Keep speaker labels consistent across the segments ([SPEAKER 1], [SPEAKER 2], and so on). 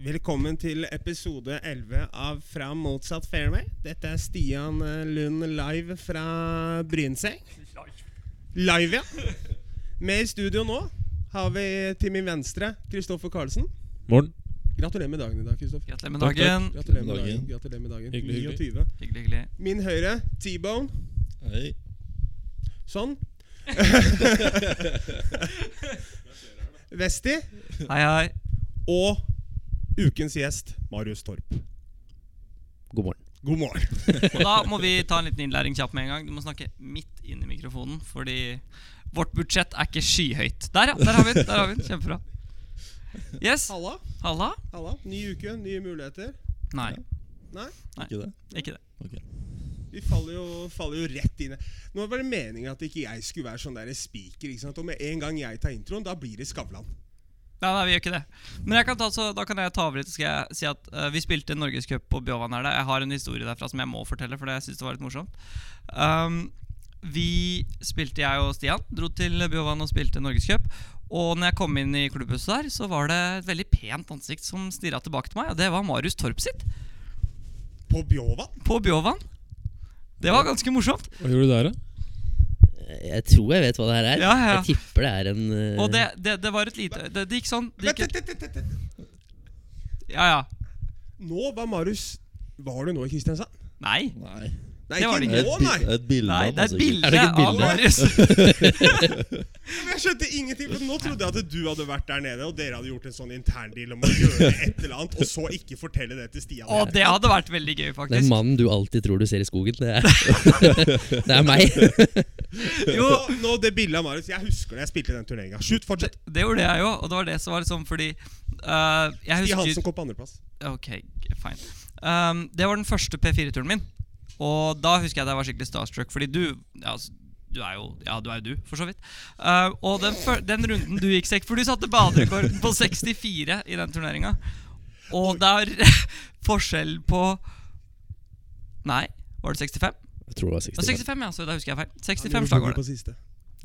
[SPEAKER 1] Velkommen til episode 11 av Fra motsatt fairway. Dette er Stian eh, Lund live fra Brynseng. Live, ja. Med i studio nå har vi til min venstre Kristoffer Karlsen.
[SPEAKER 2] Morgen.
[SPEAKER 1] Gratulerer med dagen i dag, Kristoffer.
[SPEAKER 3] Gratulerer med
[SPEAKER 2] Takk,
[SPEAKER 3] dagen.
[SPEAKER 1] Gratulerer med
[SPEAKER 4] Dagen.
[SPEAKER 1] dagen. Gratulerer med dagen.
[SPEAKER 2] Hyggelig, hyggelig.
[SPEAKER 1] 29.
[SPEAKER 3] Hyggelig, hyggelig.
[SPEAKER 1] Min høyre T-bone.
[SPEAKER 4] Hei.
[SPEAKER 1] Sånn. Vesti.
[SPEAKER 3] Hei, hei.
[SPEAKER 1] Og ukens gjest Marius Torp.
[SPEAKER 2] God morgen.
[SPEAKER 1] God morgen.
[SPEAKER 3] Og da må vi ta en liten innlæring kjapt med en gang. Du må snakke midt inn i mikrofonen, fordi vårt budsjett er ikke skyhøyt. Der, ja. Der har vi den. der har vi den, Kjempebra. Yes.
[SPEAKER 1] Halla.
[SPEAKER 3] Halla?
[SPEAKER 1] Halla. Ny uke, nye muligheter.
[SPEAKER 3] Nei,
[SPEAKER 1] Nei?
[SPEAKER 4] Ikke det?
[SPEAKER 3] ikke det.
[SPEAKER 4] Ok.
[SPEAKER 1] Vi faller jo, faller jo rett inn. Nå var det meninga at ikke jeg skulle være sånn der speaker. ikke sant? Og med en gang jeg tar introen, da blir det Skavlan.
[SPEAKER 3] Nei, nei, vi gjør ikke det. Men jeg kan ta, så, da kan jeg ta over litt. Så skal jeg si at eh, Vi spilte Norgescup på Bjovanelva. Jeg har en historie derfra som jeg må fortelle, for det jeg synes det var litt morsomt. Um, vi spilte, jeg og Stian, dro til Bjovan og spilte Norgescup. Og når jeg kom inn i klubbhuset der, så var det et veldig pent ansikt som stirra tilbake til meg, og det var Marius Torp sitt.
[SPEAKER 1] På Bjovan?
[SPEAKER 3] På Bjovan. Det var ganske morsomt.
[SPEAKER 2] Hva gjorde du der, da?
[SPEAKER 5] Jeg tror jeg vet hva det her er.
[SPEAKER 3] Ja, ja.
[SPEAKER 5] Jeg tipper det er en eh,
[SPEAKER 3] Og det, det, det var et lite Det, det gikk sånn. Det
[SPEAKER 1] Vent,
[SPEAKER 3] gikk,
[SPEAKER 1] vent, vent, vent, vent.
[SPEAKER 3] ja, ja.
[SPEAKER 1] Nå var Marius Var du nå i Kristiansand?
[SPEAKER 3] Nei.
[SPEAKER 4] Nei.
[SPEAKER 1] Nei,
[SPEAKER 3] Det var det
[SPEAKER 1] ikke
[SPEAKER 3] ikke.
[SPEAKER 1] nå,
[SPEAKER 4] bi-
[SPEAKER 1] nei!
[SPEAKER 4] et bilde
[SPEAKER 3] Nei,
[SPEAKER 4] av altså,
[SPEAKER 3] det er et
[SPEAKER 4] ansiktet.
[SPEAKER 3] bilde,
[SPEAKER 2] Er det ikke et
[SPEAKER 3] av
[SPEAKER 2] bilde?
[SPEAKER 3] Marius.
[SPEAKER 1] Men Jeg skjønte ingenting. for Nå trodde jeg at du hadde vært der nede, og dere hadde gjort en sånn interndeal om å gjøre et eller annet, og så ikke fortelle det til Stian.
[SPEAKER 3] Og det hadde vært veldig gøy,
[SPEAKER 5] Den
[SPEAKER 3] faktisk.
[SPEAKER 5] mannen du alltid tror du ser i skogen. Det er, det er meg.
[SPEAKER 1] Jo, nå det bildet av Marius. Jeg husker det. Jeg spilte i den turneringa. Shoot, fortsett.
[SPEAKER 3] Det gjorde jeg jo, og det var det som var liksom fordi eh, jeg
[SPEAKER 1] Stian
[SPEAKER 3] husker,
[SPEAKER 1] Hansen kom på andreplass.
[SPEAKER 3] Ok, g- fine. Um, det var den første P4-turen min. Og da husker jeg at jeg var skikkelig starstruck, fordi du ja, altså, du er jo ja, du, er jo du for så vidt. Uh, og den, fø- den runden du gikk sekk For du satte baderekorden på 64 i den turneringa. Og det er forskjell på Nei, var det 65?
[SPEAKER 5] Jeg tror det var
[SPEAKER 3] Ja,
[SPEAKER 5] 65.
[SPEAKER 3] 65, ja, så da husker jeg feil.
[SPEAKER 1] Han
[SPEAKER 3] 65
[SPEAKER 1] gjorde
[SPEAKER 3] slag
[SPEAKER 1] birdie
[SPEAKER 3] var det.
[SPEAKER 1] på siste.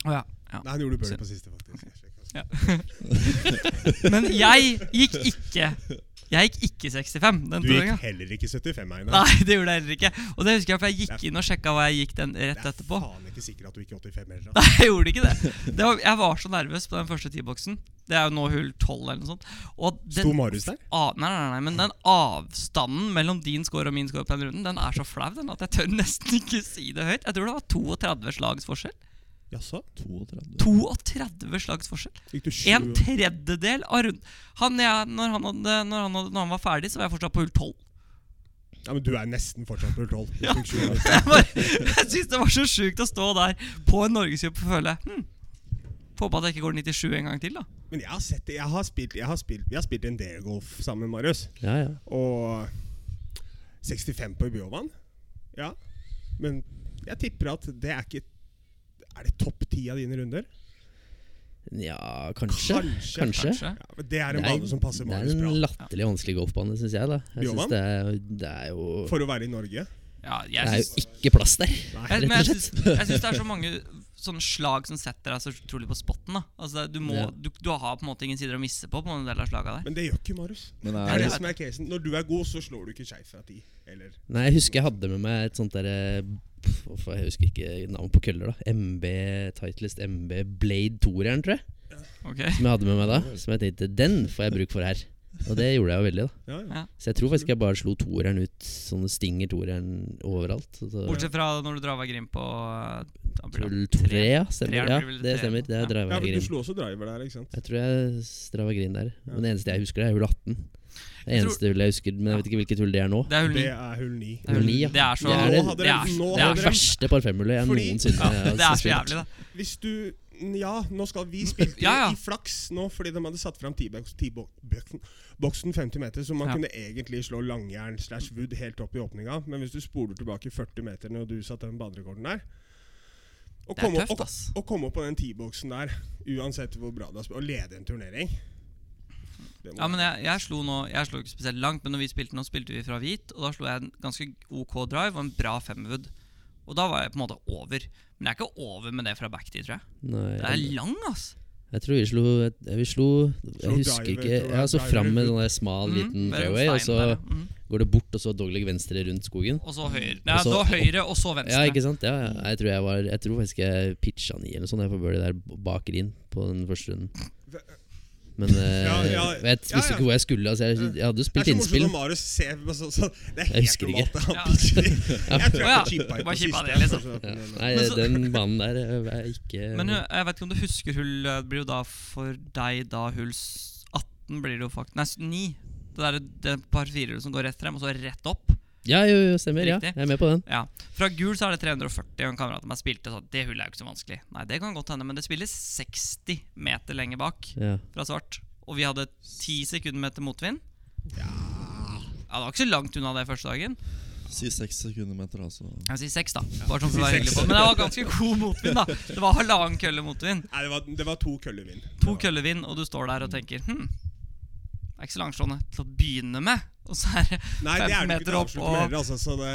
[SPEAKER 3] Å ja, ja.
[SPEAKER 1] Nei, han gjorde birdie på siste, faktisk. Jeg sjekker.
[SPEAKER 3] Ja. Men jeg gikk ikke Jeg gikk ikke 65 den
[SPEAKER 1] Du
[SPEAKER 3] turneringa.
[SPEAKER 1] gikk heller ikke 75, Einar.
[SPEAKER 3] Nei, det gjorde jeg heller ikke. Og det husker jeg, for jeg gikk inn og sjekka hva jeg gikk den
[SPEAKER 1] Jeg
[SPEAKER 3] rett
[SPEAKER 1] er
[SPEAKER 3] etterpå.
[SPEAKER 1] faen ikke sikker at du gikk 85 heller. da.
[SPEAKER 3] Nei, jeg gjorde ikke det. det var, jeg var så nervøs på den første T-boksen. Det er jo nå hull 12 eller noe sånt. Og
[SPEAKER 1] Sto
[SPEAKER 3] den,
[SPEAKER 1] Marius der?
[SPEAKER 3] a, nei, nei, nei, men den avstanden mellom din score og min score på den runden, den er så flau den at jeg tør nesten ikke si det høyt. Jeg tror det var 32 slags forskjell.
[SPEAKER 1] Jaså?
[SPEAKER 4] 32.
[SPEAKER 3] 32 slags forskjell.
[SPEAKER 1] Gikk du
[SPEAKER 3] En
[SPEAKER 1] sju?
[SPEAKER 3] tredjedel av runden. Han, jeg, når, han hadde, når, han hadde, når han var ferdig, så var jeg fortsatt på hull 12.
[SPEAKER 1] Ja, men du er nesten fortsatt på hull 12. Du
[SPEAKER 3] Ja.
[SPEAKER 1] fikk sju altså. minutter.
[SPEAKER 3] Jeg, bare- jeg synes det var så sjukt å stå der på en norgescup og føle hm, Får håpe at jeg ikke går 97 en gang til, da.
[SPEAKER 1] Men jeg har sett det. Jeg har spilt, jeg har spilt, vi har spilt en del golf sammen, Marius.
[SPEAKER 5] Ja, ja.
[SPEAKER 1] Og 65 på Bjåvann. Ja. Men jeg tipper at det er ikke Er det topp ti av dine runder?
[SPEAKER 5] ja, kanskje.
[SPEAKER 1] Kanskje.
[SPEAKER 5] Kanskje.
[SPEAKER 3] Kanskje.
[SPEAKER 1] Ja, men det er
[SPEAKER 5] Det
[SPEAKER 1] en
[SPEAKER 5] er,
[SPEAKER 1] bane som passer
[SPEAKER 5] det er
[SPEAKER 1] Marius
[SPEAKER 5] en
[SPEAKER 1] bra.
[SPEAKER 5] latterlig vanskelig golfbane, syns jeg. da Jeg
[SPEAKER 1] Bjørvann?
[SPEAKER 5] synes det, er, det er jo
[SPEAKER 1] For å være i Norge.
[SPEAKER 3] Ja,
[SPEAKER 5] Det
[SPEAKER 3] jeg
[SPEAKER 5] er
[SPEAKER 3] synes,
[SPEAKER 5] jo ikke plass der.
[SPEAKER 3] jeg,
[SPEAKER 5] rett
[SPEAKER 3] men jeg
[SPEAKER 5] og
[SPEAKER 3] synes, jeg synes det er så mange sånne slag som setter deg så utrolig på spotten. da Altså det- Du, må,
[SPEAKER 5] Ja.
[SPEAKER 3] du, du har på en måte ingen sider å misse på på en del av slaga der.
[SPEAKER 1] Men det gjør ikke Marius.
[SPEAKER 4] Men
[SPEAKER 1] Det er
[SPEAKER 4] er
[SPEAKER 1] det
[SPEAKER 4] det,
[SPEAKER 1] som er casen. Når du er god, så slår du ikke skeiv fra ti. Eller
[SPEAKER 5] Nei, Jeg husker jeg hadde med meg et sånt derre Jeg husker ikke navn på køller, da. MB Titleist MB Blade 2-eren, tror jeg.
[SPEAKER 3] Ok
[SPEAKER 5] Som jeg hadde med meg da. Som jeg tenkte den får jeg bruk for her. Og det gjorde jeg jo veldig, da.
[SPEAKER 1] Ja, ja.
[SPEAKER 5] Så jeg tror faktisk jeg bare slo toeren ut Sånne stinger toeren overalt Så, så,
[SPEAKER 3] Bortsett fra når du drar av Grim på eh, da blir
[SPEAKER 5] Tull
[SPEAKER 3] det
[SPEAKER 5] tre,
[SPEAKER 3] tre.
[SPEAKER 5] ja, stemmer,
[SPEAKER 3] Treeren
[SPEAKER 5] ja
[SPEAKER 3] blir vel
[SPEAKER 5] Det
[SPEAKER 3] tre,
[SPEAKER 5] stemmer, det
[SPEAKER 3] ja.
[SPEAKER 5] er Drava
[SPEAKER 1] ja for du
[SPEAKER 5] Green
[SPEAKER 1] slo også driver der, ikke sant?
[SPEAKER 5] Jeg tror jeg s- Drava Green der
[SPEAKER 1] Ja.
[SPEAKER 5] Men det eneste jeg husker det er hull 18 Det
[SPEAKER 3] Jeg tror-
[SPEAKER 5] eneste hullet jeg husker Men jeg vet ikke hvilket hull det er nå
[SPEAKER 3] Det er hull
[SPEAKER 1] Det
[SPEAKER 3] ni.
[SPEAKER 1] er hull ni.
[SPEAKER 3] Det er hull
[SPEAKER 5] Hull ni, ja.
[SPEAKER 3] ni. Det er så
[SPEAKER 5] Ja, nå
[SPEAKER 3] det er-
[SPEAKER 1] hadde
[SPEAKER 3] det er-
[SPEAKER 1] de- nå
[SPEAKER 3] det er
[SPEAKER 1] hadde
[SPEAKER 5] Det
[SPEAKER 1] de-
[SPEAKER 3] så-
[SPEAKER 5] verste parfemhullet jeg
[SPEAKER 1] Fordi-
[SPEAKER 5] noensinne
[SPEAKER 3] ja,
[SPEAKER 5] har
[SPEAKER 3] Det er så
[SPEAKER 5] spilt.
[SPEAKER 3] jævlig, da.
[SPEAKER 1] Hvis du Ja, nå skal vi spilte
[SPEAKER 3] Ja, ja.
[SPEAKER 1] i flaks nå fordi de hadde satt fram T-boksen 50 meter, så man
[SPEAKER 3] Ja.
[SPEAKER 1] kunne egentlig slå langjern slash wood helt opp i åpninga. Men hvis du spoler tilbake 40 meter når du satte den baderekorden der og
[SPEAKER 3] Det er
[SPEAKER 1] komme opp-
[SPEAKER 3] tøft,
[SPEAKER 1] og-
[SPEAKER 3] ass.
[SPEAKER 1] Å komme opp på den T-boksen der, uansett hvor bra du har spilt, og lede en turnering det må-
[SPEAKER 3] Ja, men jeg, jeg slo nå Jeg slo ikke spesielt langt, men når vi spilte nå, spilte vi fra hvit, og da slo jeg en ganske OK drive og en bra femwood. Og da var jeg på en måte over. Men jeg er ikke over med det fra backtid, tror jeg.
[SPEAKER 5] Nei,
[SPEAKER 3] Det er lang, ass.
[SPEAKER 5] Jeg tror vi slo Jeg, vi slo, jeg
[SPEAKER 1] Slo
[SPEAKER 5] husker
[SPEAKER 1] driver, tror
[SPEAKER 5] ikke
[SPEAKER 1] jeg.
[SPEAKER 5] Ja, så
[SPEAKER 1] Driver.
[SPEAKER 5] fram med en smal,
[SPEAKER 3] Mm,
[SPEAKER 5] liten
[SPEAKER 3] mellom
[SPEAKER 5] fairway, altså- og
[SPEAKER 3] stein der,
[SPEAKER 5] så
[SPEAKER 3] ja. Mm.
[SPEAKER 5] går det bort, og så dogleg venstre rundt skogen.
[SPEAKER 3] Og så høyre. Nei,
[SPEAKER 5] Og så
[SPEAKER 3] da
[SPEAKER 5] opp.
[SPEAKER 3] høyre, og så venstre.
[SPEAKER 5] Ja, ikke sant? Ja, ja. jeg, tror jeg, var, jeg tror faktisk jeg pitcha ni eller noe sånt jeg på birdie der b- bak inn på den første runden. Men eh,
[SPEAKER 1] Ja, ja.
[SPEAKER 5] jeg visste
[SPEAKER 1] Ja, ja.
[SPEAKER 5] ikke hvor jeg skulle. Altså, jeg, jeg hadde jo
[SPEAKER 1] Det er
[SPEAKER 5] spilt
[SPEAKER 1] så morsomt
[SPEAKER 5] innspill.
[SPEAKER 1] når Marius ser på sånn sånn. Det er
[SPEAKER 5] Jeg
[SPEAKER 1] helt
[SPEAKER 5] husker
[SPEAKER 1] normalt.
[SPEAKER 5] ikke.
[SPEAKER 1] at han
[SPEAKER 3] Ja.
[SPEAKER 1] pitcher. Jeg tror
[SPEAKER 3] Ja.
[SPEAKER 1] jeg chippa
[SPEAKER 3] Bare chippa det, liksom.
[SPEAKER 5] Ja. Nei,
[SPEAKER 3] Men så-
[SPEAKER 5] den banen der eh, er ikke
[SPEAKER 3] Men hu- jeg vet ikke om du husker hull eh, Det blir jo da for deg da hull s- 18 blir det jo faktisk Nei, s- 9. Det der det par firehjulet som går rett frem, og så rett opp.
[SPEAKER 5] Ja, jo, jo, stemmer. Ja,
[SPEAKER 3] Riktig.
[SPEAKER 5] jeg er med på den.
[SPEAKER 3] Ja. Fra gul så er det 340, og en kamerat av meg spilte sånn Det hullet er jo ikke så vanskelig. Nei, det kan godt hende, men det spilles 60 meter lenger bak
[SPEAKER 5] Ja.
[SPEAKER 3] fra svart. Og vi hadde 10 sekunder med til motvind. Ja, Det var ikke så langt unna det første dagen.
[SPEAKER 4] Si seks sekundermeter, altså.
[SPEAKER 3] Jeg sier seks, da. Bare sånn for
[SPEAKER 1] Si
[SPEAKER 3] å være
[SPEAKER 1] seks.
[SPEAKER 3] hyggelig på Men det var ganske god motvind, da. Det var halvannen kølle motvind.
[SPEAKER 1] Nei, det var, det var to køllevin.
[SPEAKER 3] To køllevind, og du står der og tenker Hm, det er ikke så langtslående til å begynne med. Og så er det
[SPEAKER 1] Nei, det er
[SPEAKER 3] 15
[SPEAKER 1] det ikke
[SPEAKER 3] meter
[SPEAKER 1] til
[SPEAKER 3] opp,
[SPEAKER 1] avslutt med
[SPEAKER 3] og
[SPEAKER 1] heller, altså. Så det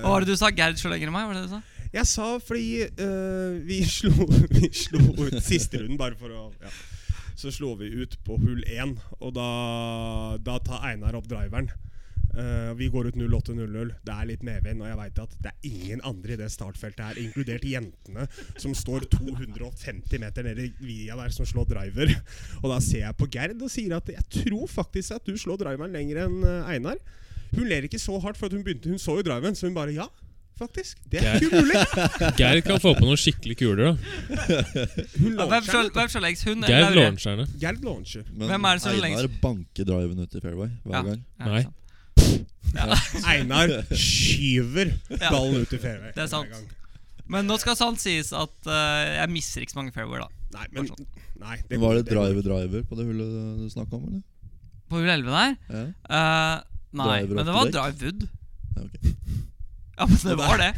[SPEAKER 3] Hva var det du sa? Gerd slår lenger enn meg? Var det det du sa?
[SPEAKER 1] Jeg sa fordi eh, vi, slo, vi slo ut siste runden, bare for å ja. Så slo vi ut på hull én, og da, da tar Einar opp driveren. Eh, vi går ut 08-00. Det er litt medvind, og jeg veit at det er ingen andre i det startfeltet her, inkludert jentene, som står 250 meter nede i via der, som slår driver. Og da ser jeg på Gerd og sier at jeg tror faktisk at du slår driveren lenger enn eh, Einar. Hun ler ikke så hardt, for at hun, begynte, hun så jo driveren, så hun bare ja. Faktisk. Det er ikke umulig!
[SPEAKER 2] Geir kan få på noen skikkelige kuler. da
[SPEAKER 1] Hun
[SPEAKER 3] Ja, Hvem
[SPEAKER 1] launcher
[SPEAKER 3] slår
[SPEAKER 1] den, vet
[SPEAKER 3] hvem slår lengst? Hun
[SPEAKER 2] Geir
[SPEAKER 3] eller Lauren?
[SPEAKER 2] launcher henne.
[SPEAKER 1] du. Gerd launcher.
[SPEAKER 4] Men
[SPEAKER 3] Hvem er det som er
[SPEAKER 4] Einar banker driven ut i fairway hver
[SPEAKER 3] Ja.
[SPEAKER 4] gang.
[SPEAKER 3] Ja,
[SPEAKER 2] Nei.
[SPEAKER 3] sant.
[SPEAKER 1] Einar skyver
[SPEAKER 3] Ja.
[SPEAKER 1] ballen ut i fairway.
[SPEAKER 3] Det er sant.
[SPEAKER 1] hver gang.
[SPEAKER 3] Men nå skal sant sies at eh, jeg misser ikke så mange fairway, da.
[SPEAKER 1] Nei, men nei, det
[SPEAKER 4] Var det driver-driver på det hullet du snakka om, eller?
[SPEAKER 3] På hull 11 der?
[SPEAKER 4] Ja,
[SPEAKER 3] Eh, nei,
[SPEAKER 4] Driver
[SPEAKER 3] men
[SPEAKER 4] opp
[SPEAKER 3] det var
[SPEAKER 4] til
[SPEAKER 3] drive wood.
[SPEAKER 4] ja ok.
[SPEAKER 3] Ja, men det var det.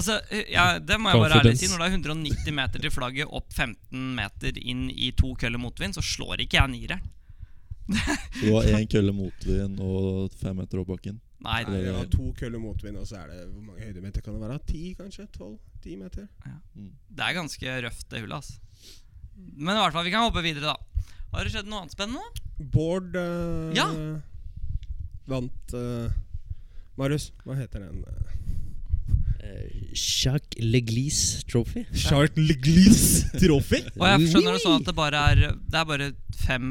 [SPEAKER 3] Altså, ja, Det må jeg bare ærlig
[SPEAKER 2] Confidence.
[SPEAKER 3] si. Når det er 190 meter til flagget, opp 15 meter inn i to køller motvind, så slår ikke jeg nireren.
[SPEAKER 4] Det var én kølle motvind og fem meter opp bakken.
[SPEAKER 3] Nei,
[SPEAKER 1] Nei, det var to køller motvind, og så er det Hvor mange høydemeter kan det være? Ti, kanskje? Tolv? Ti meter?
[SPEAKER 4] Mm.
[SPEAKER 3] det er ganske røft, det hullet. ass Men i hvert fall, vi kan hoppe videre, da. Har det skjedd noe annet spennende?
[SPEAKER 1] Bård eh,
[SPEAKER 3] Ja.
[SPEAKER 1] vant eh, Marius, hva heter den?
[SPEAKER 5] Eh, Jacques Leglise Trophy.
[SPEAKER 1] Chart Leglis Trophy?
[SPEAKER 3] Og jeg skjønner det sånn at det bare er Det er bare fem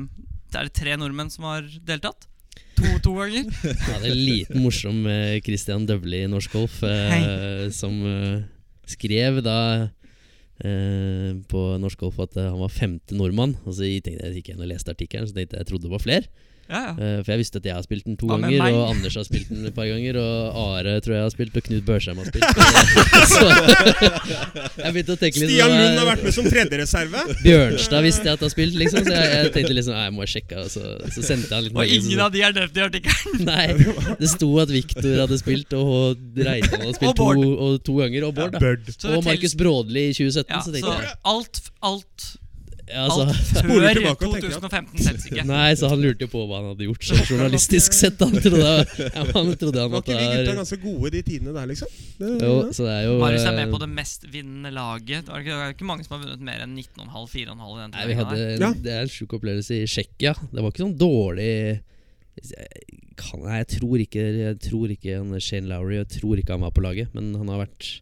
[SPEAKER 3] Det er tre nordmenn som har deltatt. To, to ganger.
[SPEAKER 5] Ja, det er en liten morsom eh, Christian Døvli i norsk golf eh, som eh, skrev da eh, på norsk golf at eh, han var femte nordmann. Og så tenkte jeg gikk jeg inn og leste artikkelen, så tenkte jeg jeg trodde det var flere.
[SPEAKER 3] Ja, ja.
[SPEAKER 5] Eh, for jeg visste at jeg har spilt den to
[SPEAKER 3] Hva med
[SPEAKER 5] ganger,
[SPEAKER 3] meg?
[SPEAKER 5] og Anders har spilt den et par ganger, og Are tror jeg har spilt, og Knut Børsheim har spilt. så jeg begynte å tenke litt
[SPEAKER 1] Stian
[SPEAKER 5] sånn,
[SPEAKER 1] Lund har
[SPEAKER 5] eh,
[SPEAKER 1] vært med som tredjereserve.
[SPEAKER 5] Bjørnstad visste jeg at har spilt, liksom, så jeg, jeg tenkte liksom Nei, jeg må sjekke. Og så, så sendte jeg han litt
[SPEAKER 3] Og
[SPEAKER 5] mail.
[SPEAKER 3] ingen av de er nevnt i artikkelen.
[SPEAKER 5] Nei, det sto at Viktor hadde spilt, og Reitan hadde
[SPEAKER 3] Og
[SPEAKER 5] spilt
[SPEAKER 3] Bård.
[SPEAKER 5] to, og to ganger, og Bård. da
[SPEAKER 1] Bird.
[SPEAKER 3] Så det
[SPEAKER 5] Og Markus
[SPEAKER 3] telles-
[SPEAKER 5] Brådli i 2017,
[SPEAKER 3] Ja,
[SPEAKER 5] så
[SPEAKER 3] så
[SPEAKER 5] tenkte jeg
[SPEAKER 3] alt, alt,
[SPEAKER 5] ja,
[SPEAKER 3] alt
[SPEAKER 5] altså,
[SPEAKER 1] Spoler
[SPEAKER 3] før
[SPEAKER 1] tilbake og tenker at-
[SPEAKER 3] 2015 selges ikke.
[SPEAKER 5] Nei, så han lurte jo på hva han hadde gjort så journalistisk sett. Han trodde, ja, han trodde han
[SPEAKER 1] Var
[SPEAKER 5] måtte
[SPEAKER 1] ikke de gutta
[SPEAKER 5] ha
[SPEAKER 1] ganske gode de tidene der, liksom? Det-
[SPEAKER 5] jo, så det er jo
[SPEAKER 3] Marius er med
[SPEAKER 5] eh,
[SPEAKER 3] på det mest vinnende laget. Det er ikke, det er ikke mange som har vunnet mer enn 19,5, 4,5 i
[SPEAKER 5] eh,
[SPEAKER 3] den
[SPEAKER 5] Nei, vi
[SPEAKER 3] turneringen
[SPEAKER 5] hadde
[SPEAKER 3] der.
[SPEAKER 1] Ja.
[SPEAKER 5] Det er en sjuk opplevelse i Tsjekkia. Det var ikke sånn dårlig jeg kan, Nei, jeg tror ikke Jeg tror ikke han Shane Lowry Jeg tror ikke han var på laget, men han har vært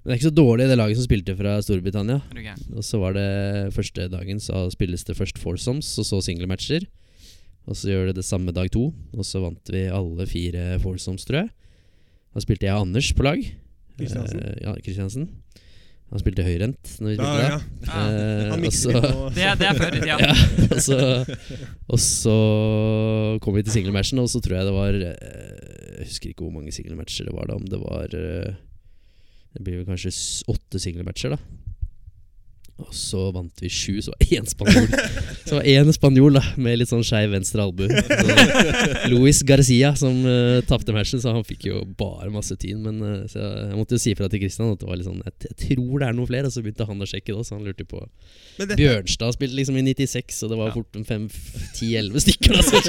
[SPEAKER 5] Men det er ikke så dårlig, det laget som spilte fra Storbritannia.
[SPEAKER 3] Er du gæren?
[SPEAKER 5] Og så var det første dagen så spilles det først foursomes, og så singlematcher. Og så gjør det det samme dag to, og så vant vi alle fire foursomes, tror jeg. Da spilte jeg og Anders på lag.
[SPEAKER 1] Kristiansen.
[SPEAKER 5] Eh, ja, Kristiansen. Han spilte høyrent. Når vi
[SPEAKER 1] Da,
[SPEAKER 5] spilte da,
[SPEAKER 1] ja.
[SPEAKER 3] Ja.
[SPEAKER 5] Eh,
[SPEAKER 1] Han
[SPEAKER 5] og
[SPEAKER 1] mikser
[SPEAKER 5] så-
[SPEAKER 1] litt nå.
[SPEAKER 3] Det, er- det er før i tida.
[SPEAKER 5] ja, og, så, og så kom vi til singlematchen, og så tror jeg det var eh, Jeg husker ikke hvor mange singlematcher det var, da om det var eh, Det blir vel kanskje s- åtte singlematcher, da. Og så vant vi sju, så var det én spanjol. Så var det én spanjol da med litt sånn skeiv venstre albue. Så Luis Garcia som uh, tapte matchen, så han fikk jo bare masse tyn. Men eh, så jeg, jeg måtte jo si ifra til Christian at det var litt sånn jeg, t- jeg tror det er noen flere. Og så begynte han å sjekke det, så han lurte på
[SPEAKER 1] Men dette-
[SPEAKER 5] Bjørnstad spilte liksom i 96, og det var fort en 5-10-11 stykker da, som,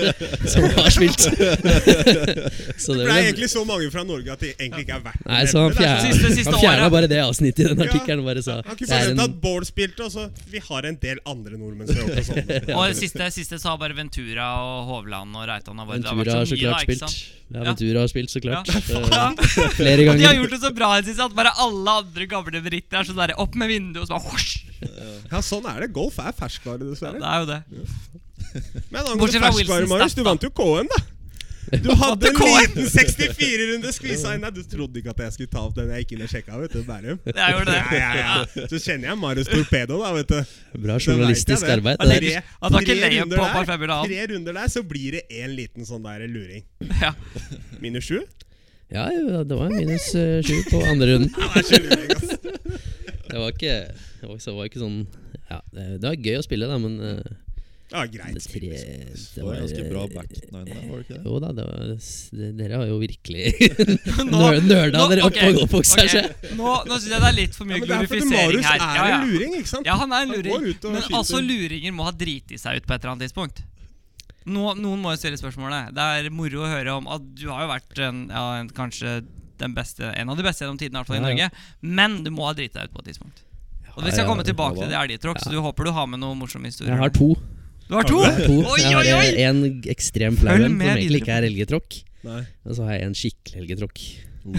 [SPEAKER 5] som har spilt.
[SPEAKER 1] Det
[SPEAKER 5] så det
[SPEAKER 1] ble
[SPEAKER 5] ble-
[SPEAKER 1] egentlig så mange fra Norge at de egentlig ikke er verdt
[SPEAKER 5] Nei, så han
[SPEAKER 1] Det er
[SPEAKER 5] fjerna,
[SPEAKER 3] siste- siste
[SPEAKER 5] han fjerna
[SPEAKER 3] året.
[SPEAKER 5] bare det avsnittet i den
[SPEAKER 1] Ja.
[SPEAKER 5] artikkelen. og Bare sa
[SPEAKER 1] Jeg har ikke
[SPEAKER 5] det er
[SPEAKER 1] forventet
[SPEAKER 5] en
[SPEAKER 1] at Bård spilte, og så Vi har en del andre nordmenn som har gjort det sånn.
[SPEAKER 3] Og det siste, siste så har bare Ventura og Hovland og Reitan og Vard. Det har
[SPEAKER 5] Ventura
[SPEAKER 3] vært
[SPEAKER 5] har
[SPEAKER 3] så
[SPEAKER 5] så
[SPEAKER 3] mye, da,
[SPEAKER 5] klart
[SPEAKER 3] ikke
[SPEAKER 5] spilt.
[SPEAKER 3] sant?
[SPEAKER 5] Ja,
[SPEAKER 3] Ja.
[SPEAKER 5] Ventura har spilt, så klart.
[SPEAKER 3] Ja.
[SPEAKER 5] Eh, Flere
[SPEAKER 3] Og de har
[SPEAKER 5] ganger.
[SPEAKER 3] gjort det så bra i det siste at bare alle andre gamle britter er sånn der opp med vinduet og så bare hosj!
[SPEAKER 1] Ja, sånn er det. Golf er ferskvare,
[SPEAKER 3] Ja,
[SPEAKER 1] dessverre.
[SPEAKER 3] det er jo det.
[SPEAKER 1] Men angående
[SPEAKER 3] Bortsett fra
[SPEAKER 1] ferskvare,
[SPEAKER 3] Wilson
[SPEAKER 1] Marius,
[SPEAKER 3] Staff,
[SPEAKER 1] du
[SPEAKER 3] da.
[SPEAKER 1] vant jo KM, da. Du hadde en liten 64-runde skvisa inn der. Du trodde ikke at jeg skulle ta opp den jeg gikk inn og sjekka, vet du. Bærum.
[SPEAKER 3] Jeg gjorde
[SPEAKER 1] Ja,
[SPEAKER 3] det.
[SPEAKER 1] ja, ja. Så kjenner jeg Marius Torpedo, da, vet du.
[SPEAKER 5] Bra journalistisk
[SPEAKER 1] Det vet
[SPEAKER 5] arbeid.
[SPEAKER 1] jeg,
[SPEAKER 5] det
[SPEAKER 1] det.
[SPEAKER 5] der.
[SPEAKER 3] der. Han tar
[SPEAKER 1] Tre-
[SPEAKER 3] ikke
[SPEAKER 1] tre
[SPEAKER 3] leie
[SPEAKER 1] runder
[SPEAKER 3] på
[SPEAKER 1] der.
[SPEAKER 3] par femmer, da, han.
[SPEAKER 1] Tre runder der, så blir det en liten sånn der luring.
[SPEAKER 3] Ja.
[SPEAKER 1] Minus sju?
[SPEAKER 5] Ja, jo, det var minus eh, sju på andre runden.
[SPEAKER 1] Ja, det er ikke luring, ass.
[SPEAKER 5] Det var ikke, det var ikke, det var ikke sånn ja, Det det var gøy å spille, da, men eh,
[SPEAKER 1] Ja,
[SPEAKER 5] det,
[SPEAKER 1] greit.
[SPEAKER 5] tre,
[SPEAKER 4] Det
[SPEAKER 5] det
[SPEAKER 4] var
[SPEAKER 5] var
[SPEAKER 4] ganske bra
[SPEAKER 5] eh,
[SPEAKER 4] back nine der, var det ikke det?
[SPEAKER 5] Jo da, det var, det, dere har jo virkelig
[SPEAKER 3] Nå-
[SPEAKER 5] nøl- nøla
[SPEAKER 3] nå-
[SPEAKER 5] dere opp
[SPEAKER 3] ok,
[SPEAKER 5] og opp og
[SPEAKER 3] ok.
[SPEAKER 5] seg.
[SPEAKER 3] Nå, nå syns jeg det er litt for
[SPEAKER 1] Ja,
[SPEAKER 3] mye
[SPEAKER 1] men det er fordi
[SPEAKER 3] glorifisering
[SPEAKER 1] Marius
[SPEAKER 3] her.
[SPEAKER 1] er
[SPEAKER 3] Ja, ja.
[SPEAKER 1] en luring, ikke sant?
[SPEAKER 3] ja, han er
[SPEAKER 1] Han
[SPEAKER 3] en
[SPEAKER 1] går
[SPEAKER 3] luring.
[SPEAKER 1] ut og
[SPEAKER 3] Men
[SPEAKER 1] skyter.
[SPEAKER 3] altså, luringer må ha driti seg ut på et eller annet tidspunkt. Nå, noen må jo stille spørsmålet. Det er moro å høre om at du har jo vært en, ja, en, kanskje den beste, en av de beste gjennom tidene, i hvert fall i
[SPEAKER 5] Ja, ja.
[SPEAKER 3] Norge. Men du må ha driti deg ut på et tidspunkt. Og Vi
[SPEAKER 5] Ja,
[SPEAKER 3] skal
[SPEAKER 5] ja,
[SPEAKER 3] komme
[SPEAKER 5] det
[SPEAKER 3] tilbake
[SPEAKER 4] var-
[SPEAKER 3] til det i elgtråkk, så du håper du har med noen morsomme historier.
[SPEAKER 5] Jeg har to.
[SPEAKER 3] Du har to?
[SPEAKER 5] Jeg har to.
[SPEAKER 3] Oi,
[SPEAKER 5] Jeg har
[SPEAKER 3] oi,
[SPEAKER 5] eh,
[SPEAKER 3] oi!
[SPEAKER 5] en ekstrem flau
[SPEAKER 3] Følg
[SPEAKER 5] en som
[SPEAKER 3] med videre.
[SPEAKER 5] egentlig ikke er elgetråkk.
[SPEAKER 1] Nei.
[SPEAKER 5] Og så har jeg en skikkelig elgetråkk.
[SPEAKER 4] Oh,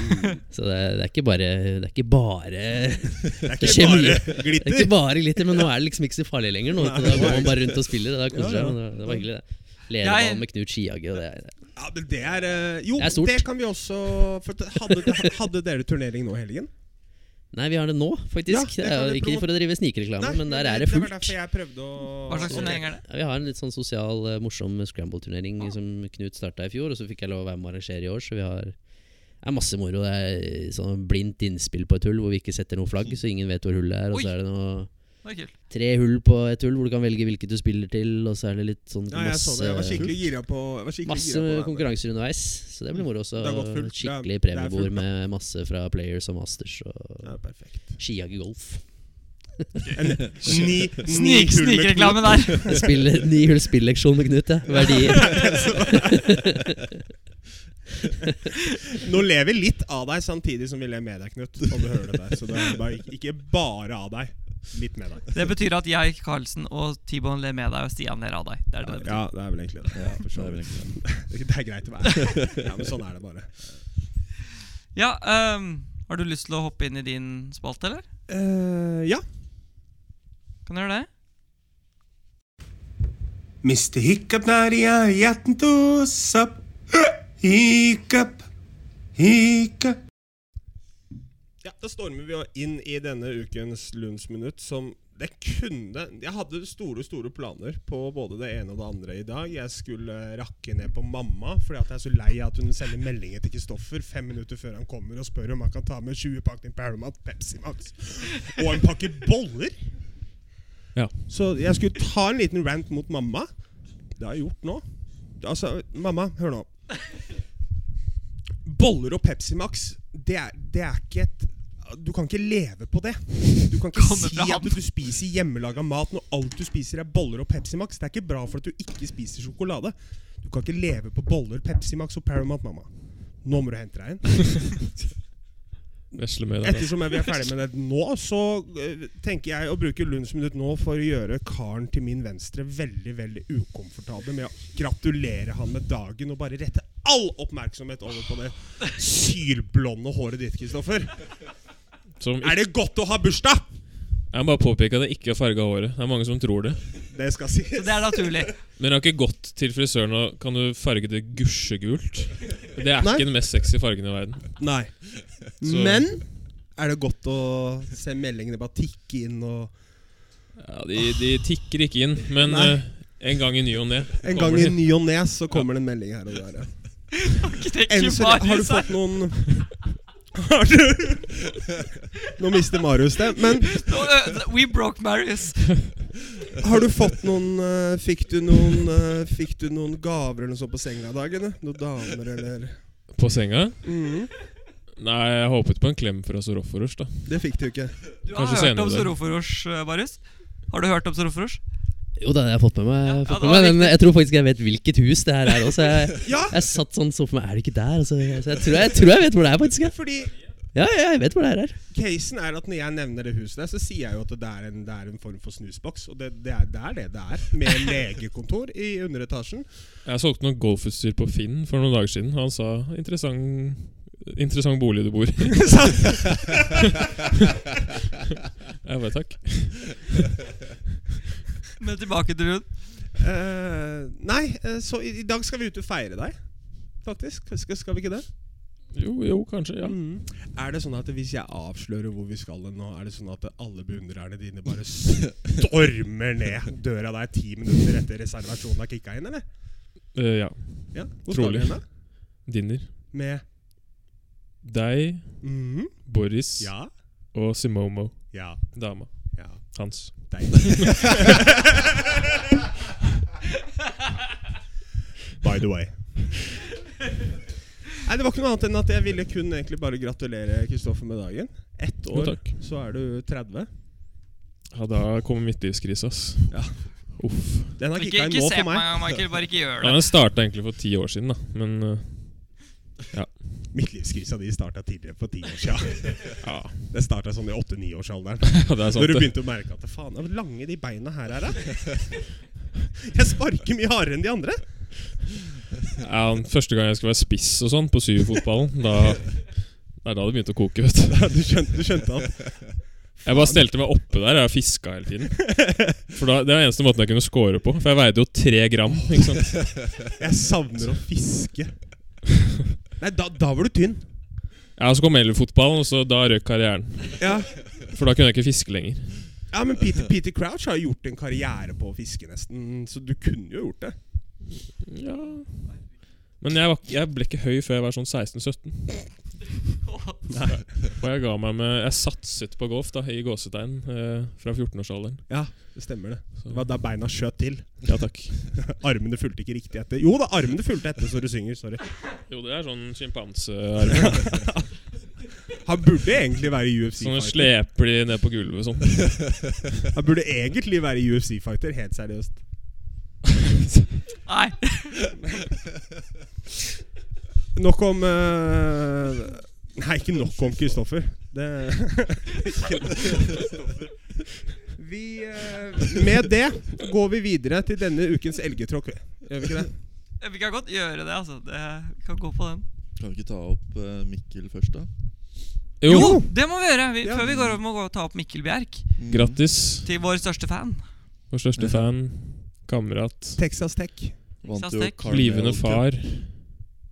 [SPEAKER 5] Så det, det er ikke bare Det er ikke bare Det
[SPEAKER 1] Det er
[SPEAKER 5] Det
[SPEAKER 1] ikke
[SPEAKER 5] skjer mye.
[SPEAKER 1] bare
[SPEAKER 5] er ikke
[SPEAKER 1] glitter.
[SPEAKER 5] bare glitter, men nå er det liksom ikke så farlig lenger. Nå, da går man bare rundt og spiller. Det er
[SPEAKER 1] Ja,
[SPEAKER 5] koselig.
[SPEAKER 1] ja.
[SPEAKER 5] men Det, det var hyggelig, det. Lederball med Knut Skiage og det. er-
[SPEAKER 1] Ja, men det er eh, Jo,
[SPEAKER 5] Det er
[SPEAKER 1] det,
[SPEAKER 5] stort.
[SPEAKER 1] kan vi også for det- hadde, hadde dere turnering nå i helgen?
[SPEAKER 5] Nei, vi har det nå,
[SPEAKER 1] Ja,
[SPEAKER 5] faktisk.
[SPEAKER 1] det
[SPEAKER 5] det
[SPEAKER 1] kan
[SPEAKER 5] er
[SPEAKER 1] vi
[SPEAKER 5] jo ikke
[SPEAKER 1] promo-
[SPEAKER 5] for å drive snikreklame, men der er det
[SPEAKER 1] Det var
[SPEAKER 5] fullt.
[SPEAKER 1] derfor jeg prøvde å
[SPEAKER 3] Hva slags turnering er det?
[SPEAKER 5] Ja, vi har en litt sånn sosial, eh, morsom scramble-turnering
[SPEAKER 1] Ah.
[SPEAKER 5] som Knut starta i fjor, og så fikk jeg lov å være med og arrangere i år, så vi har det er masse moro. Det er eh, sånn blindt innspill på et hull hvor vi ikke setter noe flagg, så ingen vet hvor hullet er. Og
[SPEAKER 3] Oi.
[SPEAKER 5] så er det noe
[SPEAKER 3] Det er kult.
[SPEAKER 5] tre hull på et hull hvor du kan velge hvilket du spiller til, og så er det litt sånn
[SPEAKER 1] Ja, jeg så det. Jeg var skikkelig gira på jeg var skikkelig
[SPEAKER 5] Masse
[SPEAKER 1] gira på det.
[SPEAKER 5] konkurranser underveis, så det blir moro også.
[SPEAKER 1] Det er godt fullt. Det er-
[SPEAKER 5] Skikkelig
[SPEAKER 1] det er
[SPEAKER 5] premiebord
[SPEAKER 1] fullt, da.
[SPEAKER 5] med masse fra players og masters
[SPEAKER 1] Ja,
[SPEAKER 5] og
[SPEAKER 1] perfekt.
[SPEAKER 5] skiage golf.
[SPEAKER 1] Sni,
[SPEAKER 3] Snik, Snikreklame der.
[SPEAKER 5] Jeg spiller Ny hull spilleksjon med Knut, jeg. Verdi.
[SPEAKER 1] Nå lever vi litt av deg samtidig som vi ler med deg, Knut. Om du hører det der Så det er bare, ikke bare av deg, litt med deg.
[SPEAKER 3] Det betyr at jeg, Karlsen og Tibon ler med deg, og Stian ler av deg. Det er det det betyr.
[SPEAKER 1] Ja, det er vel egentlig det.
[SPEAKER 4] ja, for så vidt.
[SPEAKER 1] Det er greit å være. Ja, men sånn er det bare.
[SPEAKER 3] Ja, ehm, Har du lyst til å hoppe inn i din spalte, eller?
[SPEAKER 1] Eh, ja.
[SPEAKER 3] Kan du gjøre det?
[SPEAKER 6] Mr. Hiccup Nadia, hjerten tos opp. Hiccup, hiccup.
[SPEAKER 1] Ja, Da stormer vi jo inn i denne ukens Lundsminutt, som det kunne Jeg hadde store store planer på både det ene og det andre i dag. Jeg skulle rakke ned på mamma, fordi at jeg er så lei av at hun sender meldinger til Kristoffer fem minutter før han kommer og spør om han kan ta med 20 pakning Paramount Pepsi Max og en pakke boller.
[SPEAKER 2] Ja.
[SPEAKER 1] Så jeg skulle ta en liten rant mot mamma. Det har jeg gjort nå. Altså, mamma, hør nå. Boller og Pepsi Max, det er, det er ikke et Du kan ikke leve på det. Du kan ikke
[SPEAKER 3] Kommer
[SPEAKER 1] si
[SPEAKER 3] fra
[SPEAKER 1] at
[SPEAKER 3] ham.
[SPEAKER 1] du spiser hjemmelaga mat når alt du spiser, er boller og Pepsi Max. Det er ikke bra for at du ikke spiser sjokolade. Du kan ikke leve på boller, Pepsi Max og Paramount, mamma. Nå må du hente deg inn.
[SPEAKER 2] Vesle med deg. da.
[SPEAKER 1] Ettersom vi er ferdig med det nå, så eh, tenker jeg å bruke Lunds minutt nå for å gjøre karen til min venstre veldig veldig ukomfortabel med å gratulere han med dagen og bare rette all oppmerksomhet over på det sylblonde håret ditt, Kristoffer.
[SPEAKER 2] Som ikke,
[SPEAKER 1] Er det godt å ha bursdag?
[SPEAKER 2] jeg må bare påpeke at jeg ikke har farga håret. Det er mange som tror det.
[SPEAKER 1] Det skal sies.
[SPEAKER 3] Så det er naturlig.
[SPEAKER 2] Men jeg har ikke gått til frisøren og kan du farge det gusjegult. Det er
[SPEAKER 1] Nei.
[SPEAKER 2] ikke den mest sexy fargen i verden.
[SPEAKER 1] Nei.
[SPEAKER 2] Så-
[SPEAKER 1] Men er det godt å se meldingene bare tikke inn og
[SPEAKER 2] Ja, de, de tikker ikke inn, men
[SPEAKER 1] Nei.
[SPEAKER 2] eh, en gang i ny og ne.
[SPEAKER 1] En gang
[SPEAKER 2] kommer
[SPEAKER 1] i
[SPEAKER 2] de.
[SPEAKER 1] ny og ne så kommer det en melding her og der. ja. Enn
[SPEAKER 3] Knekker
[SPEAKER 1] så lenge Har du
[SPEAKER 3] Marius her.
[SPEAKER 1] fått noen Har du Nå mister Marius det. Men
[SPEAKER 3] Nå, ø, We broke Marius.
[SPEAKER 1] har du fått noen eh, Fikk du noen eh, Fikk du noen gaver eller noe sånt på senga i dag? eller? Noen damer eller
[SPEAKER 2] På senga?
[SPEAKER 1] Mhm.
[SPEAKER 2] Nei, jeg håpet på en klem fra Soroforosh, da.
[SPEAKER 1] Det fikk du ikke.
[SPEAKER 3] Du har hørt
[SPEAKER 2] Kanskje senere
[SPEAKER 3] om
[SPEAKER 2] i dag.
[SPEAKER 3] Soroforosh, ø, Marius? Har du hørt om Soroforosh?
[SPEAKER 5] Jo da, det har jeg fått med meg. Jeg,
[SPEAKER 3] Ja,
[SPEAKER 5] har fått
[SPEAKER 3] ja, det
[SPEAKER 5] med
[SPEAKER 3] var
[SPEAKER 5] meg. Men jeg tror faktisk jeg vet hvilket hus det her er også. Jeg,
[SPEAKER 1] Ja,
[SPEAKER 5] jeg satt sånn så for meg Er det ikke der? Altså, jeg, så jeg, tror jeg, jeg tror jeg vet hvor det er, faktisk. jeg.
[SPEAKER 1] fordi
[SPEAKER 5] Ja, ja, jeg vet hvor det her er.
[SPEAKER 1] Casen er at når jeg nevner det huset der, så sier jeg jo at det er en, det er en form for snusboks. Og det, det, er, det er det det er. Med legekontor i underetasjen.
[SPEAKER 2] Jeg solgte noe golfutstyr på Finn for noen dager siden, og han sa interessant, interessant bolig du bor i. jeg bare takk.
[SPEAKER 3] Men tilbake til Rune.
[SPEAKER 1] Eh, nei, eh, så i, i dag skal vi ut og feire deg, faktisk. Skal, skal vi ikke det?
[SPEAKER 2] Jo, jo, kanskje. Ja.
[SPEAKER 1] Er det sånn at hvis jeg avslører hvor vi skal hen nå, er det sånn at alle beundrerne dine bare stormer ned døra der ti minutter etter reservasjonen har kicka inn, eller?
[SPEAKER 2] Eh, ja.
[SPEAKER 1] Ja, hvor skal
[SPEAKER 2] Trolig.
[SPEAKER 1] vi hen da?
[SPEAKER 2] Dinner.
[SPEAKER 1] Med
[SPEAKER 2] Deg,
[SPEAKER 1] mhm,
[SPEAKER 2] Boris
[SPEAKER 1] Ja.
[SPEAKER 2] og Simomo.
[SPEAKER 1] Ja.
[SPEAKER 2] Dama
[SPEAKER 1] Ja.
[SPEAKER 2] hans.
[SPEAKER 1] Deilig. By the way. Nei, Det var ikke noe annet enn at jeg ville kun egentlig bare gratulere Kristoffer med dagen. Ett
[SPEAKER 2] Jo,
[SPEAKER 1] år,
[SPEAKER 2] takk.
[SPEAKER 1] så er du 30.
[SPEAKER 2] Ja, da kommer midtlivskrisa, ass.
[SPEAKER 1] Ja.
[SPEAKER 2] Uff.
[SPEAKER 1] Den har
[SPEAKER 3] Ikke,
[SPEAKER 1] kicka inn
[SPEAKER 3] ikke
[SPEAKER 1] nå
[SPEAKER 3] se
[SPEAKER 1] for
[SPEAKER 3] på
[SPEAKER 1] meg.
[SPEAKER 3] meg, Michael. Bare ikke gjør
[SPEAKER 2] Ja,
[SPEAKER 3] det.
[SPEAKER 2] den starta egentlig for ti år siden, da. Men eh,
[SPEAKER 1] Midtlivskrisa di starta tidligere, på ti år siden.
[SPEAKER 2] ja,
[SPEAKER 1] Den starta sånn i åtte-niårsalderen.
[SPEAKER 2] det er sant.
[SPEAKER 1] Når du
[SPEAKER 2] det.
[SPEAKER 1] begynte å merke at faen, hvor lange de beina her er, da. Jeg sparker mye hardere enn de andre.
[SPEAKER 2] Ja, den første gang jeg skulle være spiss og sånn på syvfotballen, da Det er da det begynte å koke, vet du.
[SPEAKER 1] Du skjønte, du skjønte at
[SPEAKER 2] Jeg bare stelte meg oppe der og fiska hele tiden. For da, Det var eneste måten jeg kunne score på, for jeg veide jo tre gram. ikke sant?
[SPEAKER 1] jeg savner å fiske. Nei, da, da var du tynn.
[SPEAKER 2] Ja, og Så kom elvefotballen, og så da røk karrieren.
[SPEAKER 1] Ja,
[SPEAKER 2] For da kunne jeg ikke fiske lenger.
[SPEAKER 1] ja men Peter, Peter Crouch har jo gjort en karriere på å fiske, nesten. Så du kunne jo gjort det.
[SPEAKER 2] Ja Men jeg, var, jeg ble ikke høy før jeg var sånn 16-17. Og jeg ga meg med Jeg satset på golf, da, i gåsetegn, eh, fra 14-årsalderen.
[SPEAKER 1] Ja, det stemmer det. Det var da beina skjøt til.
[SPEAKER 2] Ja takk.
[SPEAKER 1] Armene fulgte ikke riktig etter. Jo da, armene fulgte etter så du synger. Sorry.
[SPEAKER 2] Jo, det er sånn sjimpansearmer.
[SPEAKER 1] Han burde egentlig være
[SPEAKER 2] Sånn
[SPEAKER 1] UFC-fighter.
[SPEAKER 2] sleper de ned på gulvet sånn.
[SPEAKER 1] Han burde egentlig være UFC-fighter, helt seriøst.
[SPEAKER 3] Nei.
[SPEAKER 1] Nok om eh, Nei, ikke nok om Kristoffer. Det Ikke nok om Kristoffer. Vi eh, Med det går vi videre til denne ukens elgetråkk. Gjør vi ikke det?
[SPEAKER 3] Vi kan godt gjøre det, altså. Det, vi kan gå på den.
[SPEAKER 4] Kan vi ikke ta opp eh, Mikkel først, da?
[SPEAKER 2] Jo!
[SPEAKER 3] Jo, det må vi gjøre! Vi,
[SPEAKER 1] Ja.
[SPEAKER 3] Før vi går over, må vi gå og ta opp Mikkel Bjerk.
[SPEAKER 2] Grattis.
[SPEAKER 3] Til vår største fan.
[SPEAKER 2] Vår største fan. Kamerat.
[SPEAKER 1] Texas Tech.
[SPEAKER 4] Vant
[SPEAKER 3] Texas
[SPEAKER 4] jo
[SPEAKER 3] Tech.
[SPEAKER 4] Carmel
[SPEAKER 2] Blivende far.
[SPEAKER 4] Cup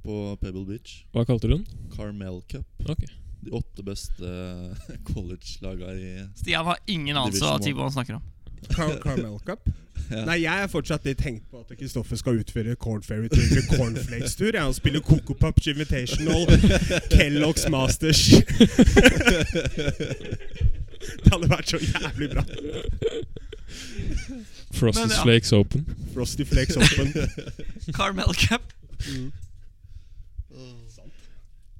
[SPEAKER 4] på Pebble Beach.
[SPEAKER 2] Hva kalte du den?
[SPEAKER 4] Carmel Cup.
[SPEAKER 2] Ok.
[SPEAKER 4] De åtte beste college-laga i
[SPEAKER 3] Stian har ingen anelse av
[SPEAKER 4] Division one.
[SPEAKER 3] hva han snakker om.
[SPEAKER 1] Car Carmel Cup.
[SPEAKER 4] Ja.
[SPEAKER 1] Nei, jeg er fortsatt litt hengt på at Kristoffer skal utføre Corn Ferry til en cornflakes-tur. Jeg spiller Coco Pups Invitational, Kellogg's Masters Det hadde vært så jævlig bra.
[SPEAKER 2] Frosted
[SPEAKER 3] Men ja.
[SPEAKER 2] Flakes Open.
[SPEAKER 1] Frosty Flakes Open.
[SPEAKER 3] Carmel Cup.
[SPEAKER 1] Mm.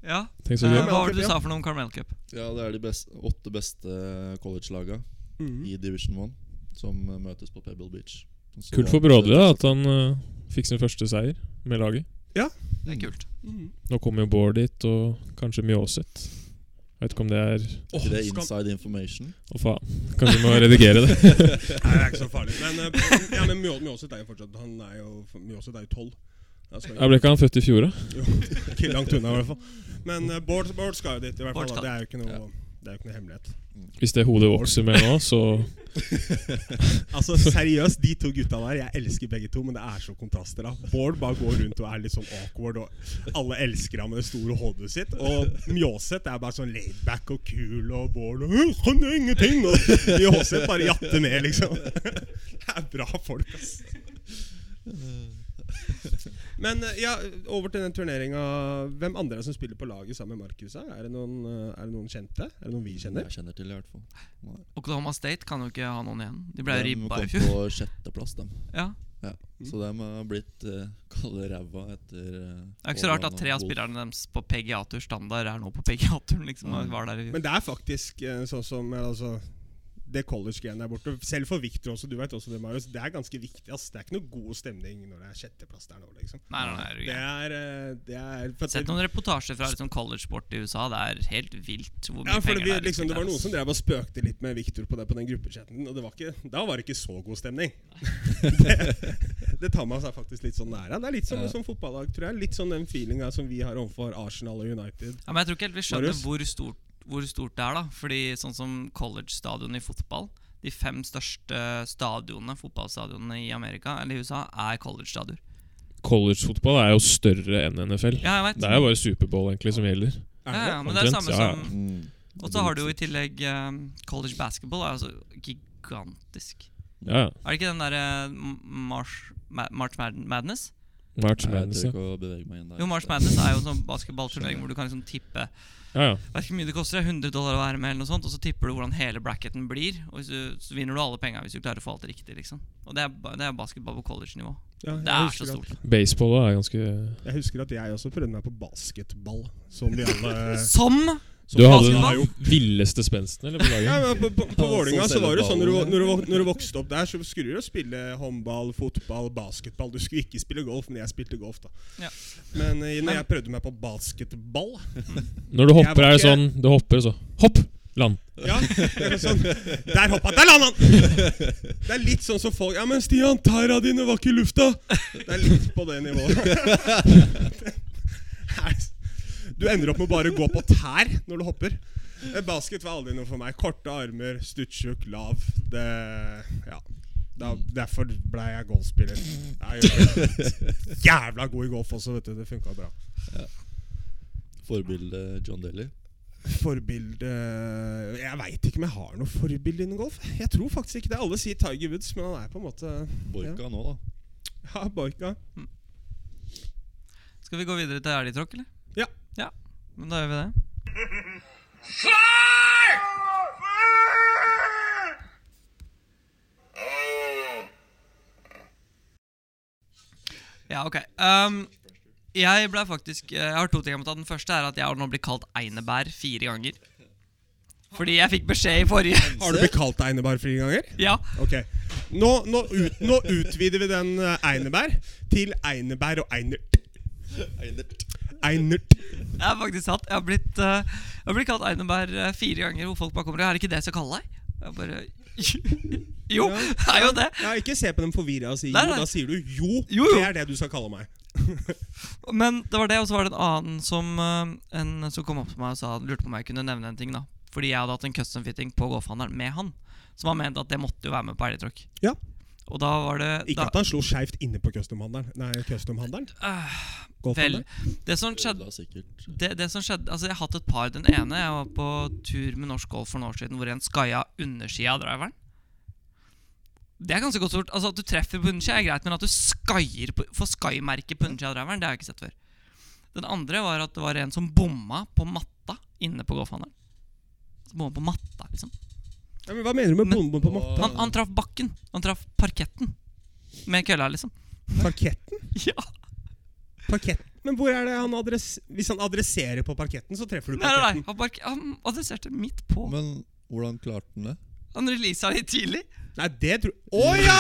[SPEAKER 3] Ja.
[SPEAKER 2] Tenk så
[SPEAKER 3] Eh,
[SPEAKER 2] gøy.
[SPEAKER 3] hva var det
[SPEAKER 1] Cup, ja.
[SPEAKER 3] du sa for noe om Carmel Cup?
[SPEAKER 4] Ja, det er de best, åtte beste college-laga
[SPEAKER 1] Mm.
[SPEAKER 4] i Division 1 som eh, møtes på Pebble Beach. Så
[SPEAKER 2] Kult for
[SPEAKER 4] det er-
[SPEAKER 2] Brådli da, at han eh, fikk sin første seier med laget.
[SPEAKER 3] Det er kult.
[SPEAKER 1] Mm.
[SPEAKER 2] Nå kommer jo Bård dit, og kanskje Mjåseth. Jeg Vet ikke om det er
[SPEAKER 4] Er Ikke det
[SPEAKER 1] Åh, skal-
[SPEAKER 4] inside information?
[SPEAKER 2] Å, faen. Kanskje vi må redigere det.
[SPEAKER 1] Nei, det er ikke så farlig. Men, eh, ja, men Mjå- Mjåseth er jo fortsatt Han er jo Mjåseth er jo tolv. Han skal
[SPEAKER 2] Jeg ble ikke han født i fjor, da?
[SPEAKER 1] jo Ikke langt unna, i hvert fall. Men eh, Bård, Bård skal jo dit, i hvert
[SPEAKER 3] Bård
[SPEAKER 1] fall. da.
[SPEAKER 3] skal.
[SPEAKER 1] Det er jo ikke noe Det er jo ikke noe hemmelighet.
[SPEAKER 2] Hvis det hodet vokser med nå, så
[SPEAKER 1] Altså Seriøst, de to gutta der. Jeg elsker begge to, men det er så kontraster. da Bård bare går rundt og er litt sånn awkward, og alle elsker ham med det store hodet sitt. Og Mjåseth er bare sånn laidback og kul, og Bård og, «Øh, Han gjør ingenting! Og Mjåseth bare jatter ned, liksom. Det er bra folk, ass. Men eh, ja, over til den turneringa. Hvem andre er det som spiller på laget sammen med Markus? her? Er det noen, eh, er det noen kjente? Er det noen vi kjenner?
[SPEAKER 4] Jeg kjenner til, i hvert fall. Nei.
[SPEAKER 3] Oklahoma State kan jo ikke ha noen igjen. De ble jo
[SPEAKER 4] De
[SPEAKER 3] ribba
[SPEAKER 4] kom
[SPEAKER 3] i fjor. Mm.
[SPEAKER 4] på sjetteplass, dem.
[SPEAKER 3] Ja.
[SPEAKER 4] Så de har blitt uh, kalde ræva etter eh,
[SPEAKER 3] Det er ikke så rart
[SPEAKER 4] Haaland
[SPEAKER 3] at tre av
[SPEAKER 4] og Wolf.
[SPEAKER 3] spillerne deres på PGA-tur standard er nå på PGA-turen. liksom, og var der i fjor.
[SPEAKER 1] Men det er faktisk eh, sånn som eh, altså, det college-greiene der borte. Selv for Victor også, du vet også det, Marius. Det er ganske viktig. ass. Det er ikke noe god stemning når det er sjetteplass der nå, liksom.
[SPEAKER 3] Nei, nei, nei, er du
[SPEAKER 1] Det
[SPEAKER 3] gæren.
[SPEAKER 1] er, eh, det er for at
[SPEAKER 3] Sett noen reportasjer fra liksom, college-sport i USA. Det er helt vilt hvor mye
[SPEAKER 1] ja, for det,
[SPEAKER 3] penger det
[SPEAKER 1] blir
[SPEAKER 3] er.
[SPEAKER 1] liksom, det var
[SPEAKER 3] der,
[SPEAKER 1] noen
[SPEAKER 3] ass.
[SPEAKER 1] som drev og spøkte litt med Victor på, det, på den gruppechatten. Og det var ikke, da var det ikke så god stemning. det, det tar man seg faktisk litt sånn nære. Det er litt som, som fotballag, tror jeg. Litt sånn den feelinga som vi har overfor Arsenal og United.
[SPEAKER 3] Ja, men jeg tror ikke helt vi skjønner
[SPEAKER 1] Marius?
[SPEAKER 3] hvor stort, hvor stort det er, da. Fordi sånn som college-stadion i fotball De fem største stadionene, fotballstadionene i Amerika eller i USA er college-stadioner.
[SPEAKER 2] Collegefotball er jo større enn NFL.
[SPEAKER 3] Ja, jeg vet.
[SPEAKER 2] Det er jo bare Superbowl egentlig som
[SPEAKER 1] Er
[SPEAKER 2] gjelder.
[SPEAKER 3] ja,
[SPEAKER 1] det?
[SPEAKER 3] ja, men det er det
[SPEAKER 2] omtrent,
[SPEAKER 3] samme
[SPEAKER 2] ja, ja.
[SPEAKER 3] som
[SPEAKER 4] Mm.
[SPEAKER 3] Og så har du jo i tillegg eh, college basketball. Er altså gigantisk.
[SPEAKER 2] Ja, ja.
[SPEAKER 3] Er det ikke den derre March, Ma- March Mad- Madness?
[SPEAKER 2] March
[SPEAKER 4] Nei, Jeg
[SPEAKER 2] Madness,
[SPEAKER 4] tør
[SPEAKER 2] ja.
[SPEAKER 4] ikke å bevege meg inn der.
[SPEAKER 3] Jo, March Madness er jo en sånn basketballturnering hvor du kan liksom tippe
[SPEAKER 2] ja, ja.
[SPEAKER 3] Vet ikke hvor mye det koster, det er 100 dollar å være med, eller noe sånt og så tipper du hvordan hele bracketen blir. Og hvis du, Så vinner du alle penga hvis du klarer å få alt riktig. liksom Og det er, ba- det er basketball på college-nivå.
[SPEAKER 1] Ja, jeg
[SPEAKER 3] Det er
[SPEAKER 1] husker
[SPEAKER 3] så
[SPEAKER 1] at-
[SPEAKER 3] stort.
[SPEAKER 2] Baseball da er ganske
[SPEAKER 1] Jeg husker at jeg også prøvde meg på basketball, som vi alle
[SPEAKER 3] Som
[SPEAKER 2] Du hadde
[SPEAKER 3] basketball?
[SPEAKER 2] den villeste spensten, eller? På
[SPEAKER 1] Ja,
[SPEAKER 2] laget?
[SPEAKER 1] men på, på, på Vålinga så
[SPEAKER 4] selger
[SPEAKER 1] var det jo sånn når du,
[SPEAKER 4] ballen, ja.
[SPEAKER 1] når, du, vok- når du vokste opp der, så skulle du jo spille håndball, fotball, basketball. Du skulle ikke spille golf, men jeg spilte golf, da.
[SPEAKER 3] Ja.
[SPEAKER 1] Men eh,
[SPEAKER 3] Men-
[SPEAKER 1] når jeg prøvde meg på basketball
[SPEAKER 2] Når du
[SPEAKER 1] Jeg
[SPEAKER 2] hopper,
[SPEAKER 1] var
[SPEAKER 2] er det
[SPEAKER 1] ikke-
[SPEAKER 2] sånn Du hopper, så Hopp! Land.
[SPEAKER 1] Ja, det er sånn Der hoppa Der landa han! Det er litt sånn som folk Ja, men Stian, tæra dine var ikke i lufta! Det er litt på det nivået. Du ender opp med å bare gå på tær når du hopper. Eh, Basket var aldri noe for meg. Korte armer, stuttjukk, lav. Det Ja. Da, derfor blei jeg golfspiller. Jeg er jævla god i golf også, vet du. Det funka bra.
[SPEAKER 4] Forbilde John Daly.
[SPEAKER 1] Forbilde Jeg veit ikke om jeg har noe forbilde innen golf. Jeg tror faktisk ikke det. Alle sier Tiger Woods, men han er på en måte
[SPEAKER 4] Borka nå, da.
[SPEAKER 1] Ja, Borka.
[SPEAKER 3] Skal vi gå videre til elgtråkk, eller?
[SPEAKER 1] Ja.
[SPEAKER 3] Ja, men da gjør vi det. Ja, ok. Um, jeg ble faktisk eh, Jeg har to ting jeg må ta. Den første er at jeg har nå blitt kalt einebær fire ganger. Fordi jeg fikk beskjed i forrige
[SPEAKER 1] Har du blitt kalt Eineberg flere ganger?
[SPEAKER 3] Ja.
[SPEAKER 1] Ok. Nå, nå, ut, nå utvider vi den eh, Eineberg til Eineberg og Einert.
[SPEAKER 4] Einert.
[SPEAKER 1] Einert.
[SPEAKER 3] Jeg har faktisk hatt Jeg har blitt, eh, jeg har blitt kalt Eineberg eh, fire ganger, hvor folk bare kommer og Er det ikke det jeg skal kalle deg? Jeg bare Jo, det er jo det.
[SPEAKER 1] Ja, ikke se på dem forvirra og si
[SPEAKER 3] Nei,
[SPEAKER 1] jo.
[SPEAKER 3] nei.
[SPEAKER 1] Da sier du jo.
[SPEAKER 3] Jo, jo.
[SPEAKER 1] Det er det du skal kalle meg.
[SPEAKER 3] Men det var det, og så var det en annen som, eh, en, som kom opp til meg og sa, lurte på om jeg kunne nevne en ting. da Fordi jeg hadde hatt en custom fitting på golfhandelen med han. Som han mente at det måtte jo være med på elgtråkk.
[SPEAKER 1] Ja.
[SPEAKER 3] Og da var det
[SPEAKER 1] Ikke
[SPEAKER 3] da,
[SPEAKER 1] at han slo skeivt inne på customhandelen. Nei, customhandelen.
[SPEAKER 3] Vel,
[SPEAKER 1] Golfhandelen.
[SPEAKER 3] det som skjedde
[SPEAKER 4] Ødela sikkert.
[SPEAKER 3] det, det som skjedde, altså Jeg har hatt et par. Den ene Jeg var på tur med norsk golf for noen år siden hvor en skaia undersida av driveren. Det er ganske godt gjort. Altså At du treffer på undersida, er greit, men at du skaier på, får skaimerke på undersida av driveren, det har jeg ikke sett før. Den andre var at det var en som bomma på matta inne på golfhandelen. Altså, Bomma på matta, liksom.
[SPEAKER 1] Ja, men hva mener du med
[SPEAKER 3] Men-
[SPEAKER 1] bombe på matta?
[SPEAKER 3] Han, han traff bakken. Han traff parketten med kølla, liksom.
[SPEAKER 1] Parketten?
[SPEAKER 3] Ja
[SPEAKER 1] Parketten? Men hvor er det han adress... Hvis han adresserer på parketten, så treffer du
[SPEAKER 3] Nei, nei, nei.
[SPEAKER 1] parketten.
[SPEAKER 3] Han, park- han adresserte midt på.
[SPEAKER 4] Men hvordan klarte han det?
[SPEAKER 3] Han releasa litt tidlig.
[SPEAKER 1] Nei, det tror Å ja!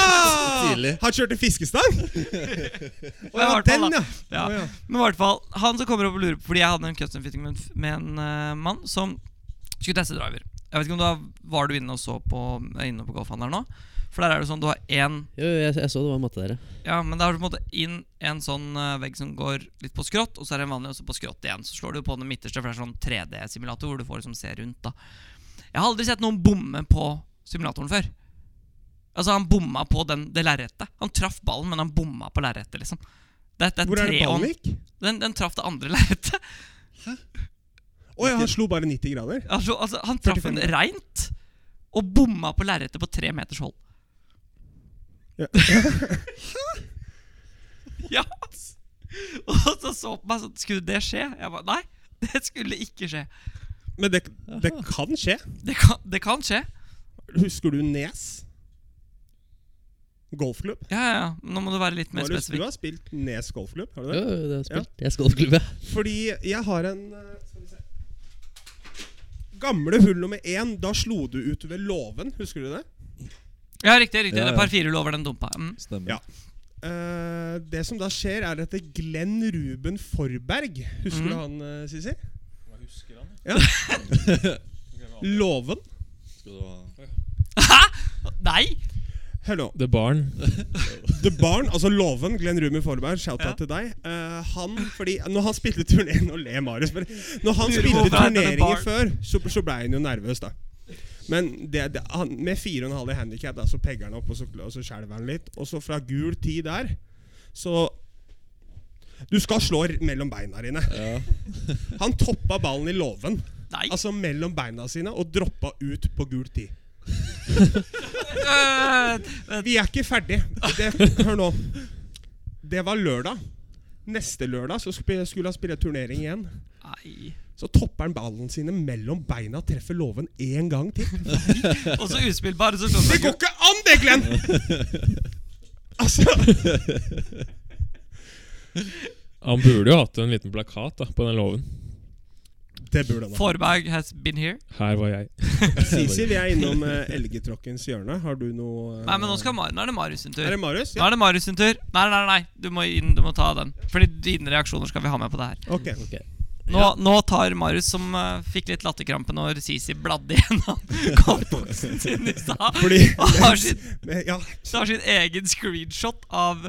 [SPEAKER 4] Tidlig.
[SPEAKER 1] Han kjørte fiskestang? Å ja,
[SPEAKER 3] hvert fall,
[SPEAKER 1] den,
[SPEAKER 3] da.
[SPEAKER 1] ja.
[SPEAKER 3] Ja.
[SPEAKER 1] Å, ja.
[SPEAKER 3] Men i hvert fall, han som kommer opp og lurer på Fordi jeg hadde en custom fitting med en, f- med en eh, mann som skulle teste driver. Jeg vet ikke om du var, var du inne og så på er Inne på golfhandleren nå? For der er det sånn, du har én
[SPEAKER 5] Jo, jeg, jeg så det var en matte der, ja.
[SPEAKER 3] Ja, men da har du på en måte inn en sånn eh, vegg som går litt på skrått, og så er det en vanlig også på skrått igjen. Så slår du på den midterste, for det er sånn 3D-simulator hvor du får liksom se rundt, da. Jeg har aldri sett noen bomme på simulatoren før. Altså, han bomma på den, det lerretet. Han traff ballen, men han bomma på lerretet, liksom. Det, det er
[SPEAKER 1] Hvor er det
[SPEAKER 3] tre on-
[SPEAKER 1] ballen gikk?
[SPEAKER 3] Den, den traff det andre lerretet.
[SPEAKER 1] Å ja, han slo bare 90 grader.
[SPEAKER 3] Altså, altså, han traff
[SPEAKER 1] 45
[SPEAKER 3] en reint og bomma på lerretet på tre meters hold.
[SPEAKER 1] Ja.
[SPEAKER 3] ja. Og så så på meg sånn Skulle det skje? Jeg bare, Nei, det skulle ikke skje.
[SPEAKER 1] Men det, det kan skje.
[SPEAKER 3] Det kan, det kan skje.
[SPEAKER 1] Husker du Nes? Golfklubb?
[SPEAKER 3] Ja, ja, ja. Nå må du være litt mer
[SPEAKER 1] Marius, du
[SPEAKER 3] spesifikk.
[SPEAKER 1] har spilt Nes golfklubb? har du det?
[SPEAKER 5] Jo, det har jeg spilt. Jeg skal til klubben.
[SPEAKER 1] Fordi jeg har en eh, Skal vi se Gamle hull nummer én, da slo du ut ved låven. Husker du det?
[SPEAKER 3] Ja, riktig. riktig
[SPEAKER 4] Ja,
[SPEAKER 3] Det
[SPEAKER 4] ja.
[SPEAKER 3] er par fire lover den dumpa. Mm.
[SPEAKER 4] Stemmer.
[SPEAKER 1] Ja. Eh, det som da skjer, er at det Glenn Ruben Forberg Husker du
[SPEAKER 3] Mhm.
[SPEAKER 1] han, eh, Sissy?
[SPEAKER 2] Hva husker han?
[SPEAKER 1] Låven.
[SPEAKER 4] Skal du ha
[SPEAKER 3] Nei!
[SPEAKER 1] Hør nå.
[SPEAKER 2] The Barn.
[SPEAKER 1] The Barn, altså Loven, Glenn Ruben Forberg, shout-out til
[SPEAKER 3] Ja.
[SPEAKER 1] deg. Eh, han, fordi Når han spilte turneen Nå ler Marius, men når han
[SPEAKER 3] Lurer på
[SPEAKER 1] spilte
[SPEAKER 3] hvorfor han heter The
[SPEAKER 1] turneringer
[SPEAKER 3] Barn.
[SPEAKER 1] før, så, så ble han jo nervøs, da. Men det, det, han, med 4,5 i handikap, så pegger han opp, og så, og så skjelver han litt. Og så fra gul tid der, så Du skal slå r- mellom beina dine.
[SPEAKER 4] Ja.
[SPEAKER 1] Han toppa ballen i låven,
[SPEAKER 3] Nei.
[SPEAKER 1] altså mellom beina sine, og droppa ut på gul tid.
[SPEAKER 3] Øh,
[SPEAKER 1] Vi er ikke ferdig. Det, hør nå. Det var lørdag. Neste lørdag så sp- skulle han spille turnering igjen.
[SPEAKER 3] Nei.
[SPEAKER 1] Så topper han ballen sine mellom beina og treffer låven én gang til.
[SPEAKER 3] Og så uspillbar. Så
[SPEAKER 1] Det
[SPEAKER 3] slår
[SPEAKER 1] går ikke an, det, Glenn! Altså
[SPEAKER 2] Han burde jo hatt en liten plakat da, på den låven.
[SPEAKER 1] Det burde han ha.
[SPEAKER 3] Forberg has been here.
[SPEAKER 2] Her var jeg.
[SPEAKER 1] Sisi, vi er innom eh, Elgetråkkens hjørne. Har du noe eh,
[SPEAKER 3] Nei, men nå, skal, Mar- nå er det Marius sin tur.
[SPEAKER 1] Er det Marius?
[SPEAKER 3] Nå er det Marius sin tur. Nei, nei, nei. Du må, inn, du må ta den. Fordi dine reaksjoner skal vi ha med på det her.
[SPEAKER 1] Ok.
[SPEAKER 3] Nå, nå tar Marius, som eh, fikk litt latterkrampe når Sisi bladde gjennom kompoksen sin i stad,
[SPEAKER 1] Fordi-
[SPEAKER 3] og har sin,
[SPEAKER 1] Men, ja.
[SPEAKER 3] tar sin egen screenshot av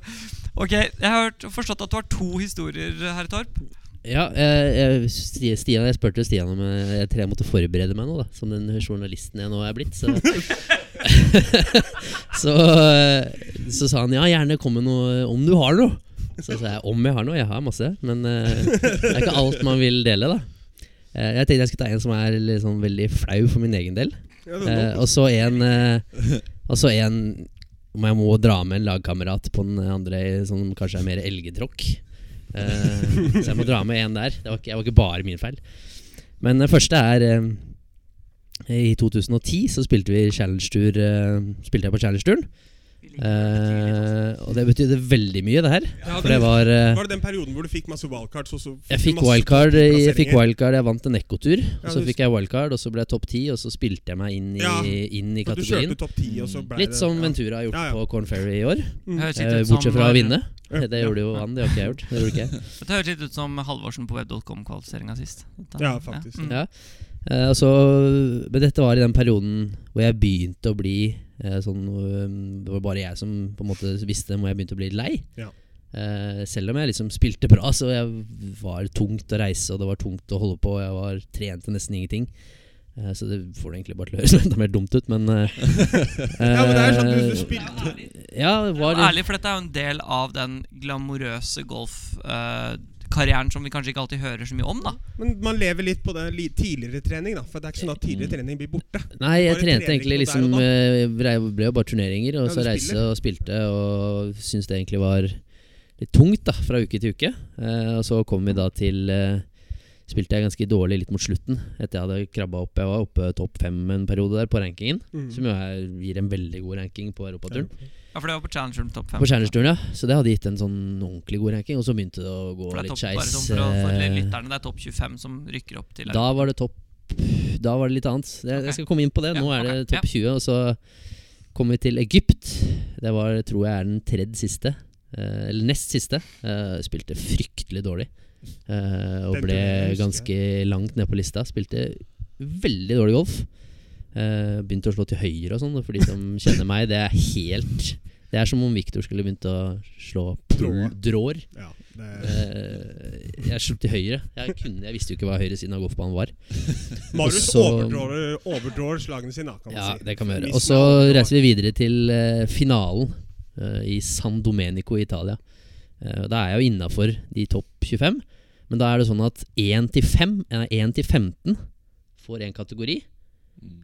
[SPEAKER 3] Ok, jeg har hørt, forstått at du har to historier, herre Torp.
[SPEAKER 5] Ja, jeg, jeg, Sti- Stian, jeg spurte Stian om eh, jeg tror jeg måtte forberede meg nå, da. Som den journalisten jeg nå er blitt. Så, så, eh, så sa han ja, gjerne kom med noe om du har noe. Så sa jeg om jeg har noe. Jeg har masse, men eh, det er ikke alt man vil dele, da. Eh, jeg tenkte jeg skulle ta en som er litt sånn veldig flau for min egen del.
[SPEAKER 1] Ja, det er
[SPEAKER 5] Eh, og så en eh, Og så en om jeg må dra med en lagkamerat på den andre sånn som kanskje er mer elgetråkk. Eh, så jeg må dra med en der. Det var ikke, jeg var ikke bare min feil. Men den første er eh, I 2010 så spilte vi Challenge-tur eh, Spilte jeg på Challenge-turen. Eh, og det betydde veldig mye, det her.
[SPEAKER 1] Ja,
[SPEAKER 5] For det var eh,
[SPEAKER 1] Var det den perioden hvor du fikk masse wildcards? Og så
[SPEAKER 5] jeg fikk
[SPEAKER 1] masse
[SPEAKER 5] wildcard,
[SPEAKER 1] plasseringer?
[SPEAKER 5] jeg, fikk wildcard, jeg vant en Ekkotur.
[SPEAKER 1] Ja,
[SPEAKER 5] Og så
[SPEAKER 1] du-
[SPEAKER 5] fikk jeg wildcard, og så ble jeg topp ti, og så spilte jeg meg inn i,
[SPEAKER 1] Ja,
[SPEAKER 5] inn i
[SPEAKER 1] Så Du
[SPEAKER 5] kategorien.
[SPEAKER 1] kjørte topp 10 og så ble
[SPEAKER 5] Litt
[SPEAKER 1] det-
[SPEAKER 5] som
[SPEAKER 1] ja. Mm.
[SPEAKER 5] Ventura har gjort
[SPEAKER 1] Ja, ja.
[SPEAKER 5] på Corn Ferry i år.
[SPEAKER 3] Det høres litt
[SPEAKER 5] Eh,
[SPEAKER 3] ut som
[SPEAKER 5] bortsett fra å
[SPEAKER 3] når-
[SPEAKER 5] vinne.
[SPEAKER 1] Ja,
[SPEAKER 5] Det gjorde jo han, det har ikke jeg gjort. Det gjorde ikke jeg.
[SPEAKER 3] Det høres litt ut som Halvorsen på web.com-kvalifiseringa sist.
[SPEAKER 1] Ja, faktisk.
[SPEAKER 3] mm.
[SPEAKER 5] Ja. Eh, og så- men dette var i den perioden hvor jeg begynte å bli eh, sånn eh, Det var bare jeg som på en måte visste hvor jeg begynte å bli lei.
[SPEAKER 1] Ja.
[SPEAKER 5] Eh, selv om jeg liksom spilte bra, så jeg var tungt å reise, og det var tungt å holde på. og Jeg var trente nesten ingenting. Eh, så det får det egentlig bare til å høres enda mer dumt ut, men eh,
[SPEAKER 1] Ja, men det er sånn du, du
[SPEAKER 5] eh,
[SPEAKER 3] mm.
[SPEAKER 1] spilte
[SPEAKER 5] Ja, det var,
[SPEAKER 3] Ærlig, for dette er jo en del av den glamorøse golfkarrieren som vi kanskje ikke alltid hører så mye om, da.
[SPEAKER 1] Men man lever litt på det li tidligere trening, da. For det er ikke sånn at
[SPEAKER 5] Mm.
[SPEAKER 1] tidligere trening blir borte.
[SPEAKER 5] Nei, jeg
[SPEAKER 1] Bare
[SPEAKER 5] trente
[SPEAKER 1] trening
[SPEAKER 5] egentlig
[SPEAKER 1] på der
[SPEAKER 5] liksom
[SPEAKER 1] og
[SPEAKER 5] eh, brei- ble jo bare turneringer, og
[SPEAKER 1] Ja,
[SPEAKER 5] så
[SPEAKER 1] du
[SPEAKER 5] reise
[SPEAKER 1] spiller.
[SPEAKER 5] og spilte, og syntes det egentlig var litt tungt da, fra uke til uke. Eh, og så kom vi da til eh, Spilte jeg ganske dårlig litt mot slutten, etter jeg hadde krabba opp. Jeg var oppe topp fem en periode der på rankingen,
[SPEAKER 1] Mm.
[SPEAKER 5] som jo er, gir en veldig god ranking på europaturen.
[SPEAKER 3] Ja, for det var på Challenger Topp 5.
[SPEAKER 5] På Stjernesturen, ja. Så det hadde gitt en sånn ordentlig god ranking, og så begynte det å gå
[SPEAKER 3] For det er
[SPEAKER 5] litt
[SPEAKER 3] topp, bare
[SPEAKER 5] skeis.
[SPEAKER 3] sånn for, å- for
[SPEAKER 5] eh,
[SPEAKER 3] lytterne, det er topp 25 som rykker opp til
[SPEAKER 5] Da var det topp Da var det litt annet. Jeg,
[SPEAKER 3] Ok.
[SPEAKER 5] jeg skal komme inn på det. Nå
[SPEAKER 3] Ja,
[SPEAKER 5] er det
[SPEAKER 3] ok,
[SPEAKER 5] topp 20, og så kommer vi til Egypt. Det var, tror jeg er den tredje siste. eh, eller nest siste. Eh, spilte fryktelig dårlig. eh, og
[SPEAKER 1] Den
[SPEAKER 5] ble
[SPEAKER 1] turneringen husker
[SPEAKER 5] ganske langt ned på lista. Spilte veldig dårlig golf. Eh, begynte å slå til høyre og sånn. og For de som kjenner meg, det er helt Det er som om Victor skulle begynt å slå
[SPEAKER 1] Draw.
[SPEAKER 5] drår.
[SPEAKER 1] Ja, det...
[SPEAKER 5] Eh, jeg slo til høyre. Jeg, kunne, jeg visste jo ikke hva høyresiden av golfbanen var.
[SPEAKER 1] Marius
[SPEAKER 5] så-
[SPEAKER 1] overdrar, overdrar slagene sine, da, kan man
[SPEAKER 5] Ja,
[SPEAKER 1] si.
[SPEAKER 5] det kan vi gjøre.
[SPEAKER 1] Miss
[SPEAKER 5] Og så
[SPEAKER 1] meg.
[SPEAKER 5] reiser vi videre til eh, finalen eh, i San Domenico i Italia. Eh, og da er jeg jo innafor de topp 25, men da er det sånn at 1 til 5, nei, 1 til 15 får én kategori,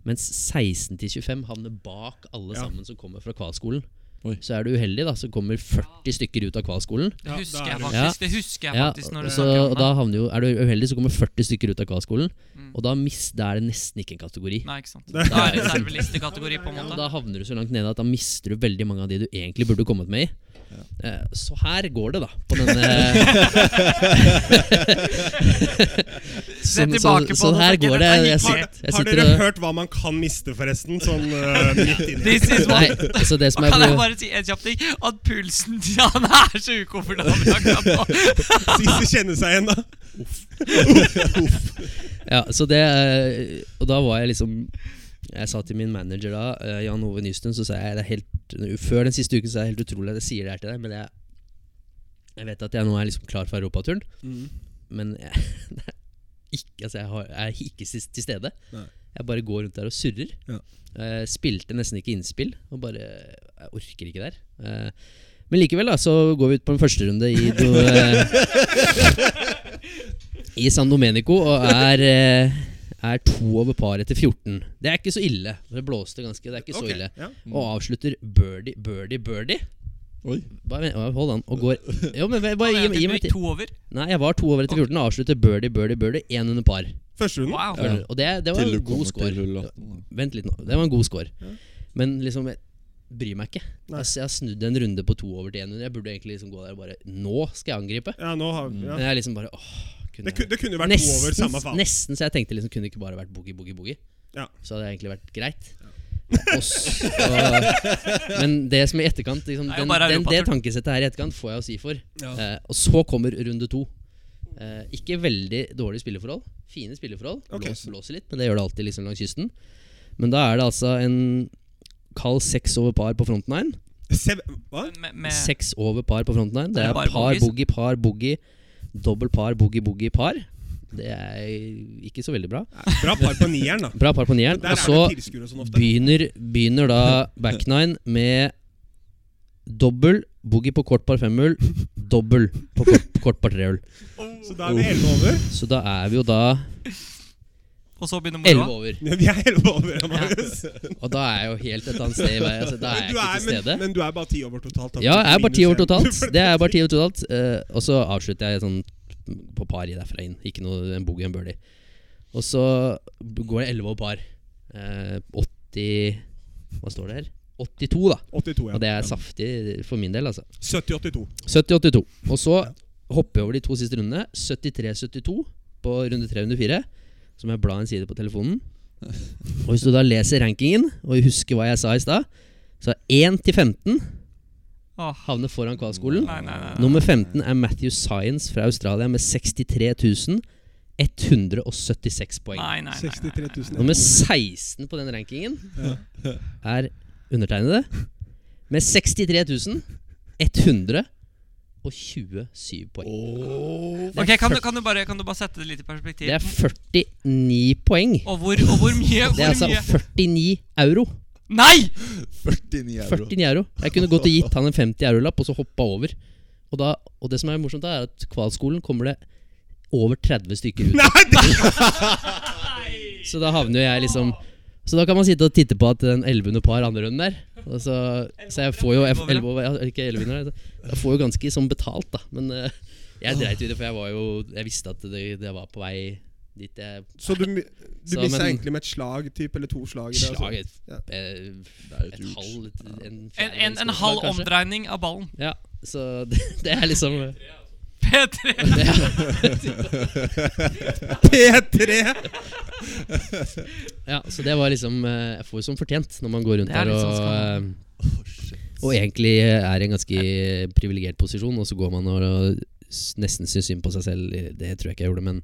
[SPEAKER 5] mens 16 til 25 havner bak alle
[SPEAKER 1] Ja.
[SPEAKER 5] sammen som kommer fra kvalskolen.
[SPEAKER 4] Oi.
[SPEAKER 5] Så er du uheldig, da, så kommer 40 stykker ut av kvalskolen.
[SPEAKER 3] Det husker
[SPEAKER 1] Ja,
[SPEAKER 3] jeg
[SPEAKER 1] da er
[SPEAKER 5] det-
[SPEAKER 3] faktisk. Det husker jeg
[SPEAKER 5] Ja,
[SPEAKER 3] faktisk når
[SPEAKER 5] og
[SPEAKER 3] du
[SPEAKER 5] så,
[SPEAKER 3] snakker om
[SPEAKER 5] og
[SPEAKER 3] det.
[SPEAKER 5] da havner jo, Er du uheldig, så kommer 40 stykker ut av kvalskolen.
[SPEAKER 3] Mm.
[SPEAKER 5] Og da, mis, da er det nesten ikke en kategori.
[SPEAKER 3] Nei, ikke sant. Da er reservelistekategori, på en
[SPEAKER 5] Ja,
[SPEAKER 3] måte.
[SPEAKER 5] men da havner du så langt nede at da mister du veldig mange av de du egentlig burde kommet med i. Eh, Så eh, her går det, da. På denne
[SPEAKER 3] Se
[SPEAKER 5] Sånn-
[SPEAKER 3] tilbake
[SPEAKER 5] sånn-
[SPEAKER 3] på
[SPEAKER 5] sånn
[SPEAKER 3] det,
[SPEAKER 5] her
[SPEAKER 3] tenker
[SPEAKER 5] går
[SPEAKER 3] jeg,
[SPEAKER 5] det.
[SPEAKER 3] det er
[SPEAKER 5] Jeg
[SPEAKER 3] like-
[SPEAKER 5] sitter,
[SPEAKER 1] Har, har
[SPEAKER 5] jeg sitter
[SPEAKER 1] dere
[SPEAKER 5] og
[SPEAKER 1] hørt hva man kan miste, forresten? Sånn eh, midt inni
[SPEAKER 3] This is
[SPEAKER 5] Nei,
[SPEAKER 3] what
[SPEAKER 5] altså det som er
[SPEAKER 3] Kan jeg bare si en kjapp ting? At pulsen til han er så ukomfortabel akkurat nå.
[SPEAKER 1] Sist du kjenner seg igjen, da.
[SPEAKER 5] Ja, så det eh, Og da var jeg liksom Jeg sa til min manager da, eh, Jan Ove Nystuen, så sa jeg det er helt Før den siste uken så er det helt utrolig at jeg sier det her til deg, men jeg, jeg vet at jeg nå er liksom klar for europaturen. Men jeg, det er ikke, altså jeg, har, jeg er ikke til- til stede.
[SPEAKER 1] Nei.
[SPEAKER 5] Jeg bare går rundt der og surrer.
[SPEAKER 1] Ja.
[SPEAKER 5] Eh, spilte nesten ikke innspill. Og bare Jeg orker ikke der. Eh, men likevel, da, så går vi ut på en førsterunde i do, eh, I San Domenico og er eh, er to over par etter 14. Det er ikke så ille. Det blåste ganske. Det er ikke så
[SPEAKER 1] Ok, Mm.
[SPEAKER 5] ille
[SPEAKER 1] ja.
[SPEAKER 5] Og avslutter birdie, birdie, birdie.
[SPEAKER 4] Oi.
[SPEAKER 5] Bare, vent, hold an. Og går Jo, men bare gi,
[SPEAKER 3] Han er
[SPEAKER 5] gi meg
[SPEAKER 3] typ
[SPEAKER 5] tid.
[SPEAKER 3] to over.
[SPEAKER 5] Nei, jeg var to over etter 14 og avslutter birdie, birdie, birdie. Én under par.
[SPEAKER 1] Første runden.
[SPEAKER 3] Wow.
[SPEAKER 5] Føler- Og det, det var
[SPEAKER 4] Til du
[SPEAKER 5] en god
[SPEAKER 4] kommer til
[SPEAKER 5] score.
[SPEAKER 4] hull 18. da.
[SPEAKER 5] Vent litt nå. Det var en god score. Men liksom, jeg bryr meg ikke.
[SPEAKER 1] Nei.
[SPEAKER 5] Altså, jeg har snudd en runde på to over til én under. Jeg burde egentlig liksom gå der og bare Nå skal jeg angripe.
[SPEAKER 1] Ja, nå har vi ja.
[SPEAKER 5] Men jeg er liksom bare åh, kunne
[SPEAKER 1] det, ku-
[SPEAKER 5] jeg-
[SPEAKER 1] det kunne jo vært to over, samme faen.
[SPEAKER 5] nesten, så jeg tenkte liksom kunne det ikke bare vært boogie, boogie, boogie.
[SPEAKER 1] Ja.
[SPEAKER 5] Så hadde det egentlig vært greit. Og så- men det som i etterkant liksom,
[SPEAKER 3] Det er jo
[SPEAKER 5] den,
[SPEAKER 3] bare
[SPEAKER 5] den, Det
[SPEAKER 3] Europatur.
[SPEAKER 5] tankesettet her i etterkant får jeg å si for. Eh, og så kommer runde to. Eh, ikke veldig dårlige spilleforhold. Fine spilleforhold.
[SPEAKER 1] Ok.
[SPEAKER 5] Blås, blåser litt, men det gjør det alltid liksom langs kysten. Men da er det altså en kald seks over par på front nine.
[SPEAKER 1] Se, hva?
[SPEAKER 3] Med, med,
[SPEAKER 5] Seks over par på front nine. Det
[SPEAKER 3] Er det
[SPEAKER 5] er
[SPEAKER 3] bare
[SPEAKER 5] par,
[SPEAKER 3] bogeys?
[SPEAKER 5] boogie, par, boogie. Dobbel par, boogie, boogie, par. Det er ikke så veldig bra.
[SPEAKER 1] Bra par på nieren, da.
[SPEAKER 5] Bra par på nieren.
[SPEAKER 1] Der
[SPEAKER 5] Og
[SPEAKER 1] er det
[SPEAKER 5] så
[SPEAKER 1] tilskuere og sånn ofte.
[SPEAKER 5] begynner, begynner da back nine med dobbel boogie på kort par femhull, dobbel på kort, kort par trehull.
[SPEAKER 1] Så da er vi elleve over.
[SPEAKER 5] Så da er vi jo da
[SPEAKER 3] og så begynner
[SPEAKER 5] elleve
[SPEAKER 3] moroa.
[SPEAKER 5] over.
[SPEAKER 1] Ja, Vi er elleve over, ja, Marius.
[SPEAKER 5] Og da er jeg jo helt et annet sted i veien. Altså, da er jeg
[SPEAKER 1] Du
[SPEAKER 5] ikke
[SPEAKER 1] er,
[SPEAKER 5] til
[SPEAKER 1] men,
[SPEAKER 5] stede.
[SPEAKER 1] men du er bare ti over totalt. da.
[SPEAKER 5] Ja, jeg er bare ti år
[SPEAKER 1] Minus en.
[SPEAKER 5] totalt. Det er bare ti år totalt Eh, Og så avslutter jeg sånn på par i derfra inn. Ikke noe en boogie, en birdie. Og så går det 11 over par. Eh, 80 Hva står det her? 82, da.
[SPEAKER 1] 82,
[SPEAKER 5] Og det
[SPEAKER 1] ja.
[SPEAKER 5] er saftig for min del, altså.
[SPEAKER 1] 70-82.
[SPEAKER 5] 70-82. Og så hopper jeg over de to siste rundene. 73-72 på runde 304. Så må jeg bla en side på telefonen. Og hvis du da leser rankingen, og husker hva jeg sa i stad, så er 1 til 15
[SPEAKER 3] Åh,
[SPEAKER 5] havner foran kvalskolen.
[SPEAKER 3] Nei, nei, nei. nei.
[SPEAKER 5] Nummer 15 er Matthew Science fra Australia med 63 176 poeng.
[SPEAKER 3] Nei, nei, nei, nei.
[SPEAKER 1] 63 000.
[SPEAKER 5] Nummer 16 på den rankingen er undertegnede med 63 127 poeng. Det er
[SPEAKER 3] Ok, kan du, kan, du bare, kan du bare sette det litt i perspektiv?
[SPEAKER 5] Det er 49 poeng.
[SPEAKER 3] Og hvor, og hvor mye?
[SPEAKER 5] Det er
[SPEAKER 3] Hvor
[SPEAKER 5] altså
[SPEAKER 3] mye?
[SPEAKER 5] 49 euro.
[SPEAKER 3] Nei!
[SPEAKER 4] 49 euro.
[SPEAKER 5] 49 euro Jeg kunne gått og gitt han en 50 euro-lapp og så hoppa over. Og, da, og det som er morsomt, da er at kvalskolen kommer det over 30 stykker ut.
[SPEAKER 1] Nei, det
[SPEAKER 5] Så da havner jo jeg liksom Så da kan man sitte og titte på at den 11 under par andre runden der. Og så, så jeg får jo jeg, 11 over, ja, ikke 11 under, altså. Jeg får jo ganske sånn betalt, da. Men eh, jeg dreit i det, for jeg var jo Jeg visste at det, det var på vei dit jeg
[SPEAKER 1] Så du, mi- du
[SPEAKER 5] Så,
[SPEAKER 1] missa
[SPEAKER 5] men-
[SPEAKER 1] egentlig med et slag typ, eller to slag? i det, altså.
[SPEAKER 5] slag et,
[SPEAKER 1] Ja.
[SPEAKER 5] et,
[SPEAKER 4] jo
[SPEAKER 5] et
[SPEAKER 4] et ut.
[SPEAKER 5] halv et, en,
[SPEAKER 3] En,
[SPEAKER 5] fjerdedels
[SPEAKER 3] en, en
[SPEAKER 5] skoleslag,
[SPEAKER 3] halv
[SPEAKER 5] kanskje.
[SPEAKER 3] omdreining av ballen.
[SPEAKER 5] Ja, så det, det er liksom
[SPEAKER 3] P3.
[SPEAKER 5] det er,
[SPEAKER 1] P3!
[SPEAKER 5] Ja, så det var liksom eh, Jeg får jo som fortjent når man går rundt
[SPEAKER 3] Det er
[SPEAKER 5] der
[SPEAKER 3] litt
[SPEAKER 5] og
[SPEAKER 3] sånn skam.
[SPEAKER 5] eh, Og egentlig er i en ganske privilegert posisjon, og så går man og og s- nesten syns synd på seg selv. Det tror jeg ikke jeg gjorde, men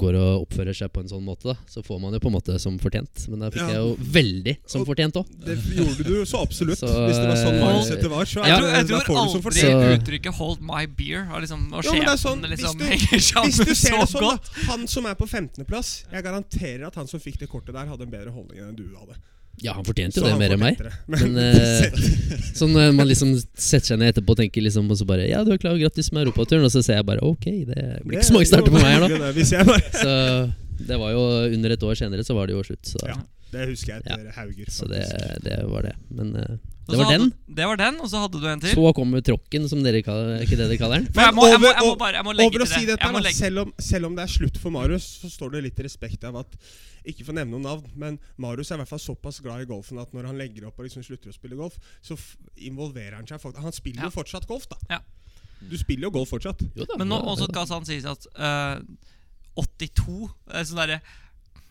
[SPEAKER 5] går og oppfører seg på en sånn måte, da. Så får man jo på en måte som fortjent. Men da fikk
[SPEAKER 1] Ja.
[SPEAKER 5] jeg jo veldig som
[SPEAKER 1] Og-
[SPEAKER 5] fortjent òg.
[SPEAKER 1] Det gjorde du jo så absolutt.
[SPEAKER 5] Så,
[SPEAKER 1] Hvis det var sånn
[SPEAKER 5] eh,
[SPEAKER 1] mindsetet var, så er
[SPEAKER 5] Ja,
[SPEAKER 1] det, da
[SPEAKER 3] jeg tror, jeg tror
[SPEAKER 1] får du som
[SPEAKER 3] aldri
[SPEAKER 1] fortjent.
[SPEAKER 5] Så-
[SPEAKER 3] uttrykket 'hold my beer' har liksom, og
[SPEAKER 1] Jo, men det er sånn,
[SPEAKER 3] sjefen liksom
[SPEAKER 1] hvis du-
[SPEAKER 3] henger
[SPEAKER 1] Hvis du
[SPEAKER 3] sammen
[SPEAKER 1] ser
[SPEAKER 3] så
[SPEAKER 1] det sånn,
[SPEAKER 3] godt.
[SPEAKER 1] da. Han som er på 15.-plass Jeg garanterer at han som fikk det kortet der, hadde en bedre holdning enn du hadde.
[SPEAKER 5] Ja, han fortjente
[SPEAKER 1] Så
[SPEAKER 5] jo det
[SPEAKER 1] han
[SPEAKER 5] mer enn meg.
[SPEAKER 1] fortjente det.
[SPEAKER 5] Men eh, sånn når man liksom setter seg ned etterpå og tenker liksom Og så bare Ja, du er klar, grattis med europaturen. Og så ser jeg bare Ok, det blir ikke så mange starter på meg her nå.
[SPEAKER 1] Det, hvis jeg bare,
[SPEAKER 5] Så det var jo under et år senere, så var det jo slutt. Så,
[SPEAKER 1] ja, det husker jeg etter Hauger.
[SPEAKER 5] så det,
[SPEAKER 1] faktisk.
[SPEAKER 5] det var det. Men eh,
[SPEAKER 3] Og
[SPEAKER 5] det
[SPEAKER 3] så
[SPEAKER 5] var den.
[SPEAKER 3] hadde- Det var den, og så hadde du en til.
[SPEAKER 5] Så kommer tråkken, som dere kaller Er ikke det dere kaller den?
[SPEAKER 3] For jeg må, jeg må,
[SPEAKER 1] over-
[SPEAKER 3] jeg må
[SPEAKER 1] og-
[SPEAKER 3] bare jeg må legge
[SPEAKER 1] Over
[SPEAKER 3] til
[SPEAKER 1] å si
[SPEAKER 3] det.
[SPEAKER 1] dette,
[SPEAKER 3] Jeg må
[SPEAKER 1] da,
[SPEAKER 3] legge.
[SPEAKER 1] selv, om, selv om det er slutt for Marius, så står det litt respekt av at Ikke for å nevne noen navn, men Marius er i hvert fall såpass glad i golfen at når han legger opp og liksom slutter å spille golf, så f involverer han seg. fakt- Han spiller
[SPEAKER 3] Ja.
[SPEAKER 1] jo fortsatt golf, da.
[SPEAKER 3] Ja.
[SPEAKER 1] Du spiller jo golf fortsatt.
[SPEAKER 5] Jo da.
[SPEAKER 3] Men
[SPEAKER 5] ja,
[SPEAKER 3] nå
[SPEAKER 5] jo
[SPEAKER 3] også
[SPEAKER 5] da.
[SPEAKER 3] skal sant sies at eh, 82. Eh, Sånn derre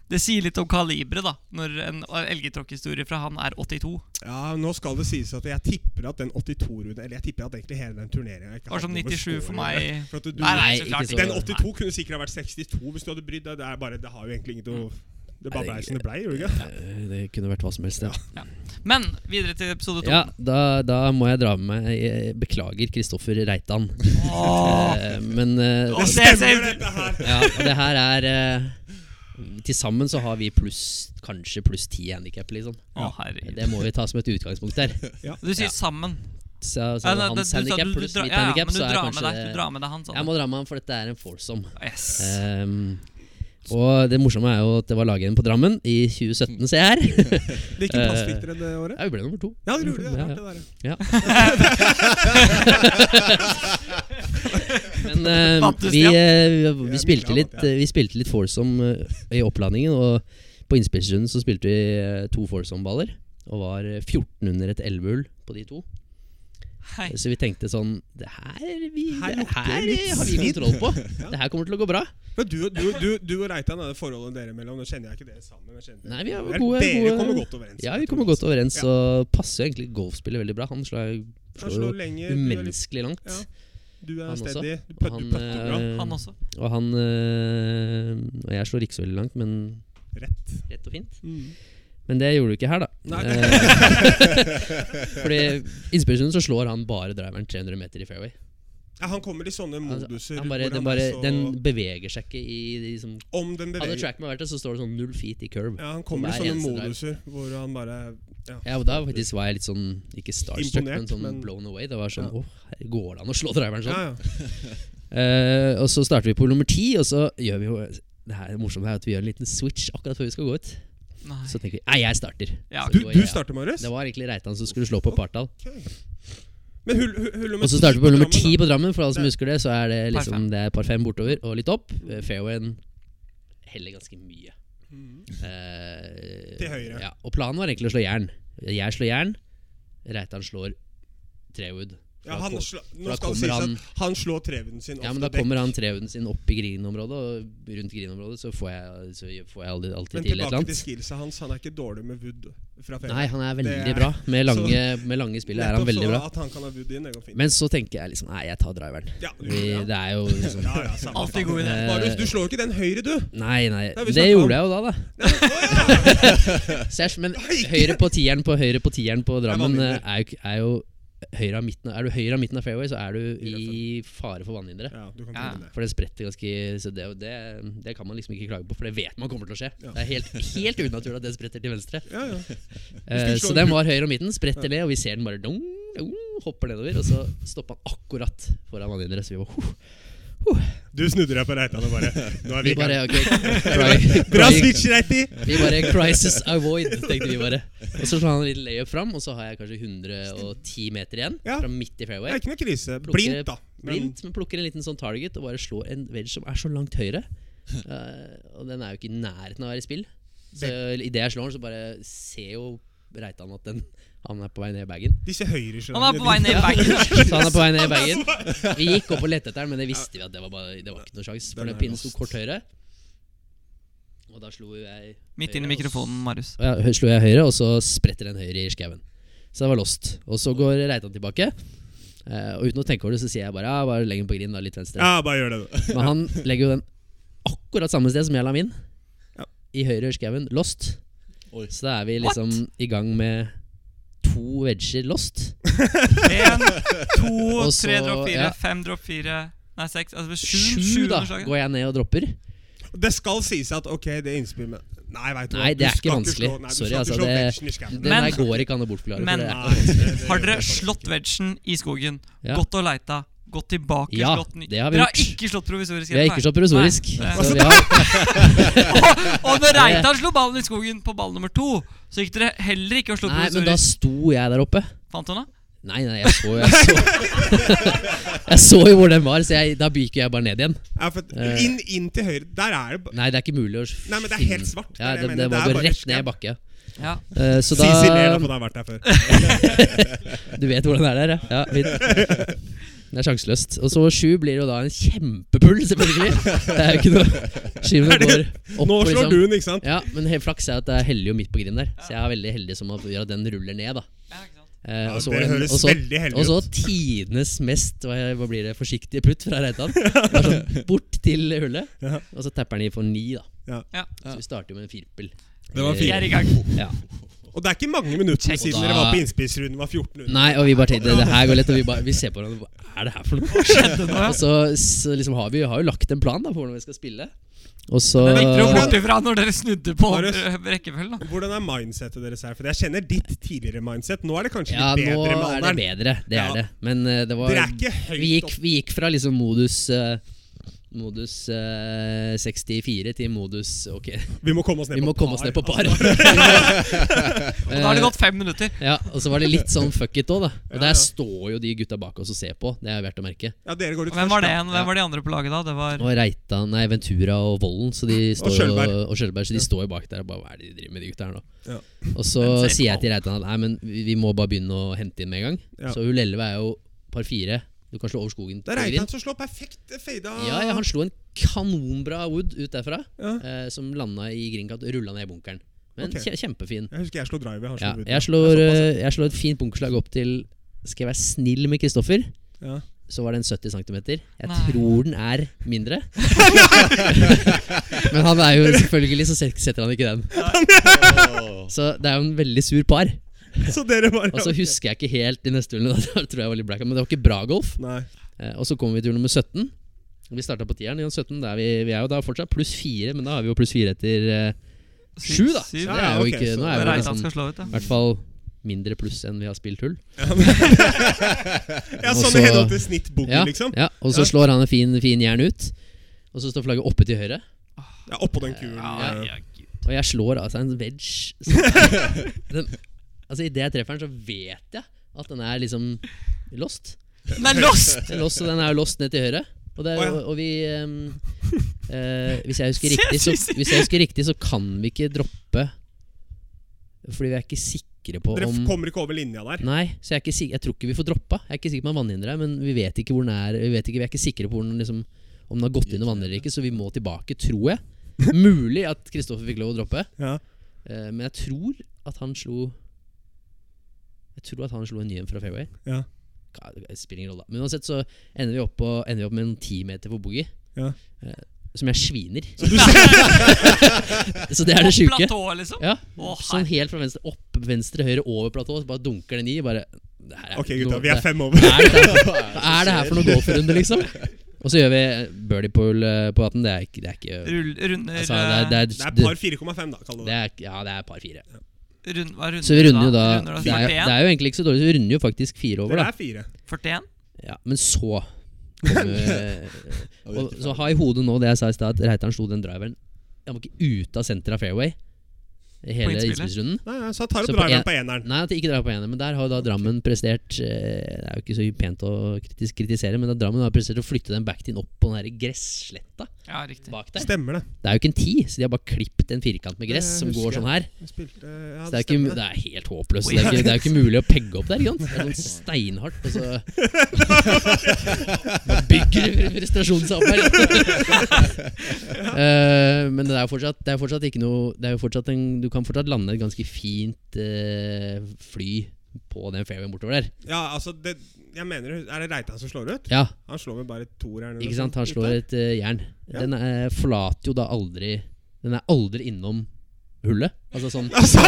[SPEAKER 3] Det sier litt om kaliberet, da, når en elgetråkkhistorie fra han er 82.
[SPEAKER 1] Ja, Nå skal det sies at jeg tipper at den 82-runden Eller jeg tipper at egentlig hele den turneringa
[SPEAKER 3] Det var som 97 for meg.
[SPEAKER 1] For at du,
[SPEAKER 3] Nei, nei,
[SPEAKER 5] Nei,
[SPEAKER 3] så
[SPEAKER 5] ikke
[SPEAKER 3] klart.
[SPEAKER 5] så-
[SPEAKER 1] Den 82 kunne sikkert ha vært 62 hvis du hadde brydd deg. Det er bare, det har jo egentlig ingenting å Det bare
[SPEAKER 5] Nei,
[SPEAKER 1] blei
[SPEAKER 5] det-
[SPEAKER 1] som det blei, gjorde det ikke?
[SPEAKER 5] Eh, Det kunne vært hva som helst. Ja,
[SPEAKER 3] Men videre til episode to.
[SPEAKER 5] ja da, da må jeg dra med meg eh, Beklager, Kristoffer Reitan. Eh, Men eh,
[SPEAKER 3] Åh,
[SPEAKER 1] Det
[SPEAKER 3] det
[SPEAKER 1] stemmer,
[SPEAKER 3] ser-
[SPEAKER 1] dette her!
[SPEAKER 5] ja, og det her er eh, Til sammen så har vi pluss kanskje pluss ti handikap, liksom.
[SPEAKER 3] Å, herregud.
[SPEAKER 5] Det må vi ta som et utgangspunkt der.
[SPEAKER 3] Du sier 'sammen'.
[SPEAKER 5] Så, så
[SPEAKER 3] Ja, det-
[SPEAKER 5] hans
[SPEAKER 3] det- du sa
[SPEAKER 5] handikap
[SPEAKER 3] du- du
[SPEAKER 5] pluss
[SPEAKER 3] drar-
[SPEAKER 5] mitt
[SPEAKER 3] ja, ja,
[SPEAKER 5] handikap,
[SPEAKER 3] men du
[SPEAKER 5] så er
[SPEAKER 3] drar med
[SPEAKER 5] kanskje
[SPEAKER 3] deg- Du drar med deg han, sa
[SPEAKER 5] Jeg
[SPEAKER 3] du.
[SPEAKER 5] må dra med han, for dette er en foursome.
[SPEAKER 3] Yes.
[SPEAKER 5] Ehm, og det morsomme er jo at det var laget igjen på Drammen i 2017, ser jeg her.
[SPEAKER 1] Hvilken plass fikk dere det året?
[SPEAKER 5] Ja, vi ble nummer to.
[SPEAKER 1] Ja, det gjorde det. det,
[SPEAKER 5] Ja,
[SPEAKER 1] var
[SPEAKER 5] ja.
[SPEAKER 1] det der.
[SPEAKER 5] Men eh,
[SPEAKER 3] Fantes,
[SPEAKER 5] vi,
[SPEAKER 3] ja.
[SPEAKER 5] eh,
[SPEAKER 1] er
[SPEAKER 5] vi,
[SPEAKER 1] litt
[SPEAKER 5] spilte
[SPEAKER 1] glad,
[SPEAKER 5] litt,
[SPEAKER 1] ja.
[SPEAKER 5] eh, vi spilte litt foursome eh, i oppladningen, og på innspillsrunden så spilte vi eh, to foursome-baller. Og var eh, 14 under et 11-hull på de to.
[SPEAKER 3] Hei.
[SPEAKER 5] Så vi tenkte sånn Det her, vi,
[SPEAKER 1] Her
[SPEAKER 5] det
[SPEAKER 1] lukter
[SPEAKER 5] her
[SPEAKER 1] det litt
[SPEAKER 5] eh, har vi
[SPEAKER 1] svidd.
[SPEAKER 5] kontroll på. Det her kommer til å gå bra.
[SPEAKER 1] Men du, du, du, du og Reitan, det forholdet dere imellom, nå kjenner jeg ikke dere sammen. men Jeg kjenner dere.
[SPEAKER 5] Nei, vi har
[SPEAKER 1] Vel,
[SPEAKER 5] gode,
[SPEAKER 1] dere
[SPEAKER 5] gode
[SPEAKER 1] kommer godt overens.
[SPEAKER 5] Ja, vi kommer godt overens, og passer jo egentlig golfspillet veldig bra. Han slår,
[SPEAKER 1] Han
[SPEAKER 5] slår
[SPEAKER 1] slår
[SPEAKER 5] jo
[SPEAKER 1] lenger, du er, litt,
[SPEAKER 5] umenneskelig langt.
[SPEAKER 1] Ja. du
[SPEAKER 5] Han
[SPEAKER 1] er
[SPEAKER 5] også.
[SPEAKER 1] steady. Du
[SPEAKER 5] Og
[SPEAKER 1] putter du
[SPEAKER 5] han,
[SPEAKER 1] putter bra.
[SPEAKER 5] eh,
[SPEAKER 3] Han også.
[SPEAKER 5] Og han øh, Og jeg slår ikke så veldig langt, men
[SPEAKER 1] Rett.
[SPEAKER 5] rett og fint.
[SPEAKER 1] Mm.
[SPEAKER 5] Men det gjorde du ikke her, da.
[SPEAKER 1] Nei.
[SPEAKER 5] Eh, Fordi innspillsrunden så slår han bare driveren 300 meter i fairway.
[SPEAKER 1] Ja, han kommer i sånne
[SPEAKER 5] Altså, Han,
[SPEAKER 1] moduser
[SPEAKER 5] han bare,
[SPEAKER 1] hvor
[SPEAKER 5] den,
[SPEAKER 1] han
[SPEAKER 5] bare,
[SPEAKER 1] er så
[SPEAKER 5] den beveger seg ikke i de som
[SPEAKER 1] Om den
[SPEAKER 5] Hadde
[SPEAKER 1] beveger
[SPEAKER 5] trackman vært det, så står det sånn null feet i curve.
[SPEAKER 1] Ja, han kommer i
[SPEAKER 5] Hver
[SPEAKER 1] sånne
[SPEAKER 5] eneste drive.
[SPEAKER 1] moduser hvor han bare
[SPEAKER 5] Ja, og Da faktisk var jeg litt sånn ikke starstruck,
[SPEAKER 1] Imponert,
[SPEAKER 5] men sånn
[SPEAKER 1] men-
[SPEAKER 5] blown away. Det var sånn
[SPEAKER 1] Ja.
[SPEAKER 5] Åh, her går det an å slå driveren sånn?
[SPEAKER 1] Ja, ja.
[SPEAKER 5] Eh, og så starter vi på nummer ti, og så gjør vi jo Det her morsomme er at vi gjør en liten switch akkurat før vi skal gå ut.
[SPEAKER 3] Nei.
[SPEAKER 5] Så tenker vi Nei, jeg starter.
[SPEAKER 3] Ja,
[SPEAKER 5] Så
[SPEAKER 1] Du,
[SPEAKER 5] det var
[SPEAKER 1] du
[SPEAKER 5] jeg.
[SPEAKER 1] starter, Marius?
[SPEAKER 5] Det var egentlig Reitan som skulle slå på partall.
[SPEAKER 1] Ok. Men hull, hull, hull nummer
[SPEAKER 5] Og så
[SPEAKER 1] ti
[SPEAKER 5] starter vi på nummer
[SPEAKER 1] Drammen,
[SPEAKER 5] ti
[SPEAKER 1] da.
[SPEAKER 5] på Drammen, for alle som
[SPEAKER 1] Det-
[SPEAKER 5] husker det. Så er det
[SPEAKER 3] Par fem.
[SPEAKER 5] liksom Det er par fem bortover og litt opp. Eh, Fairwayen heller ganske mye.
[SPEAKER 1] Mm.
[SPEAKER 5] Eh,
[SPEAKER 1] Til høyre.
[SPEAKER 5] Ja, og planen var egentlig å slå jern. Jeg slår jern, Reitan slår trewood.
[SPEAKER 1] Ja, han
[SPEAKER 5] Fra-
[SPEAKER 1] slå,
[SPEAKER 5] da
[SPEAKER 1] nå skal det
[SPEAKER 5] kommer
[SPEAKER 1] sies
[SPEAKER 5] han-
[SPEAKER 1] at han slår trevuden sin
[SPEAKER 5] Ja,
[SPEAKER 1] ofte
[SPEAKER 5] men Da
[SPEAKER 1] dekk.
[SPEAKER 5] kommer han trehuden sin opp i grinområdet, og rundt grinområdet så får jeg, så får jeg alltid, alltid
[SPEAKER 1] Men
[SPEAKER 5] til et eller
[SPEAKER 1] tilbake til
[SPEAKER 5] annet.
[SPEAKER 1] skillsa hans. Han er ikke dårlig med wood fra fem.
[SPEAKER 5] Nei, han er
[SPEAKER 1] Det
[SPEAKER 5] veldig
[SPEAKER 1] er-
[SPEAKER 5] bra. Med lange, med lange spillet er han
[SPEAKER 1] Nettopp
[SPEAKER 5] veldig
[SPEAKER 1] så
[SPEAKER 5] bra.
[SPEAKER 1] At han kan ha wood inn, det går fint.
[SPEAKER 5] Men så tenker jeg liksom Nei, jeg tar driveren.
[SPEAKER 1] ja, du,
[SPEAKER 5] Vi,
[SPEAKER 1] ja.
[SPEAKER 5] det er jo liksom
[SPEAKER 1] Ja, ja, samme
[SPEAKER 3] Alltid
[SPEAKER 1] faen.
[SPEAKER 3] god idé.
[SPEAKER 5] Eh,
[SPEAKER 1] Marius, du slår jo ikke den høyre, du!
[SPEAKER 5] Nei, nei.
[SPEAKER 1] Nei, vi
[SPEAKER 5] Det
[SPEAKER 1] snakker om-
[SPEAKER 5] gjorde jeg jo da, da. Så jeg- men høyre på tieren på høyre på tieren på Drammen
[SPEAKER 1] vannhinder.
[SPEAKER 5] eh, er jo, ikke- er jo høyre av midten. Er du høyre av midten av fairway, så er du i fare for vannhinderet.
[SPEAKER 1] Ja, du kan
[SPEAKER 3] Ja.
[SPEAKER 1] prøve det.
[SPEAKER 5] For det spretter ganske så det, og det, det kan man liksom ikke klage på, for det vet man kommer til å skje.
[SPEAKER 1] Ja.
[SPEAKER 5] Det er helt, helt unaturlig at det spretter til venstre.
[SPEAKER 1] Ja, ja.
[SPEAKER 5] Eh,
[SPEAKER 1] slår
[SPEAKER 5] så
[SPEAKER 1] en
[SPEAKER 5] den var høyre om midten, spretter ned, og vi ser den bare dong, dong, hopper nedover. Og så stopper han akkurat foran vannhinderet, så vi var huh,
[SPEAKER 1] Du snudde deg på Reitan og bare Nå er vi
[SPEAKER 5] Vi
[SPEAKER 1] i gang.
[SPEAKER 5] bare ok, cry,
[SPEAKER 1] Bra
[SPEAKER 5] cry,
[SPEAKER 1] switch, Reiti!
[SPEAKER 5] Vi bare crisis avoid, tenkte vi bare. Og så slår han litt layup fram, og så har jeg kanskje 110 meter igjen
[SPEAKER 1] Ja.
[SPEAKER 5] fra midt i
[SPEAKER 1] Det er
[SPEAKER 5] fairway.
[SPEAKER 1] ikke noe krise.
[SPEAKER 5] Plukker-
[SPEAKER 1] Blindt, da. Men-
[SPEAKER 5] Blindt, men plukker en liten sånn target og bare slår en wedge som er så langt høyre. Eh, og den er jo ikke i nærheten av å være i spill. Så idet jeg slår den, så bare ser jo Reitan at den, han er på vei ned i bagen.
[SPEAKER 1] Disse høyreslagene
[SPEAKER 3] Han er på vei ned i bagen.
[SPEAKER 5] Så han er på vei ned i bagen. Vi gikk opp og lette etter den, men det visste vi at det var, bare, det var ikke noe sjans For
[SPEAKER 1] Den
[SPEAKER 5] den
[SPEAKER 1] er
[SPEAKER 5] pinnen sto
[SPEAKER 1] lost.
[SPEAKER 5] kort høyre. Og da slo jeg
[SPEAKER 3] Midt inn i mikrofonen, Marius.
[SPEAKER 5] Og jeg hø- slo jeg høyre, og så spretter den høyre i skauen. Så det var lost. Og så går Reitan tilbake. Eh, og uten å tenke over det, så sier jeg bare ja, bare legg den på grind, da, litt venstre.
[SPEAKER 1] Ja, bare gjør det, du.
[SPEAKER 5] Men han legger jo den akkurat samme sted som jeg la min.
[SPEAKER 1] Ja.
[SPEAKER 5] I høyre ørskauen, lost.
[SPEAKER 4] Oi.
[SPEAKER 5] Så da er vi liksom i gang med to wedger lost.
[SPEAKER 3] Én, to,
[SPEAKER 5] Og så-
[SPEAKER 3] tre drop fire,
[SPEAKER 5] ja.
[SPEAKER 3] fem drop fire Nei, seks. Altså sju,
[SPEAKER 5] Sju, da,
[SPEAKER 3] underslaget.
[SPEAKER 5] går jeg ned og dropper.
[SPEAKER 1] Det skal sies at ok, det innspillet med Nei, veit du hva,
[SPEAKER 5] Nei, det
[SPEAKER 1] du
[SPEAKER 5] er ikke
[SPEAKER 1] skal
[SPEAKER 5] vanskelig.
[SPEAKER 1] slå- nei, du skal
[SPEAKER 5] Sorry,
[SPEAKER 1] ikke
[SPEAKER 5] altså,
[SPEAKER 1] slå
[SPEAKER 5] det-
[SPEAKER 1] veksen i skauen.
[SPEAKER 5] Den
[SPEAKER 3] Men-
[SPEAKER 5] der går ikke an å bortforklare.
[SPEAKER 3] Men-
[SPEAKER 5] for det er-
[SPEAKER 1] Nei, det- det-
[SPEAKER 3] Har dere slått wedgen i skogen?
[SPEAKER 5] Ja.
[SPEAKER 3] Gått og leita? Gått tilbake?
[SPEAKER 5] Ja,
[SPEAKER 3] slått ny?
[SPEAKER 5] det har vi
[SPEAKER 3] dere har
[SPEAKER 5] gjort.
[SPEAKER 3] ikke slått provisorisk?
[SPEAKER 5] Vi har
[SPEAKER 3] rett,
[SPEAKER 5] ikke
[SPEAKER 3] nei.
[SPEAKER 5] så provisorisk.
[SPEAKER 3] Nei.
[SPEAKER 5] Så vi har,
[SPEAKER 3] Og når Reitan slo ballen i skogen på ball nummer to, så gikk dere heller ikke og slo
[SPEAKER 5] nei, men da
[SPEAKER 3] provisorisk.
[SPEAKER 5] sto jeg der oppe.
[SPEAKER 3] Fant han da?
[SPEAKER 5] Nei, nei, jeg så jo Jeg så, jeg så jo hvor den var, så jeg, da byker jeg bare ned igjen.
[SPEAKER 1] Ja, for
[SPEAKER 5] Eh.
[SPEAKER 1] at- inn, inn til høyre. Der er det ba-
[SPEAKER 5] Nei, det er ikke mulig å finne
[SPEAKER 1] Nei, men det er helt svart, det
[SPEAKER 5] Ja,
[SPEAKER 1] er det
[SPEAKER 5] det,
[SPEAKER 1] jeg
[SPEAKER 5] det
[SPEAKER 1] mener,
[SPEAKER 5] var
[SPEAKER 1] det er
[SPEAKER 5] går
[SPEAKER 1] bare
[SPEAKER 5] rett ned i
[SPEAKER 1] skam.
[SPEAKER 5] bakke.
[SPEAKER 3] Ja.
[SPEAKER 5] Eh, så
[SPEAKER 1] Sisi ler da,
[SPEAKER 5] da
[SPEAKER 1] for han har vært der før.
[SPEAKER 5] Du vet hvordan det er der, ja. ja fint. Det er sjanseløst. Og så sju blir jo da en kjempepull, selvfølgelig. Det er jo ikke noe Skiven går
[SPEAKER 1] Nå
[SPEAKER 5] opp. liksom.
[SPEAKER 1] slår du den, ikke sant?
[SPEAKER 5] Ja, men helt flaks er at jeg heller jo midt på grind der. Så jeg er veldig heldig som at- gjør at den ruller ned, da.
[SPEAKER 3] Ja, ikke sant?
[SPEAKER 5] Eh,
[SPEAKER 1] Ja,
[SPEAKER 5] og så
[SPEAKER 1] det
[SPEAKER 5] var en-
[SPEAKER 1] høres
[SPEAKER 5] og så-
[SPEAKER 1] veldig heldig
[SPEAKER 5] Og så tidenes mest hva, hva blir det, forsiktige putt fra Reitan. Det er Sånn, bort til hullet,
[SPEAKER 1] Ja.
[SPEAKER 5] og så tapper han i for ni. da
[SPEAKER 3] Ja.
[SPEAKER 5] Så vi starter jo med en Eh, firpill.
[SPEAKER 1] Det var
[SPEAKER 3] Vi
[SPEAKER 1] fint.
[SPEAKER 3] er i gang.
[SPEAKER 5] Ja.
[SPEAKER 1] Og det er ikke mange minuttene
[SPEAKER 3] Check.
[SPEAKER 1] siden
[SPEAKER 5] Og da-
[SPEAKER 1] dere var på innspillsrunden. var 1400.
[SPEAKER 5] Nei, og vi bare tenkte det her går lett, og vi, bare, vi ser på hverandre hva er det her for noe?
[SPEAKER 3] Skjedde noe?
[SPEAKER 5] Og så, så liksom har vi har jo lagt en plan da for hvordan vi skal spille. Og så
[SPEAKER 3] Det gikk dere bort ifra når dere snudde på
[SPEAKER 1] Marius.
[SPEAKER 3] eh, rekkefølgen. da
[SPEAKER 1] Hvordan er mindsetet deres her? For jeg kjenner ditt tidligere mindset. Nå er det kanskje
[SPEAKER 5] Ja,
[SPEAKER 1] litt bedre
[SPEAKER 5] nå
[SPEAKER 1] med
[SPEAKER 5] er det
[SPEAKER 1] alderen.
[SPEAKER 5] bedre. Det
[SPEAKER 1] Ja.
[SPEAKER 5] er det. Men eh, det var
[SPEAKER 1] Dere er ikke høyt
[SPEAKER 5] vi gikk, vi gikk fra liksom modus eh, Modus eh, 64 til modus Ok,
[SPEAKER 1] opp. Vi må komme oss ned
[SPEAKER 5] vi må
[SPEAKER 1] på
[SPEAKER 5] komme oss ned på par.
[SPEAKER 3] Og
[SPEAKER 5] Eh,
[SPEAKER 3] Da har det gått fem minutter.
[SPEAKER 5] ja, og så var det litt sånn fuck it òg, da.
[SPEAKER 1] Ja,
[SPEAKER 5] Og
[SPEAKER 1] ja.
[SPEAKER 5] der står jo de gutta bak oss og ser på. Det er verdt å merke.
[SPEAKER 1] Ja, dere går ut
[SPEAKER 3] Hvem var det
[SPEAKER 1] da.
[SPEAKER 3] igjen? Hvem var de andre på laget da? Det var
[SPEAKER 5] Og Reitan, nei, Ventura og Vollen så de står jo-
[SPEAKER 1] Skjølberg.
[SPEAKER 5] og Skjølberg. Så de står jo bak der og bare Hva er det de driver med, de gutta her nå?
[SPEAKER 1] Ja.
[SPEAKER 5] Og så
[SPEAKER 3] Men ser
[SPEAKER 5] sier jeg
[SPEAKER 3] på
[SPEAKER 5] til Reitan at nei, men vi vi må bare begynne å hente inn med en gang.
[SPEAKER 1] Ja.
[SPEAKER 5] Så hull 11 er jo par fire. Du kan slå over skogen.
[SPEAKER 1] Det
[SPEAKER 5] på
[SPEAKER 1] er
[SPEAKER 5] green.
[SPEAKER 1] Reitan som slår perfekt eh, fada.
[SPEAKER 5] Ja, ja, han slo en kanonbra wood ut derfra,
[SPEAKER 1] Ja.
[SPEAKER 5] eh, som landa i grindkant og rulla ned i bunkeren. Men
[SPEAKER 1] Ok.
[SPEAKER 5] kje- kjempefin.
[SPEAKER 1] Jeg husker jeg slo drive. Han slo
[SPEAKER 5] Ja,
[SPEAKER 1] ut.
[SPEAKER 5] jeg, slår,
[SPEAKER 1] Det er såpass,
[SPEAKER 5] eh, jeg slår et fint bunkerslag opp til Skal jeg være snill med Kristoffer,
[SPEAKER 1] ja.
[SPEAKER 5] så var den 70 cm. Jeg
[SPEAKER 3] Nei.
[SPEAKER 5] tror den er mindre. Men han er jo selvfølgelig så set- setter han ikke den. Så det er jo en veldig sur par.
[SPEAKER 1] Så dere bare
[SPEAKER 5] Og så husker jeg ikke helt de neste hullene. Da tror jeg var litt blackout, Men det var ikke bra golf.
[SPEAKER 1] Nei.
[SPEAKER 5] Eh, Og så kommer vi til nummer 17. Vi starta på tieren. igjen, 17, der vi, vi er jo da fortsatt pluss fire, men da har vi jo pluss fire etter eh, sju, da.
[SPEAKER 3] Syv.
[SPEAKER 5] det er
[SPEAKER 1] Ja,
[SPEAKER 5] jo
[SPEAKER 1] ok, så
[SPEAKER 5] ikke, nå
[SPEAKER 3] Det
[SPEAKER 5] er sånn-
[SPEAKER 3] er
[SPEAKER 5] vi
[SPEAKER 3] Reitan
[SPEAKER 5] nesten,
[SPEAKER 3] skal slå
[SPEAKER 5] i
[SPEAKER 3] ut, ja.
[SPEAKER 5] hvert fall mindre pluss enn vi har spilt hull.
[SPEAKER 1] Ja,
[SPEAKER 5] Og
[SPEAKER 1] sånn
[SPEAKER 5] så-
[SPEAKER 1] i henhold til snittboogie,
[SPEAKER 5] Ja,
[SPEAKER 1] liksom.
[SPEAKER 5] ja, Og så
[SPEAKER 1] Ja.
[SPEAKER 5] slår han en fin, fin jern ut. Og så står flagget oppe til høyre.
[SPEAKER 1] Ja, Oppå den kulen.
[SPEAKER 3] Ja,
[SPEAKER 1] eh.
[SPEAKER 3] ja, gud.
[SPEAKER 5] Og jeg slår altså en wedge. Så- Den, altså Idet jeg treffer den, så vet jeg at den er liksom lost.
[SPEAKER 3] Den er lost!
[SPEAKER 5] Den er lost, og den er jo lost ned til høyre. Og, det er,
[SPEAKER 1] Å, ja.
[SPEAKER 5] jo- og vi ehm, eh, hvis, jeg husker
[SPEAKER 3] Se,
[SPEAKER 5] riktig, så,
[SPEAKER 3] Sisi.
[SPEAKER 5] hvis jeg husker riktig, så kan vi ikke droppe Fordi vi er ikke sikre på
[SPEAKER 1] Dere f-
[SPEAKER 5] om
[SPEAKER 1] kommer ikke over linja der.
[SPEAKER 5] Nei, så jeg, er ikke sik jeg tror ikke vi får droppa. Jeg er ikke sikker på om vannhinderet er, men vi vet ikke hvor den er Vi, vet ikke, vi er ikke sikre på hvor den liksom, om den har gått under vannet eller ikke, så vi må tilbake, tror jeg. Mulig at Kristoffer fikk lov å droppe,
[SPEAKER 1] Ja.
[SPEAKER 5] eh, men jeg tror at han slo Jeg tror at han slo en ny en fra fairway.
[SPEAKER 1] Ja.
[SPEAKER 5] Ka- det Spiller ingen rolle, da. Men uansett så ender vi opp, på, ender vi opp med noen ti meter på boogie.
[SPEAKER 1] Ja.
[SPEAKER 5] eh, Som jeg sviner.
[SPEAKER 3] På
[SPEAKER 5] Så det er det sjuke.
[SPEAKER 3] platå, liksom.
[SPEAKER 5] Ja.
[SPEAKER 3] Å,
[SPEAKER 5] sånn helt fra venstre opp, venstre, høyre, over platået. Bare dunker den i. Bare det her er
[SPEAKER 1] Ok,
[SPEAKER 5] ikke
[SPEAKER 1] gutta.
[SPEAKER 5] noe-
[SPEAKER 1] Vi er
[SPEAKER 5] det-
[SPEAKER 1] fem over.
[SPEAKER 5] Hva er det her, hva er det her for noen golfrunde, liksom? Og så gjør vi birdie pool eh, på 18. Det er ikke, det er ikke
[SPEAKER 3] Rull, runder
[SPEAKER 5] altså, det, er, det, er,
[SPEAKER 1] Det er par 4,5, da, kaller
[SPEAKER 5] det
[SPEAKER 1] det.
[SPEAKER 5] er, Ja, det er par fire.
[SPEAKER 3] eh, rund, hva runder
[SPEAKER 5] Så vi runder jo da
[SPEAKER 3] Runder
[SPEAKER 5] Det er, det er jo egentlig ikke så dårlig, så vi runder jo faktisk fire over,
[SPEAKER 1] Dere
[SPEAKER 5] da.
[SPEAKER 1] er fire.
[SPEAKER 3] 41?
[SPEAKER 5] Ja, men så kom, eh,
[SPEAKER 4] Og vi er
[SPEAKER 5] og,
[SPEAKER 4] ikke
[SPEAKER 5] Så
[SPEAKER 4] ferdig.
[SPEAKER 5] ha i hodet nå det jeg sa i stad, at Reitan slo den driveren. Jeg var ikke ute av senteret av fairway i hele
[SPEAKER 3] innspillet?
[SPEAKER 5] innspillsrunden.
[SPEAKER 1] Nei, nei, så jeg tar
[SPEAKER 5] Så
[SPEAKER 1] opp
[SPEAKER 5] på
[SPEAKER 1] driveren
[SPEAKER 5] en-
[SPEAKER 1] på eneren.
[SPEAKER 5] Nei, at de ikke drar på ener, men der har jo da Drammen prestert eh, Det er jo ikke så pent å kritis kritisere, men da Drammen har prestert å flytte den backtin opp på den her gressletta
[SPEAKER 3] Ja, riktig.
[SPEAKER 5] bak der.
[SPEAKER 1] Stemmer det.
[SPEAKER 5] Det er jo ikke en ti, så de har bare klippet en firkant med gress
[SPEAKER 1] Det
[SPEAKER 5] som
[SPEAKER 1] husker
[SPEAKER 5] går sånn her.
[SPEAKER 1] Vi spilte ja,
[SPEAKER 5] Så det er,
[SPEAKER 1] stemmer
[SPEAKER 5] ikke, det er helt håpløst. Det er, ikke, det er ikke mulig å pegge opp der. ikke sant? Det er sånn steinhardt. Og så Man bygger frustrasjonen seg opp her. Eh, men det er jo fortsatt, det er fortsatt ikke noe det er jo fortsatt en, Du kan fortsatt lande et ganske fint eh, fly på den fairwayen bortover der.
[SPEAKER 1] Ja, altså det, Jeg mener Er det Reitan som slår ut?
[SPEAKER 5] Ja,
[SPEAKER 1] Han slår med bare toeren. eller
[SPEAKER 5] ikke
[SPEAKER 1] noe
[SPEAKER 5] sant? Han
[SPEAKER 1] sånt.
[SPEAKER 5] slår et eh, jern.
[SPEAKER 1] sånn? Ja.
[SPEAKER 5] Den eh, forlater jo da aldri Den er aldri innom hullet. Altså sånn
[SPEAKER 1] Altså,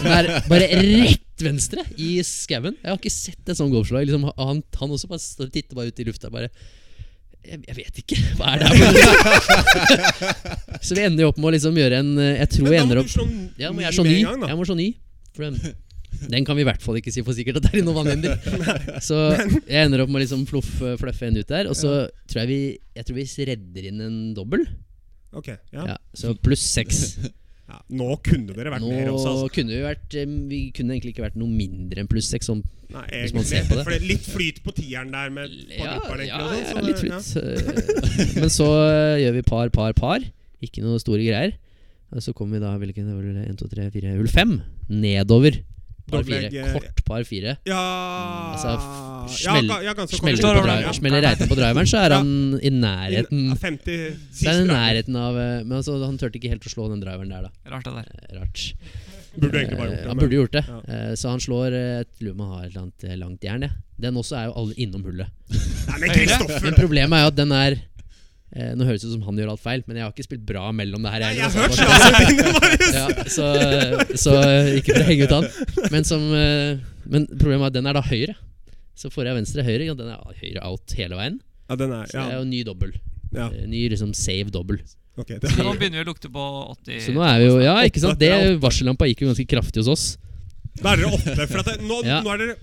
[SPEAKER 5] Den er bare rett venstre i skauen. Jeg har ikke sett et sånt golfslag. Liksom, han, han også bare står og titter bare ut i lufta. Bare jeg, jeg vet ikke. Hva er det her? for noe?» Så vi ender jo opp med å liksom gjøre en eh, Jeg tror
[SPEAKER 1] men
[SPEAKER 5] jeg
[SPEAKER 1] da må
[SPEAKER 5] ender
[SPEAKER 1] du
[SPEAKER 5] opp
[SPEAKER 1] slå
[SPEAKER 5] Ja, men
[SPEAKER 1] ni
[SPEAKER 5] jeg er så
[SPEAKER 1] med
[SPEAKER 5] ny.
[SPEAKER 1] en gang, da.
[SPEAKER 5] Jeg må så ny. For den, den kan vi i hvert fall ikke si for sikkert at det er noe vannhinder. Så jeg ender opp med å liksom fluff, fluffe en ut der. Og så tror jeg vi Jeg tror vi redder inn en dobbel.
[SPEAKER 1] Ok, ja.
[SPEAKER 5] Ja, så pluss seks.
[SPEAKER 1] ja. Nå kunne dere vært mer
[SPEAKER 5] Nå
[SPEAKER 1] også, altså.
[SPEAKER 5] kunne vi vært eh, Vi kunne egentlig ikke vært noe mindre enn pluss seks. Sånn
[SPEAKER 1] Nei,
[SPEAKER 5] Hvis man
[SPEAKER 1] egentlig.
[SPEAKER 5] ser på det.
[SPEAKER 1] For det er litt flyt på liksom, tieren der med
[SPEAKER 5] Ja,
[SPEAKER 1] par
[SPEAKER 5] ja,
[SPEAKER 1] ja,
[SPEAKER 5] ja, litt flyt. Men så eh, gjør vi par, par, par. Ikke noe store greier. Og så kommer vi da hvilken, 1, 2, 3, 4, hull 5 nedover Par
[SPEAKER 1] Dobbeltlegg,
[SPEAKER 5] fire.
[SPEAKER 1] eh,
[SPEAKER 5] Kort par fire.
[SPEAKER 1] Ja
[SPEAKER 5] altså, f-
[SPEAKER 1] ja,
[SPEAKER 5] smell-
[SPEAKER 1] ga- ja, ganske kort.
[SPEAKER 5] Smeller du på,
[SPEAKER 3] Står
[SPEAKER 5] driver,
[SPEAKER 3] over der, ja.
[SPEAKER 5] smeller reiten på driveren, så er
[SPEAKER 1] Ja.
[SPEAKER 5] han i nærheten.
[SPEAKER 1] Inn- 50
[SPEAKER 5] Så er han i
[SPEAKER 1] siste.
[SPEAKER 5] nærheten av eh, Men altså, han turte ikke helt å slå den driveren der, da.
[SPEAKER 3] Rart, det der.
[SPEAKER 5] Eh, Rart.
[SPEAKER 1] Burde egentlig bare
[SPEAKER 5] Eh,
[SPEAKER 1] gjort det.
[SPEAKER 5] Han
[SPEAKER 1] men-
[SPEAKER 5] burde gjort det.
[SPEAKER 1] Ja.
[SPEAKER 5] Eh, Så han slår eh, Jeg tror man har et eller annet eh, langt jern. Ja. Den også er jo alle innom hullet.
[SPEAKER 1] Nei, men Kristoffer!
[SPEAKER 5] Men problemet er jo at den er eh, Nå høres det ut som han gjør alt feil, men jeg har ikke spilt bra mellom det her.
[SPEAKER 1] Nei,
[SPEAKER 5] jeg,
[SPEAKER 1] jeg har
[SPEAKER 5] altså.
[SPEAKER 1] hørt slagene dine, Marius!
[SPEAKER 5] ja, så, så eh, ikke for å henge ut han. Men, som, eh, men problemet er at den er da høyre. Så får jeg venstre høyre, og den er høyre out hele veien.
[SPEAKER 1] Ja, den er
[SPEAKER 5] Så det er
[SPEAKER 1] Ja,
[SPEAKER 5] jo ny dobbel.
[SPEAKER 1] ja
[SPEAKER 5] Eh, Ny liksom save dobbel.
[SPEAKER 1] ok. Det
[SPEAKER 3] Så
[SPEAKER 1] er,
[SPEAKER 3] nå begynner vi å lukte på 80
[SPEAKER 5] Så nå er vi jo Ja, ikke sant? Det varsellampa gikk jo ganske kraftig hos oss.
[SPEAKER 1] da er dere åtte. For at det, nå,
[SPEAKER 5] Ja.
[SPEAKER 1] nå er dere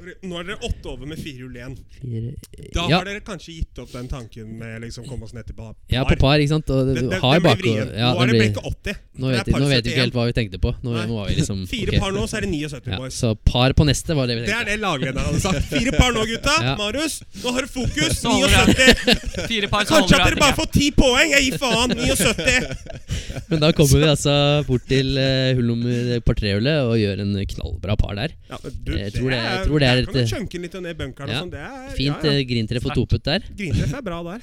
[SPEAKER 1] sorry, Nå er dere åtte over med firehjul igjen.
[SPEAKER 5] Fire
[SPEAKER 1] Da
[SPEAKER 5] ja,
[SPEAKER 1] har dere kanskje gitt opp den tanken med liksom komme oss ned til par.
[SPEAKER 5] ja, på par, ikke sant? Og
[SPEAKER 1] Den, den, den
[SPEAKER 5] har
[SPEAKER 1] blir
[SPEAKER 5] bak
[SPEAKER 1] vrien.
[SPEAKER 5] ja,
[SPEAKER 1] nå er det
[SPEAKER 5] den blir-
[SPEAKER 1] brekket 80.
[SPEAKER 5] Nå
[SPEAKER 1] Det
[SPEAKER 5] vet,
[SPEAKER 1] er par
[SPEAKER 5] nå vet vi
[SPEAKER 1] 71.
[SPEAKER 5] ikke helt hva vi tenkte på. Nå,
[SPEAKER 1] Nei.
[SPEAKER 5] nå var vi liksom
[SPEAKER 1] Fire
[SPEAKER 5] ok.
[SPEAKER 1] par nå, så er det 79
[SPEAKER 5] ja,
[SPEAKER 1] boys.
[SPEAKER 5] Så par på neste var det vi
[SPEAKER 1] Det er
[SPEAKER 5] tenkte.
[SPEAKER 1] det laglederen hadde sagt. Fire par nå, gutta.
[SPEAKER 5] Ja.
[SPEAKER 1] Marius, nå har du fokus.
[SPEAKER 3] Så holder
[SPEAKER 1] 79.
[SPEAKER 3] Fire par,
[SPEAKER 1] Kanskje
[SPEAKER 3] så holder
[SPEAKER 1] at
[SPEAKER 3] det.
[SPEAKER 1] dere bare får ti poeng. Jeg gir faen. 79.
[SPEAKER 5] Men da kommer vi altså bort til eh, hull nummer par trehullet og gjør en knallbra par der.
[SPEAKER 1] Ja, men du,
[SPEAKER 5] Jeg tror det- jeg tror det er
[SPEAKER 1] der kan
[SPEAKER 5] et-
[SPEAKER 1] du chunke den litt og ned bunkeren
[SPEAKER 5] Ja.
[SPEAKER 1] og sånn. Det er
[SPEAKER 5] Fint
[SPEAKER 1] Ja,
[SPEAKER 5] eh,
[SPEAKER 1] ja.
[SPEAKER 5] grintreff og
[SPEAKER 3] Sterkt.
[SPEAKER 5] topet der.
[SPEAKER 1] Grintreff er bra der.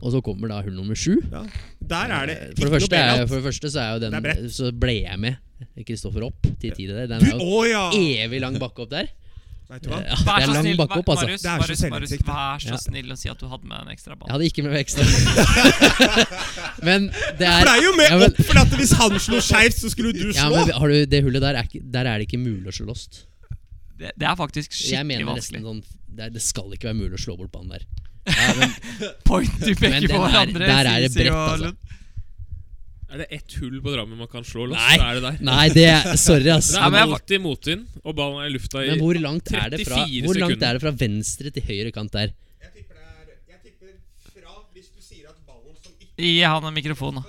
[SPEAKER 5] Og så kommer da hull nummer sju.
[SPEAKER 1] Ja. Der er det
[SPEAKER 5] For
[SPEAKER 1] ikke noe
[SPEAKER 5] det, første er,
[SPEAKER 1] bailout.
[SPEAKER 5] for det første så er jo
[SPEAKER 1] Det er
[SPEAKER 5] den
[SPEAKER 1] bredt.
[SPEAKER 5] Så ble jeg med Kristoffer opp til tide der. Den
[SPEAKER 1] Du,
[SPEAKER 5] er jo
[SPEAKER 1] å ja!
[SPEAKER 5] evig lang bakke opp der.
[SPEAKER 1] Vet du hva?
[SPEAKER 5] Ja, det er lang bakke opp, altså.
[SPEAKER 3] Marius,
[SPEAKER 1] Det er så
[SPEAKER 3] Marius, Marius,
[SPEAKER 1] selvinnsikt, det.
[SPEAKER 3] vær så
[SPEAKER 5] Ja.
[SPEAKER 3] snill å si at du hadde med en ekstra ball.
[SPEAKER 5] Jeg hadde ikke med meg ekstra. Men det er
[SPEAKER 1] For det er jo med
[SPEAKER 5] Ja, men-
[SPEAKER 1] opp, for at hvis han slo skeivt, så skulle du
[SPEAKER 5] ja,
[SPEAKER 1] slå.
[SPEAKER 5] men har du, det hullet der er, ikke, der er det ikke mulig å slå lost.
[SPEAKER 3] Det, det er faktisk
[SPEAKER 5] Jeg
[SPEAKER 3] skikkelig
[SPEAKER 5] mener nesten
[SPEAKER 3] vanskelig.
[SPEAKER 5] sånn det, er- det skal ikke være mulig å slå bort banen der.
[SPEAKER 3] Point du
[SPEAKER 5] Men
[SPEAKER 3] peker
[SPEAKER 5] den
[SPEAKER 3] på
[SPEAKER 5] er-
[SPEAKER 3] hverandre.
[SPEAKER 5] der er det
[SPEAKER 3] Sisi
[SPEAKER 5] bredt,
[SPEAKER 3] og
[SPEAKER 5] altså.
[SPEAKER 3] Lund.
[SPEAKER 2] Er det ett hull på Drammen man kan slå loss,
[SPEAKER 5] Nei.
[SPEAKER 2] så er det der.
[SPEAKER 5] Nei, det er, sorry, ass.
[SPEAKER 2] Det
[SPEAKER 3] Nei, men
[SPEAKER 2] er
[SPEAKER 3] jeg-
[SPEAKER 2] alltid motvind, og ballen er i lufta i
[SPEAKER 5] Men hvor langt er det fra,
[SPEAKER 2] 34
[SPEAKER 5] hvor langt
[SPEAKER 2] sekunder.
[SPEAKER 5] er det fra venstre til høyre kant der?
[SPEAKER 1] Jeg tipper det er Jeg tipper fra hvis du sier at ballen som ikke
[SPEAKER 3] Gi han en mikrofon, da.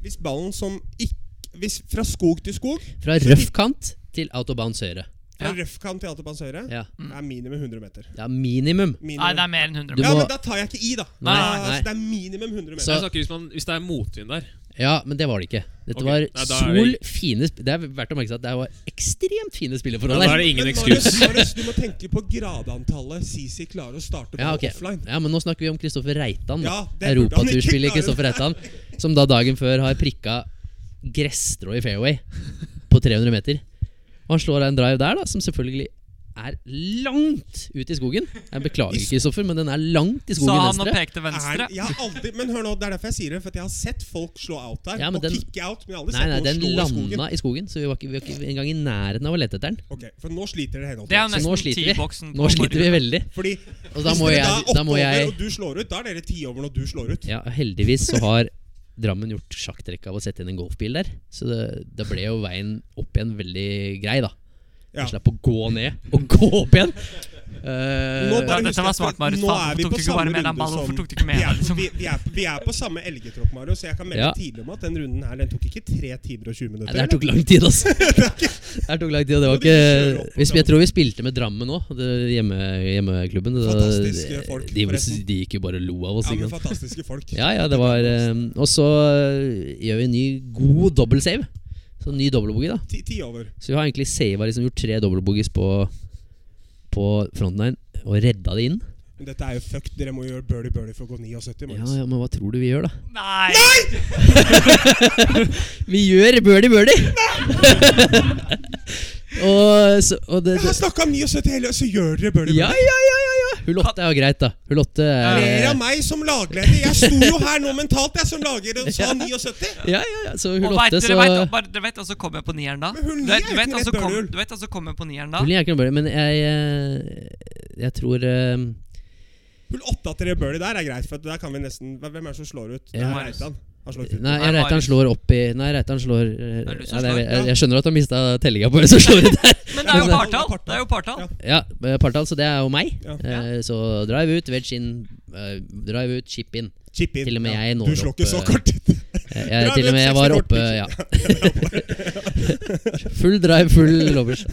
[SPEAKER 1] Hvis ballen som ikke Hvis fra skog til skog,
[SPEAKER 5] Fra røff kant til out of bounds høyre.
[SPEAKER 1] fra røff kant til Altepans høyre,
[SPEAKER 5] Ja,
[SPEAKER 1] det er minimum 100 meter.
[SPEAKER 5] ja minimum.
[SPEAKER 1] Minimum.
[SPEAKER 3] Nei, det er mer enn 100.
[SPEAKER 5] Du
[SPEAKER 1] ja,
[SPEAKER 5] må-
[SPEAKER 1] men da tar jeg ikke i, da.
[SPEAKER 5] Nei,
[SPEAKER 1] Da-
[SPEAKER 5] nei.
[SPEAKER 1] så Det er minimum 100 meter.
[SPEAKER 5] Så-
[SPEAKER 2] Jeg snakker hvis, man, hvis det er motvind der.
[SPEAKER 5] Ja, men det var det ikke. Dette
[SPEAKER 2] Ok,
[SPEAKER 5] var
[SPEAKER 2] nei, da er det-
[SPEAKER 5] sol, fine sp- Det er verdt å merke seg at det var ekstremt fine spilleforhold
[SPEAKER 2] Da er
[SPEAKER 5] der.
[SPEAKER 2] det ingen
[SPEAKER 1] Men Marius,
[SPEAKER 2] ekskurs.
[SPEAKER 1] Marius, du må tenke på gradantallet Sisi klarer å starte på
[SPEAKER 5] Ja, ok.
[SPEAKER 1] offline.
[SPEAKER 5] ja, men nå snakker vi om Kristoffer Reitan.
[SPEAKER 1] Ja,
[SPEAKER 5] da.
[SPEAKER 1] det burde han ikke
[SPEAKER 5] Europaturspiller
[SPEAKER 1] klare.
[SPEAKER 5] Kristoffer Reitan. Som da dagen før har prikka gresstrå i fairway på 300 meter. Og han slår en drive der, da, som selvfølgelig er langt ut i skogen. Jeg beklager, Kristoffer, men den er langt i
[SPEAKER 3] Sa
[SPEAKER 5] skogen
[SPEAKER 3] han og
[SPEAKER 5] venstre.
[SPEAKER 3] pekte
[SPEAKER 1] Er,
[SPEAKER 3] venstre.
[SPEAKER 1] jeg har aldri, men hør nå, Det er derfor jeg sier det, for at jeg har sett folk slå out der.
[SPEAKER 5] Ja, men
[SPEAKER 1] og
[SPEAKER 5] den-
[SPEAKER 1] kicke out, men jeg har aldri
[SPEAKER 5] Nei, nei,
[SPEAKER 1] sett
[SPEAKER 5] den
[SPEAKER 1] noen slå i skogen.
[SPEAKER 5] landa i skogen, så vi var ikke, vi var ikke engang i nærheten av å lete etter den.
[SPEAKER 1] Ok, For nå sliter dere
[SPEAKER 3] Det er jo
[SPEAKER 1] henholdsvis.
[SPEAKER 5] Så nå
[SPEAKER 3] nesten
[SPEAKER 5] sliter vi.
[SPEAKER 3] T-boksen.
[SPEAKER 5] Nå sliter vi veldig.
[SPEAKER 1] Fordi
[SPEAKER 5] Og da
[SPEAKER 1] hvis
[SPEAKER 5] må
[SPEAKER 1] dere
[SPEAKER 5] jeg-
[SPEAKER 1] da er
[SPEAKER 5] da må
[SPEAKER 1] oppover
[SPEAKER 5] jeg-
[SPEAKER 1] og du slår ut, da er dere tiover når du slår ut.
[SPEAKER 5] Ja, heldigvis så har Drammen gjort sjakktrekk av å sette inn en golfbil der. Så det, da ble jo veien opp igjen veldig grei, da.
[SPEAKER 1] Ja.
[SPEAKER 5] Jeg slapp å gå ned og gå opp igjen. Eh,
[SPEAKER 1] Nå bare
[SPEAKER 3] Ja,
[SPEAKER 1] husk
[SPEAKER 3] dette var
[SPEAKER 1] at
[SPEAKER 3] smart, Marius.
[SPEAKER 1] Nå
[SPEAKER 3] Faen,
[SPEAKER 1] er
[SPEAKER 3] hvorfor
[SPEAKER 1] vi
[SPEAKER 3] tok
[SPEAKER 1] på
[SPEAKER 3] du ikke
[SPEAKER 1] samme
[SPEAKER 3] bare med den
[SPEAKER 1] runde
[SPEAKER 3] ballen?
[SPEAKER 1] som
[SPEAKER 3] Hvorfor tok du ikke med
[SPEAKER 1] vi, er,
[SPEAKER 3] den, liksom?
[SPEAKER 1] vi, vi, er, vi er på samme elgetråkk, Marius. så Jeg kan melde
[SPEAKER 5] Ja.
[SPEAKER 1] tidlig om at den runden her den tok ikke 3 timer og 20
[SPEAKER 5] Nei,
[SPEAKER 1] minutter.
[SPEAKER 5] det her
[SPEAKER 1] eller?
[SPEAKER 5] tok lang tid, altså. det her tok lang tid, og det var
[SPEAKER 1] Og de kjører opp
[SPEAKER 5] ikke
[SPEAKER 1] og
[SPEAKER 5] vi, sp- Jeg
[SPEAKER 1] sammen.
[SPEAKER 5] tror vi spilte med Drammen òg, hjemme, hjemmeklubben. da-
[SPEAKER 1] Fantastiske folk,
[SPEAKER 5] de,
[SPEAKER 1] forresten.
[SPEAKER 5] de gikk jo bare og lo av oss.
[SPEAKER 1] ja,
[SPEAKER 5] ikke
[SPEAKER 1] men
[SPEAKER 5] sant?
[SPEAKER 1] Fantastiske folk.
[SPEAKER 5] Ja, ja, det var eh, Og så eh, gjør vi en ny god dobbeltsave. Så en ny dobbeltboogie, da.
[SPEAKER 1] Ti, ti over.
[SPEAKER 5] Så vi har egentlig sava liksom gjort tre dobbeltboogies på, på frontline og redda det inn.
[SPEAKER 1] Men dette er jo fucked. Dere må gjøre birdie birdie for å gå 79.
[SPEAKER 5] Ja,
[SPEAKER 1] Marius.
[SPEAKER 5] ja, Men hva tror du vi gjør, da?
[SPEAKER 3] Nei!
[SPEAKER 5] Vi gjør birdie birdie! og så og det,
[SPEAKER 1] Jeg har
[SPEAKER 5] det
[SPEAKER 1] snakka om 79 hele, og så gjør dere birdie
[SPEAKER 5] ja, ja,
[SPEAKER 1] birdie.
[SPEAKER 5] ja, ja, ja! Hull åtte er jo greit, da. Hull åtte eh, er
[SPEAKER 1] Ler
[SPEAKER 5] ja,
[SPEAKER 1] av meg som lagleder. Jeg sto jo her nå mentalt, jeg, som lager sånn og sa 79.
[SPEAKER 5] ja, ja, Så
[SPEAKER 3] Og
[SPEAKER 5] hull
[SPEAKER 3] vet,
[SPEAKER 5] åtte,
[SPEAKER 3] dere
[SPEAKER 5] så
[SPEAKER 3] vet, bare, dere vet, og så kommer jeg på nieren da.
[SPEAKER 1] Men hull ni
[SPEAKER 3] Du
[SPEAKER 1] er
[SPEAKER 3] vet- du
[SPEAKER 1] jo
[SPEAKER 3] vet,
[SPEAKER 1] ikke
[SPEAKER 3] og så
[SPEAKER 1] rett
[SPEAKER 3] kom-
[SPEAKER 1] hull.
[SPEAKER 3] Du vet, og så kommer jeg på nieren da.
[SPEAKER 5] Hull er ikke noe birdie, men jeg eh, Jeg tror eh,
[SPEAKER 1] Hull 8 at dere birdie der er greit, for at der kan vi nesten Hvem er det som slår ut? Det
[SPEAKER 5] Ja.
[SPEAKER 1] er Reitan. Han slår ut.
[SPEAKER 5] Nei,
[SPEAKER 3] Nei,
[SPEAKER 5] Reitan
[SPEAKER 3] Marius.
[SPEAKER 5] slår opp i Nei, Reitan slår eh,
[SPEAKER 3] Er det du som
[SPEAKER 5] ja, det er,
[SPEAKER 3] slår?
[SPEAKER 5] jeg,
[SPEAKER 1] Ja.
[SPEAKER 5] jeg skjønner at du har mista tellinga på hvem som slår ut der.
[SPEAKER 3] Men det er jo
[SPEAKER 1] Men-
[SPEAKER 3] partall!
[SPEAKER 1] Det er partall.
[SPEAKER 3] Det er jo partall.
[SPEAKER 1] Ja.
[SPEAKER 5] Ja, eh, partall, så det er jo meg.
[SPEAKER 1] Ja.
[SPEAKER 5] Eh, så drive ut, wedge in, eh, drive ut, chip in.
[SPEAKER 1] Chip in.
[SPEAKER 5] Til og med jeg når
[SPEAKER 1] du slår ikke
[SPEAKER 5] opp,
[SPEAKER 1] så
[SPEAKER 5] eh,
[SPEAKER 1] kort.
[SPEAKER 5] Eh,
[SPEAKER 1] Drive
[SPEAKER 5] jeg, til og
[SPEAKER 1] ut,
[SPEAKER 5] med jeg
[SPEAKER 1] 60
[SPEAKER 5] var
[SPEAKER 1] kort,
[SPEAKER 5] oppe
[SPEAKER 1] pitch.
[SPEAKER 5] ja. Full drive, full lovers.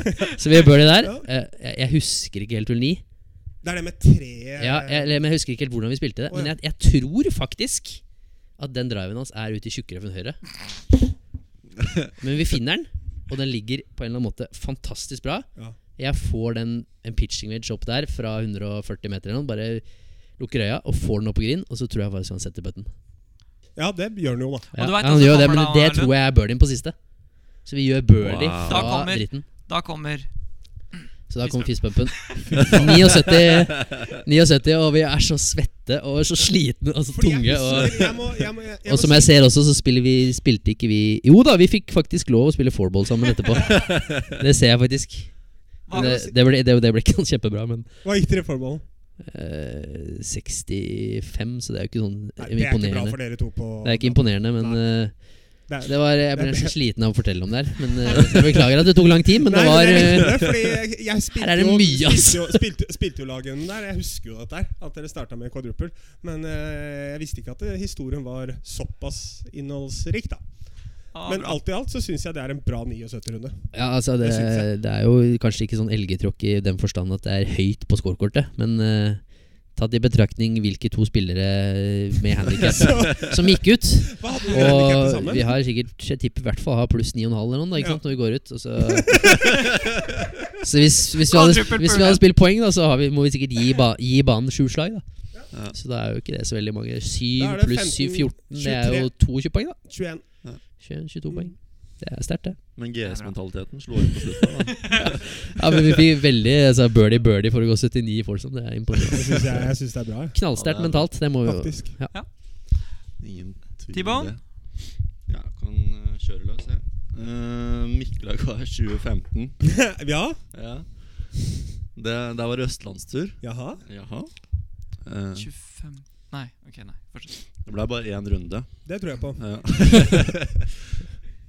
[SPEAKER 5] Så vi gjør det der. Eh, jeg, jeg husker ikke helt hull 9.
[SPEAKER 1] Det er det med treet
[SPEAKER 5] Ja, jeg, eller, men jeg husker ikke helt hvordan vi spilte det.
[SPEAKER 1] Å,
[SPEAKER 5] Men
[SPEAKER 1] ja.
[SPEAKER 5] jeg, jeg tror faktisk at den driven hans er ute i tjukkrøffen høyre. Men vi finner den. og den ligger på en eller annen måte fantastisk bra.
[SPEAKER 1] Ja.
[SPEAKER 5] Jeg får den en pitching wedge opp der fra 140 meter eller noe. Bare lukker øya og får den opp på green, og så tror jeg faktisk han setter putten.
[SPEAKER 1] Ja, det gjør den jo, da.
[SPEAKER 5] Ja,
[SPEAKER 3] du vet
[SPEAKER 5] han
[SPEAKER 3] at det
[SPEAKER 5] gjør det,
[SPEAKER 3] kommer
[SPEAKER 5] men
[SPEAKER 3] da,
[SPEAKER 5] det
[SPEAKER 3] Lund?
[SPEAKER 5] tror jeg er birdien på siste. Så vi gjør birdie
[SPEAKER 4] Wow.
[SPEAKER 5] fra
[SPEAKER 3] Da kommer-
[SPEAKER 5] dritten.
[SPEAKER 3] Da kommer
[SPEAKER 5] Så da kommer fistpumpen. 79, 79, og vi er så svette og så slitne. Altså
[SPEAKER 1] Fordi jeg
[SPEAKER 5] tunge og
[SPEAKER 1] husker- jeg må- jeg må- jeg- jeg
[SPEAKER 5] Og
[SPEAKER 1] må
[SPEAKER 5] som jeg ser også, så spiller vi, spilte ikke vi Jo da, vi fikk faktisk lov å spille fourball sammen etterpå. Det ser jeg faktisk.
[SPEAKER 3] hva,
[SPEAKER 5] Men det, det, ble, det, det ble ikke sånn kjempebra, men
[SPEAKER 1] si- Hva gikk dere for ballen?
[SPEAKER 5] eh, 65, så det er jo ikke sånn
[SPEAKER 1] Nei, Det er ikke bra for
[SPEAKER 5] imponerende.
[SPEAKER 1] dere to på
[SPEAKER 5] Det er ikke imponerende, men eh,
[SPEAKER 1] Det er-
[SPEAKER 5] det var, jeg
[SPEAKER 1] Det
[SPEAKER 5] ble
[SPEAKER 1] er
[SPEAKER 5] så
[SPEAKER 1] bra.
[SPEAKER 5] sliten av å fortelle om det her. Men eh, jeg beklager at det tok lang tid, men det
[SPEAKER 1] Nei,
[SPEAKER 5] var
[SPEAKER 1] det er
[SPEAKER 5] eh,
[SPEAKER 1] riktig, fordi jeg, jeg spilte
[SPEAKER 5] Her er det
[SPEAKER 1] jo,
[SPEAKER 5] mye, altså. ass.
[SPEAKER 1] Spilte jo, spilte, spilte jo lagen der. Jeg husker jo dette her, at dere starta med kvadrupel. Men eh, jeg visste ikke at eh, historien var såpass innholdsrik, da.
[SPEAKER 3] ah,
[SPEAKER 1] Men
[SPEAKER 3] bra.
[SPEAKER 1] alt i alt så syns jeg det er en bra 79-runde.
[SPEAKER 5] Ja, altså det,
[SPEAKER 1] Det syns jeg.
[SPEAKER 5] det er jo kanskje ikke sånn elgetråkk i den forstand at det er høyt på scorekortet, men eh, tatt i betraktning hvilke to spillere med handikap som gikk ut.
[SPEAKER 1] Hva hadde dere handicap til
[SPEAKER 5] Og vi
[SPEAKER 1] sammen?
[SPEAKER 5] har sikkert Jeg tipper i hvert fall har pluss 9,5 eller noe da,
[SPEAKER 1] Ja.
[SPEAKER 5] ikke sant, når vi går ut. Og så så hvis, hvis, vi hadde,
[SPEAKER 3] Quadruple
[SPEAKER 5] hvis vi hadde spilt poeng, da, så har vi, må vi sikkert gi, ba, gi banen sju slag. Da.
[SPEAKER 4] Ja.
[SPEAKER 5] Så da er jo ikke det så veldig mange.
[SPEAKER 1] Da er
[SPEAKER 5] 7
[SPEAKER 1] det
[SPEAKER 5] pluss 7,
[SPEAKER 1] 15,
[SPEAKER 5] 14. Det er jo 22 poeng, da.
[SPEAKER 1] 21.
[SPEAKER 5] 21,
[SPEAKER 1] Mm.
[SPEAKER 5] 22 poeng. Det er sterkt, det.
[SPEAKER 4] Men GS-mentaliteten slo inn på slutten. da.
[SPEAKER 5] Ja, men vi fikk veldig altså, birdie birdie for å gå 79 i Folsom. Det er imponerende.
[SPEAKER 1] Jeg syns jeg, jeg synes det er bra, jeg.
[SPEAKER 5] Knallsterkt mentalt. Det må vi jo
[SPEAKER 1] faktisk.
[SPEAKER 4] Ingen tvil om
[SPEAKER 3] T-bone?
[SPEAKER 4] det. Ja, kan eh, kjøre løs, jeg. Uh, Miklagard 2015.
[SPEAKER 1] ja?
[SPEAKER 4] Ja. Det, der var det østlandstur.
[SPEAKER 1] Jaha?
[SPEAKER 4] Jaha. Eh,
[SPEAKER 3] 25 Nei, ok, nei. Fortsett.
[SPEAKER 4] det ble bare én runde.
[SPEAKER 1] Det tror jeg på.
[SPEAKER 4] Ja.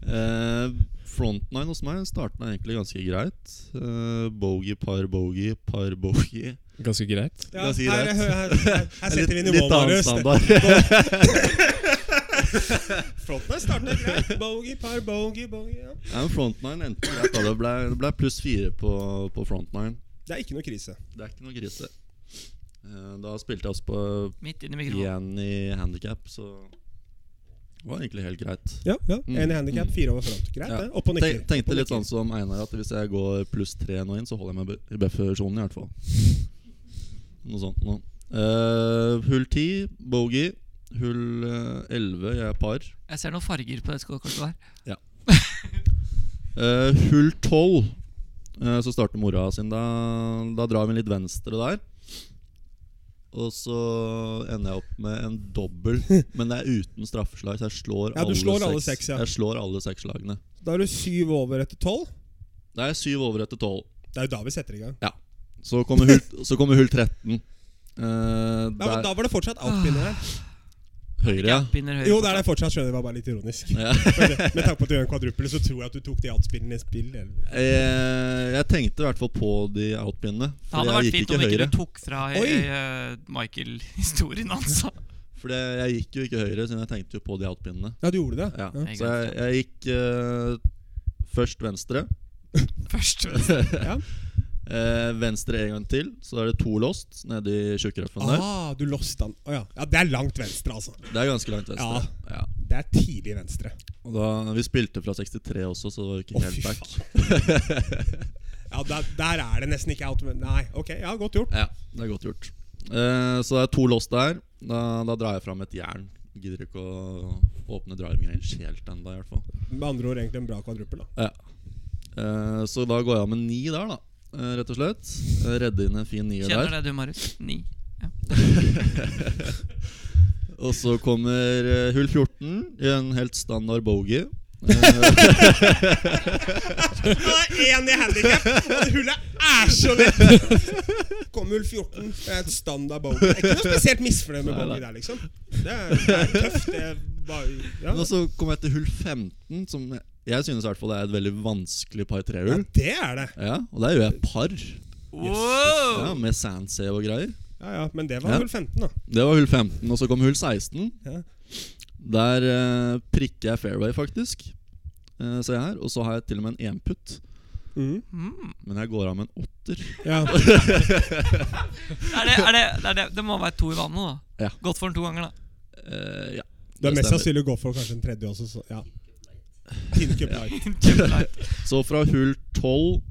[SPEAKER 4] Eh, Frontline hos meg starta egentlig ganske greit. Eh, bogey, par bogey, par bogey.
[SPEAKER 2] Ganske greit.
[SPEAKER 1] Ja,
[SPEAKER 4] Da sier
[SPEAKER 1] her,
[SPEAKER 4] jeg
[SPEAKER 1] her, her, her, her setter vi
[SPEAKER 4] Litt-
[SPEAKER 1] nivået
[SPEAKER 4] litt annen
[SPEAKER 1] vårt.
[SPEAKER 4] standard.
[SPEAKER 1] Frontline starter greit. Bogey, par bogey, bogey. Ja.
[SPEAKER 4] Ja, men frontline endte greit. da. Det ble, det ble pluss fire på, på frontline.
[SPEAKER 1] Det er ikke noe krise.
[SPEAKER 4] Det er ikke noe grise. Eh, Da spilte jeg oss på
[SPEAKER 3] Midt inn i mikrofonen.
[SPEAKER 4] igjen i handikap, så det var egentlig helt greit.
[SPEAKER 1] Ja, ja.
[SPEAKER 4] Mm.
[SPEAKER 1] En i handikap, fire over front. Greit,
[SPEAKER 4] Ja.
[SPEAKER 1] det. Opp og nikker.
[SPEAKER 4] Tenk, tenkte litt
[SPEAKER 1] Opp og
[SPEAKER 4] sånn som Einar, at hvis jeg går pluss tre nå inn, så holder jeg meg i buffersonen i hvert fall. Noe sånt nå. Eh, hull ti, bogey. Hull eh, elleve, jeg er par.
[SPEAKER 3] Jeg ser noen farger på det skolekortet der.
[SPEAKER 4] Eh, hull 12 eh, Så starter mora sin da, da drar vi litt venstre der Og så ender jeg opp med en dobbel Men det er uten straffeslag Så jeg slår,
[SPEAKER 1] Ja, du
[SPEAKER 4] alle,
[SPEAKER 1] slår alle
[SPEAKER 4] seks,
[SPEAKER 1] seks, ja.
[SPEAKER 4] Jeg slår alle seks slagene
[SPEAKER 1] nikker. Da er du syv over etter tolv.
[SPEAKER 4] Det er syv over etter 12
[SPEAKER 1] Det er jo da vi setter i gang.
[SPEAKER 4] Så kommer hull, så kommer hull 13 Eh,
[SPEAKER 1] Da,
[SPEAKER 4] der,
[SPEAKER 1] da var Ah, det fortsatt outbinder her.
[SPEAKER 4] høyre ja.
[SPEAKER 3] Binder høyre
[SPEAKER 1] Jo, det
[SPEAKER 3] fortsatt.
[SPEAKER 1] er det fortsatt, skjønner jeg. Det var bare litt ironisk.
[SPEAKER 4] Ja.
[SPEAKER 1] Men det- Med tanke på at du gjør en kvadruppel, så tror jeg at du tok de outspillene i spill. eller-
[SPEAKER 4] Eh, Jeg tenkte i hvert fall på de outpinnene
[SPEAKER 3] Det hadde
[SPEAKER 4] For jeg
[SPEAKER 3] vært
[SPEAKER 4] gikk
[SPEAKER 3] fint
[SPEAKER 4] ikke
[SPEAKER 3] om ikke
[SPEAKER 4] høyre
[SPEAKER 3] du tok fra
[SPEAKER 1] Oi!
[SPEAKER 3] eh, Michael-historien hans. da.
[SPEAKER 4] For jeg gikk jo ikke høyre Siden jeg tenkte jo på de outpinnene
[SPEAKER 1] Ja, du gjorde det?
[SPEAKER 4] Ja,
[SPEAKER 1] Ja.
[SPEAKER 4] så jeg, jeg gikk eh, først venstre.
[SPEAKER 3] Først.
[SPEAKER 4] Eh, venstre en gang til, så er det to lost nede i tjukkrøffen der.
[SPEAKER 1] Ah, du lost den. Å ja. ja. Det er langt venstre, altså.
[SPEAKER 4] Det er ganske langt
[SPEAKER 1] Ja.
[SPEAKER 4] venstre. Ja.
[SPEAKER 1] Det er tidlig venstre.
[SPEAKER 4] Og da, vi spilte fra 63 også, så det var jo ikke
[SPEAKER 1] Å, fy
[SPEAKER 4] helt back.
[SPEAKER 1] Ja, der, der er det nesten ikke outbinder. Nei, ok, ja, godt gjort.
[SPEAKER 4] Ja, det er godt gjort. Eh, så det er to lost der. Da, da drar jeg fram et jern. Gidder ikke å åpne driving range helt ennå, i hvert fall.
[SPEAKER 1] Med andre ord egentlig en bra kvadruppel, da.
[SPEAKER 4] Ja. Eh, så da går jeg av med ni der, da. eh, rett og slett. Eh, Redde inn en fin nier der.
[SPEAKER 3] Kjenner det du, Marius? Ni.
[SPEAKER 4] Og så kommer eh, hull 14 i en helt standard bogey. Eh,
[SPEAKER 1] Du har én i handikap, og det hullet er så lett! Kom hull 14. Det er et standard bogey. Jeg er ikke noe spesielt misfornøyd med
[SPEAKER 4] Nei, nei.
[SPEAKER 1] bogey der, liksom. Det er, det er tøft. Det er bare, ja.
[SPEAKER 4] og så kommer jeg til hull 15, som jeg- jeg synes i hvert fall er et veldig vanskelig par
[SPEAKER 1] ja,
[SPEAKER 4] trehull.
[SPEAKER 1] det er det.
[SPEAKER 4] Ja, og der gjør jeg par
[SPEAKER 3] Wow!
[SPEAKER 4] ja, med sandsev og greier.
[SPEAKER 1] Ja, ja, Men det var
[SPEAKER 4] Ja.
[SPEAKER 1] hull 15, da.
[SPEAKER 4] Det var hull 15, og så kom hull 16.
[SPEAKER 1] Ja.
[SPEAKER 4] Der eh, prikker jeg fairway, faktisk. Eh, ser jeg her. Og så har jeg til og med en enputt.
[SPEAKER 1] Mm.
[SPEAKER 3] Mm.
[SPEAKER 4] Men jeg går av med en åtter.
[SPEAKER 1] Ja.
[SPEAKER 3] Er det, er det, det, er det, det må være to i vannet, da.
[SPEAKER 4] Ja.
[SPEAKER 3] Godt for den to ganger, da.
[SPEAKER 4] Eh, ja,
[SPEAKER 1] Du har mest
[SPEAKER 4] det stemmer.
[SPEAKER 1] sannsynlig gått for kanskje en tredje også, så ja. Tincup Light.
[SPEAKER 3] Kjempelight.
[SPEAKER 4] Så fra hull 12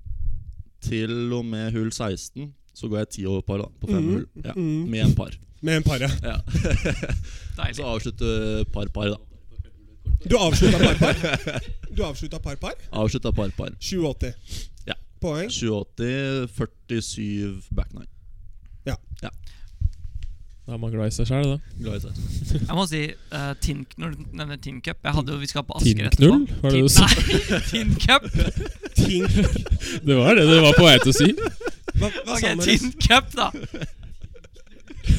[SPEAKER 4] til og med hull 16 så går jeg ti over par da, på fem hull. Ja,
[SPEAKER 1] Mm.
[SPEAKER 4] med en par.
[SPEAKER 1] Med en par, ja.
[SPEAKER 4] Ja. Så
[SPEAKER 3] Deilig.
[SPEAKER 4] avslutte par-par, da.
[SPEAKER 1] Du avslutta par-par. Du avslutta par-par.
[SPEAKER 4] Avslutta par-par.
[SPEAKER 1] 780
[SPEAKER 4] Ja.
[SPEAKER 1] poeng.
[SPEAKER 4] 780, 47 back nine.
[SPEAKER 2] Da er man glad i seg sjæl, da.
[SPEAKER 4] Glad i seg.
[SPEAKER 3] Jeg må si eh, tin, Når du nevner Tin Cup Jeg hadde jo Vi skal på Asker
[SPEAKER 2] Tinnknull, var det du sa?
[SPEAKER 3] Nei, Tin Cup.
[SPEAKER 1] Tink.
[SPEAKER 2] Det var det det var på vei til å si.
[SPEAKER 1] Hva, hva
[SPEAKER 3] Ok,
[SPEAKER 1] sa man?
[SPEAKER 3] Tin Cup, da.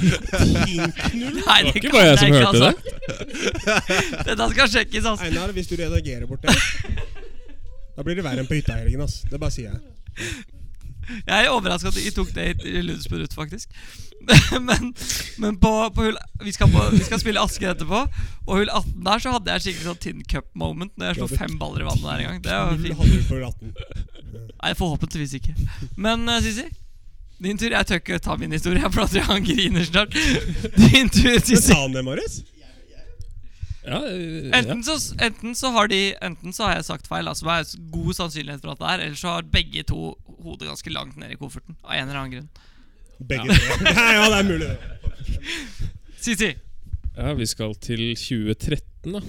[SPEAKER 1] Tinknull?
[SPEAKER 3] Nei,
[SPEAKER 2] Det var ikke
[SPEAKER 3] kan
[SPEAKER 2] bare jeg som
[SPEAKER 3] ikke ha
[SPEAKER 2] hørte det.
[SPEAKER 3] sagt. Dette skal sjekkes, altså.
[SPEAKER 1] Einar, hvis du redagerer bort det Da blir det verre enn på hytta i helgen, ass. Det bare sier jeg.
[SPEAKER 3] Jeg er overraska at de tok det i- i Lundsbud ut, faktisk. men men på, på hull vi skal, på, vi skal spille Asker etterpå. Og hull 18 der så hadde jeg skikkelig sånn Tin Cup-moment når jeg slo
[SPEAKER 1] Ja, det-
[SPEAKER 3] fem baller i vannet der en gang. Det var
[SPEAKER 1] Null
[SPEAKER 3] fint.
[SPEAKER 1] hadde du på 18.
[SPEAKER 3] Nei, forhåpentligvis ikke. Men eh, Sissi, din tur. Jeg tør ikke ta min historie, for da tror jeg han griner snart. Din tur,
[SPEAKER 1] Men
[SPEAKER 3] Sissi.
[SPEAKER 1] sa han det, Marius?
[SPEAKER 2] Ja, eh, ja.
[SPEAKER 3] Enten så, enten så har de Enten så har jeg sagt feil, altså det er god sannsynlighet for at det er, eller så har begge to hodet ganske langt ned i kofferten. Av en eller annen grunn.
[SPEAKER 1] Begge tre. Nei, ja, det er mulig, det.
[SPEAKER 3] Sissi,
[SPEAKER 2] ja, vi skal til 2013, da.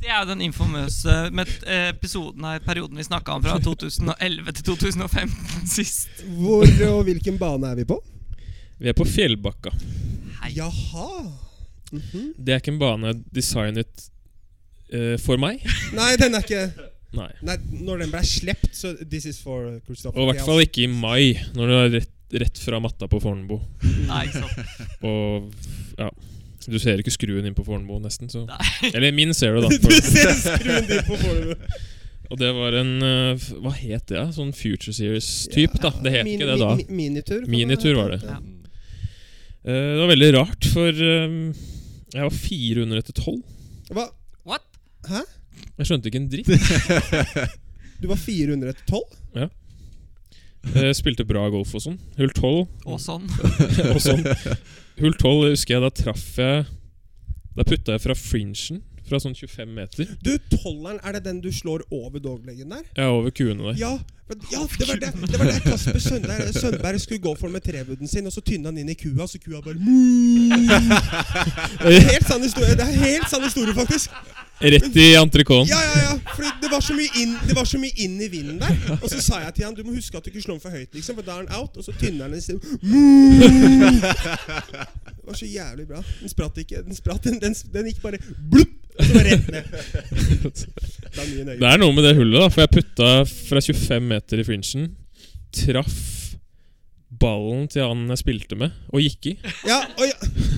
[SPEAKER 3] det er jo den infamøse med eh, episoden her, perioden vi snakka om fra 2011 til 2015 sist.
[SPEAKER 1] Hvor og hvilken bane er vi på?
[SPEAKER 2] Vi er på Fjellbakka.
[SPEAKER 3] Hei.
[SPEAKER 1] Jaha.
[SPEAKER 2] Det er ikke en bane designet eh, for meg.
[SPEAKER 1] Nei, den er ikke
[SPEAKER 2] Nei.
[SPEAKER 1] Nei, når den ble slept, så This is for Christopher.
[SPEAKER 2] Og i hvert fall ikke i mai, når du er rett, rett fra matta på Fornebu.
[SPEAKER 3] Nei, ikke sant.
[SPEAKER 2] Og ja Du ser ikke skruen inn på Fornebu, nesten. Så.
[SPEAKER 3] Nei.
[SPEAKER 2] Eller min ser du, da.
[SPEAKER 1] Du
[SPEAKER 2] For,
[SPEAKER 1] ser skruen din på forhånd.
[SPEAKER 2] og det var en eh, f- Hva het det? da? Sånn Future Series-type, da. Det het ikke det da.
[SPEAKER 1] minitur. kan
[SPEAKER 2] Minitur var det.
[SPEAKER 1] Ja.
[SPEAKER 2] Eh, det var veldig rart, for eh, jeg var 400 etter 12.
[SPEAKER 1] Hva?
[SPEAKER 3] What?
[SPEAKER 2] Jeg skjønte ikke en dritt.
[SPEAKER 1] Du var 400 etter 12?
[SPEAKER 2] Eh, spilte bra golf og sånn. Hull 12
[SPEAKER 3] Og sånn.
[SPEAKER 2] og sånn. Hull 12 husker jeg da traff jeg Da putta jeg fra fringen, fra sånn 25 meter.
[SPEAKER 1] Du, tolveren, er det den du slår over dogleggen der?
[SPEAKER 2] Jeg er over kuene der.
[SPEAKER 1] Ja, men- ja det var det Det var der Kasper Sønberg, Sønberg skulle gå for med trebudden sin, og så tynna han inn i kua, så kua bare Det er helt sann historie, det er helt sann historie faktisk.
[SPEAKER 2] Rett i entrecôten.
[SPEAKER 1] Ja, ja, ja. For det var så mye inn, det var så mye inn i vinden der. Og så sa jeg til han du må huske at du ikke slår den for høyt, liksom, for da er den out. Og så tynner han den i stedet. Det var så jævlig bra. Den spratt ikke. Den spratt, den, den, den gikk bare blupp, og så bare rett ned. Det er mye nøye.
[SPEAKER 2] Det er noe med det hullet, da. For jeg putta fra 25 meter i fringen. Traff ballen til han jeg spilte med, og gikk i.
[SPEAKER 1] Ja, og ja.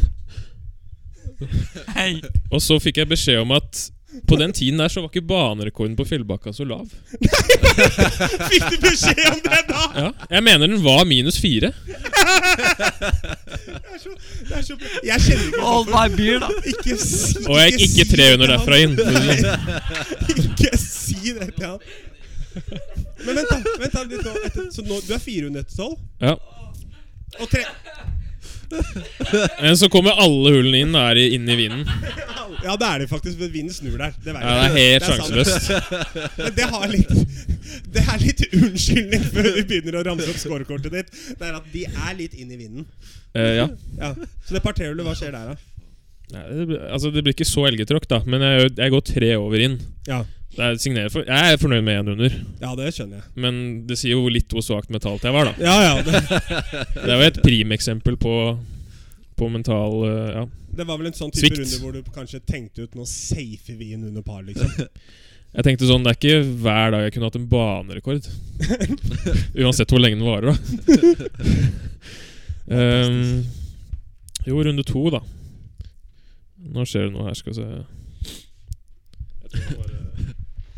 [SPEAKER 3] Hei.
[SPEAKER 2] Og så fikk jeg beskjed om at på den tiden der så var ikke banerekorden på Fjellbakka så lav.
[SPEAKER 1] Fikk du beskjed om det da?
[SPEAKER 2] Ja, Jeg mener den var minus fire.
[SPEAKER 1] Det er så, det er så bra. Jeg kjenner ikke
[SPEAKER 3] Hold my beer, da.
[SPEAKER 1] Ikke si
[SPEAKER 2] Og jeg gikk ikke
[SPEAKER 1] si
[SPEAKER 2] 300
[SPEAKER 1] det
[SPEAKER 2] derfra inn.
[SPEAKER 1] til han. Ikke si det til han. Men vent, da. vent da litt nå. Etter, så nå, Du er 400 etter 12?
[SPEAKER 2] Ja.
[SPEAKER 1] Og tre
[SPEAKER 2] Men så kommer alle hullene inn der i- inn i vinden.
[SPEAKER 1] Ja, det er det faktisk, for vinden snur der. Det, vet
[SPEAKER 2] Ja,
[SPEAKER 1] jeg.
[SPEAKER 2] Det er helt
[SPEAKER 1] sant.
[SPEAKER 2] sjanseløst.
[SPEAKER 1] Men det, har litt, det er litt unnskyldning før vi begynner å ramse opp scorekortet ditt. Det er at de er litt inn i vinden.
[SPEAKER 2] Eh, ja.
[SPEAKER 1] Ja. Så det parterhullet, hva skjer der, da?
[SPEAKER 2] Nei, det, blir- altså, det blir ikke så elgetråkk, da, men jeg, gjør- jeg går tre over inn.
[SPEAKER 1] Ja.
[SPEAKER 2] Det er signerer for, jeg er fornøyd med én under,
[SPEAKER 1] ja, det skjønner jeg.
[SPEAKER 2] men det sier jo hvor litt hvor svakt mentalt jeg var. da
[SPEAKER 1] Ja, ja, det,
[SPEAKER 2] Det er jo et primeksempel på, på mental eh, ja.
[SPEAKER 1] Det var vel en sånn type
[SPEAKER 2] Svikt.
[SPEAKER 1] runde hvor du kanskje tenkte ut Nå safer vi inn under par, liksom.
[SPEAKER 2] Jeg tenkte sånn, Det er ikke hver dag jeg kunne hatt en banerekord. Uansett hvor lenge den varer, da. Ehm, jo, runde to, da. Nå skjer det noe her, skal vi se.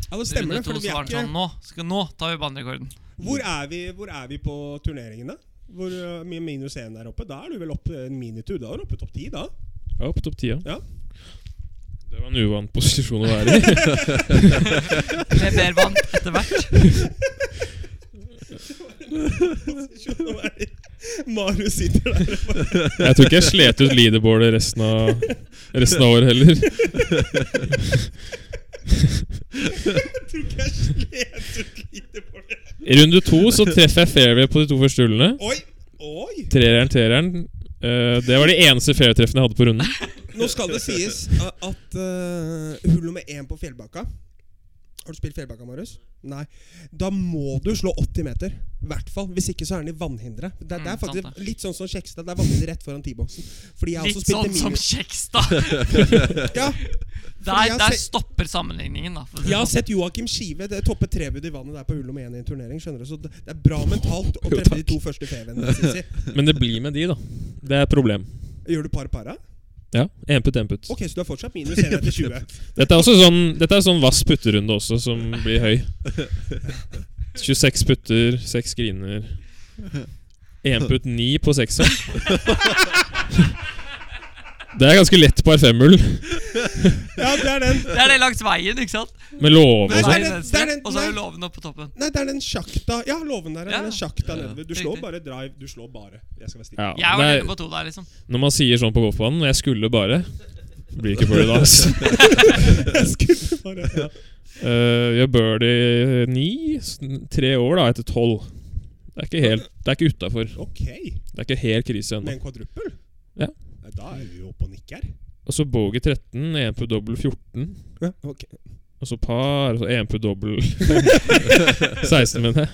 [SPEAKER 1] Ja, det stemmer det.
[SPEAKER 3] Runde to,
[SPEAKER 1] For vi
[SPEAKER 3] så
[SPEAKER 1] er
[SPEAKER 3] var det sånn,
[SPEAKER 1] ikke
[SPEAKER 3] nå, skal, nå tar vi banerekorden.
[SPEAKER 1] hvor er, vi, hvor er vi på turneringen, da? Hvor uh, mye minus én der oppe? Da er du vel oppe en minitur? Da er du oppe topp ti, da?
[SPEAKER 2] Ja, på topp ti, ja.
[SPEAKER 1] Ja.
[SPEAKER 2] Det var en uvant posisjon å være i.
[SPEAKER 3] Med mer vann etter hvert.
[SPEAKER 1] Skjønner du hva jeg mener? Marius sitter der og bare
[SPEAKER 2] Jeg tror ikke jeg slet ut leaderboardet resten av, resten av året heller. I runde to så treffer jeg fairway på de to første hullene.
[SPEAKER 1] Oi! Oi!
[SPEAKER 2] Treeren, treeren. Eh, det var de eneste fairway-treffene jeg hadde på runden.
[SPEAKER 1] Nå skal det sies eh, at eh, hull nummer én på Fjellbakka Har du spilt Fjellbakka, Marius? Nei. Da må du slå 80 meter. I hvert fall. Hvis ikke så er den i vannhinderet. Det, er- det er
[SPEAKER 3] Mm, sant
[SPEAKER 1] faktisk
[SPEAKER 3] det.
[SPEAKER 1] litt sånn som Kjekstad. Det er vannhinder rett foran T-boksen. Fordi jeg
[SPEAKER 3] Litt
[SPEAKER 1] også spilte
[SPEAKER 3] sånn som
[SPEAKER 1] minus...
[SPEAKER 3] Kjekstad.
[SPEAKER 1] Ja, jeg
[SPEAKER 3] Der,
[SPEAKER 1] har
[SPEAKER 3] der
[SPEAKER 1] sett-
[SPEAKER 3] stopper sammenligningen, da. For å si det
[SPEAKER 1] jeg har
[SPEAKER 3] sånn.
[SPEAKER 1] sett Joakim Skive det toppe trebud i vannet der på hull nummer én i en turnering. skjønner du? Så det det er bra mentalt å treffe de to første fevene. Sissi.
[SPEAKER 2] Men det blir med de, da. Det er et problem.
[SPEAKER 1] Gjør du par para?
[SPEAKER 2] Ja. Enput, enput.
[SPEAKER 1] Ok, så du er fortsatt minus 1 etter 20.
[SPEAKER 2] Dette er også sånn Dette er sånn vass putterunde også, som blir høy. 26 putter, 6 griner. Én putt, ni på sekseren. Det er ganske lett par femhull,
[SPEAKER 1] Ja, det er den.
[SPEAKER 3] Det er det langs veien, ikke sant?
[SPEAKER 2] med låve
[SPEAKER 1] Nei, det
[SPEAKER 2] og
[SPEAKER 1] er
[SPEAKER 3] Veien
[SPEAKER 2] sånn.
[SPEAKER 1] den-
[SPEAKER 3] venstre,
[SPEAKER 1] det er den-
[SPEAKER 3] og så er det
[SPEAKER 1] nei.
[SPEAKER 3] låven oppe på toppen.
[SPEAKER 1] Nei, det er den sjakta Ja, låven der. er
[SPEAKER 3] Ja.
[SPEAKER 1] Den sjakta nedover. Du slår
[SPEAKER 3] Riktig.
[SPEAKER 1] bare drive. Du slår bare. Jeg skal være stille.
[SPEAKER 2] Ja,
[SPEAKER 3] Jeg
[SPEAKER 2] det
[SPEAKER 3] var
[SPEAKER 2] er-
[SPEAKER 3] nede på to der, liksom.
[SPEAKER 2] når man sier sånn på golfbanen Og jeg skulle bare Blir ikke birdie da, altså.
[SPEAKER 1] Jeg skulle bare ja.
[SPEAKER 2] Eh, gjør birdie ni, s- tre år da, etter tolv. Det er ikke helt Det er ikke utafor.
[SPEAKER 1] Ok,
[SPEAKER 2] Det er ikke helt krise
[SPEAKER 1] med
[SPEAKER 2] ennå.
[SPEAKER 1] en kvadruppel?
[SPEAKER 2] Ja.
[SPEAKER 1] Nei, Da er vi jo oppe og nikker.
[SPEAKER 2] Og så bogey 13, én på dobbel 14.
[SPEAKER 1] Ja, ok.
[SPEAKER 2] Og så par, og så én på dobbel 16, mener jeg.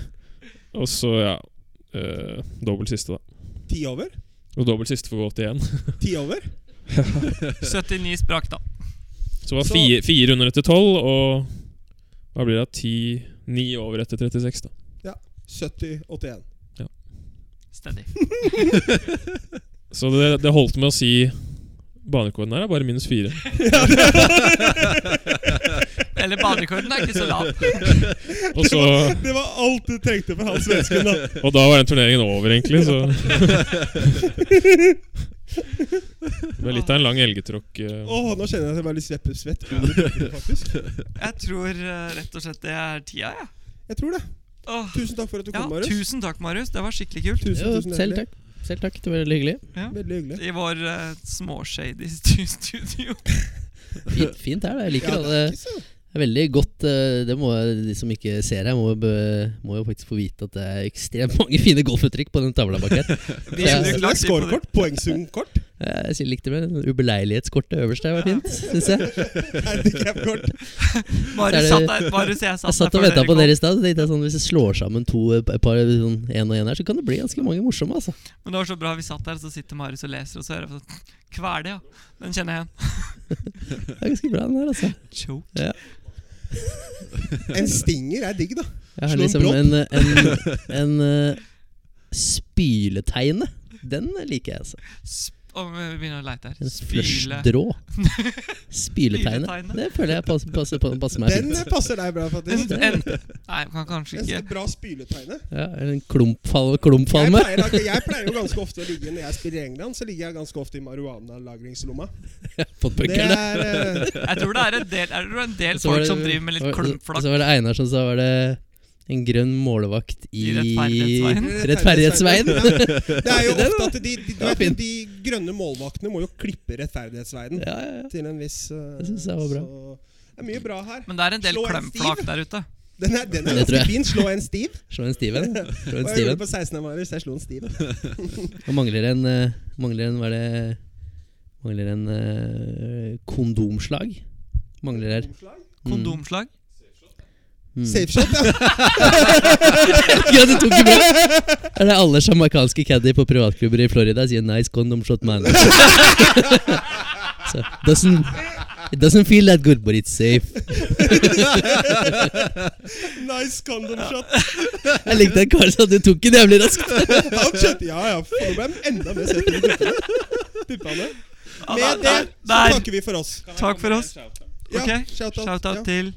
[SPEAKER 2] Og så, ja uh, Dobbel siste, da.
[SPEAKER 1] Ti over?
[SPEAKER 2] Og dobbel siste for å gå til igjen.
[SPEAKER 1] Ti over?
[SPEAKER 3] 79 sprakk, da.
[SPEAKER 2] Så var
[SPEAKER 1] Så-
[SPEAKER 2] fire, fire under etter tolv, og hva blir det? da? Ti Ni over etter 36, da.
[SPEAKER 1] 70-81.
[SPEAKER 3] Steady.
[SPEAKER 2] Så det, det holdt med å si banekoden her er bare minus fire.
[SPEAKER 3] Eller banekorden er ikke så lav.
[SPEAKER 2] Og så
[SPEAKER 1] Det var alt du trengte for han svensken, da.
[SPEAKER 2] Og da var den turneringen over, egentlig. Så det ble litt av en lang elgetråkk. eh.
[SPEAKER 1] Åh, nå kjenner jeg at jeg var litt svett, svett under brillene, faktisk.
[SPEAKER 3] Jeg tror eh, rett og slett det er tida, jeg.
[SPEAKER 1] Jeg tror det.
[SPEAKER 3] Åh.
[SPEAKER 1] Tusen takk for at du
[SPEAKER 3] Ja,
[SPEAKER 1] kom, Marius.
[SPEAKER 3] tusen takk, Marius. Det var skikkelig kult.
[SPEAKER 1] Tusen,
[SPEAKER 5] Ja,
[SPEAKER 1] tusen
[SPEAKER 5] selv
[SPEAKER 1] hjertelig.
[SPEAKER 5] takk. Selv takk, det var veldig hyggelig.
[SPEAKER 1] Veldig hyggelig.
[SPEAKER 3] I vår eh, småshady stu- studio.
[SPEAKER 5] Fint, fint her, da. Jeg liker
[SPEAKER 1] Ja,
[SPEAKER 5] det.
[SPEAKER 1] det er
[SPEAKER 5] Det
[SPEAKER 1] ikke så
[SPEAKER 5] er veldig godt. eh, Det må de som ikke ser her, må, jo be- må jo faktisk få vite at det er ekstremt mange fine golfuttrykk på den tavla bak her.
[SPEAKER 3] Vi er
[SPEAKER 1] Det
[SPEAKER 3] litt
[SPEAKER 1] er
[SPEAKER 3] langt inn på det.
[SPEAKER 1] Scorekort. Poengsumkort.
[SPEAKER 5] Jeg sy- likte det. med Ubeleilighetskortet øverst der var fint, syns jeg.
[SPEAKER 1] Handicap-kort.
[SPEAKER 3] Marius
[SPEAKER 5] Der er
[SPEAKER 3] satt
[SPEAKER 5] det-
[SPEAKER 3] der, Marius, jeg
[SPEAKER 5] Jeg
[SPEAKER 3] satt
[SPEAKER 5] satt og
[SPEAKER 3] før
[SPEAKER 5] venta på
[SPEAKER 3] kom.
[SPEAKER 5] dere i stad. så tenkte jeg Sånn, hvis jeg slår sammen to eh, par, sånn, en og en her, så kan det bli ganske mange morsomme. altså
[SPEAKER 3] Men det var så bra vi satt der, så sitter Marius og leser, og så hører jeg sånn Kvele, ja. Den kjenner jeg igjen.
[SPEAKER 5] Det er ganske bra, den her. altså
[SPEAKER 3] Choke.
[SPEAKER 1] En stinger er digg, da.
[SPEAKER 5] Jeg har
[SPEAKER 1] Slå en
[SPEAKER 5] liksom
[SPEAKER 1] propp.
[SPEAKER 5] en, en, en, eh, spyleteine. Den liker jeg, altså.
[SPEAKER 3] Sp og vi begynner å leite her.
[SPEAKER 5] En
[SPEAKER 3] Spyle.
[SPEAKER 5] flush-drå. Spyleteine.
[SPEAKER 3] Spyleteine.
[SPEAKER 5] Det føler jeg passer, passer, passer meg
[SPEAKER 1] Den eh,
[SPEAKER 5] fint.
[SPEAKER 1] passer deg bra, faktisk.
[SPEAKER 3] En, en, nei, kan kanskje
[SPEAKER 1] En
[SPEAKER 3] ikke
[SPEAKER 1] sånn bra spyletegne.
[SPEAKER 5] Ja, eller en klumpfal-
[SPEAKER 1] Jeg
[SPEAKER 5] klumpfalme.
[SPEAKER 1] pleier, da- jeg pleier jo ganske ofte å ligge Når jeg spiller i England, så ligger jeg ganske ofte i marihuana-lagringslomma.
[SPEAKER 5] Fått
[SPEAKER 1] Det
[SPEAKER 5] bøkene.
[SPEAKER 1] er eh,
[SPEAKER 3] Jeg tror det er en del, er det en del
[SPEAKER 5] Så var
[SPEAKER 3] folk
[SPEAKER 5] det-
[SPEAKER 3] som driver med litt
[SPEAKER 5] var-
[SPEAKER 3] klumpflakk.
[SPEAKER 5] Så var det Einar som sa var det en grønn målvakt i,
[SPEAKER 3] I rettferdighetsveien.
[SPEAKER 5] Rettferdighetsveien.
[SPEAKER 1] Ja. Det er jo ofte at de, de, du
[SPEAKER 5] Ja,
[SPEAKER 1] vet,
[SPEAKER 5] fint.
[SPEAKER 1] de grønne målvaktene må jo klippe rettferdighetsverden
[SPEAKER 5] ja, ja, ja.
[SPEAKER 1] til en viss eh,
[SPEAKER 5] Det synes jeg var bra.
[SPEAKER 1] så Det er mye bra her.
[SPEAKER 3] Men det er en del
[SPEAKER 1] Slå en
[SPEAKER 3] klumpflakk der ute.
[SPEAKER 1] Den er, den er
[SPEAKER 5] Det tror
[SPEAKER 1] ganske
[SPEAKER 5] jeg.
[SPEAKER 1] fin. Slå en stiv.
[SPEAKER 5] Slå en Steven. Slå
[SPEAKER 1] Og
[SPEAKER 5] en
[SPEAKER 1] jeg gjorde
[SPEAKER 5] Steven.
[SPEAKER 1] det på 16. Marius. Jeg slo en stiv.
[SPEAKER 5] Og mangler en, eh, mangler en Hva er det Mangler en eh, kondomslag. Mangler her.
[SPEAKER 3] Kondomslag.
[SPEAKER 5] Mm.
[SPEAKER 1] Safe shot, ja.
[SPEAKER 5] ja, du tok ikke med Er det alle jamaicanske caddy på privatklubber i Florida sier 'nice condom shot man'? Så, doesn't, it doesn't feel that good, but it's safe.
[SPEAKER 1] Nice condom shot.
[SPEAKER 5] Jeg likte at Karl sa du tok den jævlig raskt.
[SPEAKER 1] Han skjønte, ja, ja, for nå ble han enda mer søt enn guttene. Tippa det.
[SPEAKER 3] Ja,
[SPEAKER 1] Med det
[SPEAKER 3] der-
[SPEAKER 1] så
[SPEAKER 3] der.
[SPEAKER 1] takker vi for oss.
[SPEAKER 3] Takk for oss.
[SPEAKER 1] Ja,
[SPEAKER 3] ah, Ok,
[SPEAKER 1] shout-out, ja.
[SPEAKER 3] Shout-out til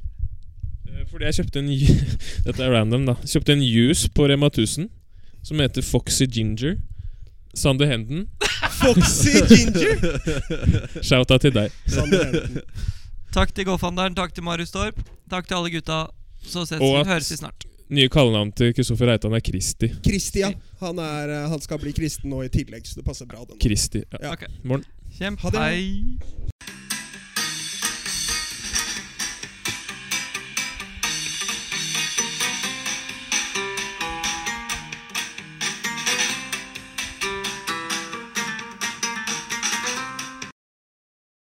[SPEAKER 2] Eh, Fordi jeg kjøpte en ju- Dette er random, da. Kjøpte en juice på Rema 1000 som heter Foxy Ginger. Sander Henden,
[SPEAKER 1] Foxy Ginger.
[SPEAKER 2] shout-out til deg.
[SPEAKER 1] Sander Enten.
[SPEAKER 3] Takk til Golfhandleren, takk til Marius Torp. Takk til alle gutta. Så ses vi,
[SPEAKER 2] Og at-
[SPEAKER 3] høres vi snart.
[SPEAKER 2] Nye kallenavn til Kristoffer Reitan er Kristi.
[SPEAKER 1] Christian. Han, er, eh, han skal bli kristen nå i tillegg, så det passer bra. Den.
[SPEAKER 2] Kristi. Ja.
[SPEAKER 1] Ja.
[SPEAKER 3] Ok.
[SPEAKER 2] Morgen.
[SPEAKER 3] Kjemp.
[SPEAKER 1] Ha det.
[SPEAKER 3] Hei.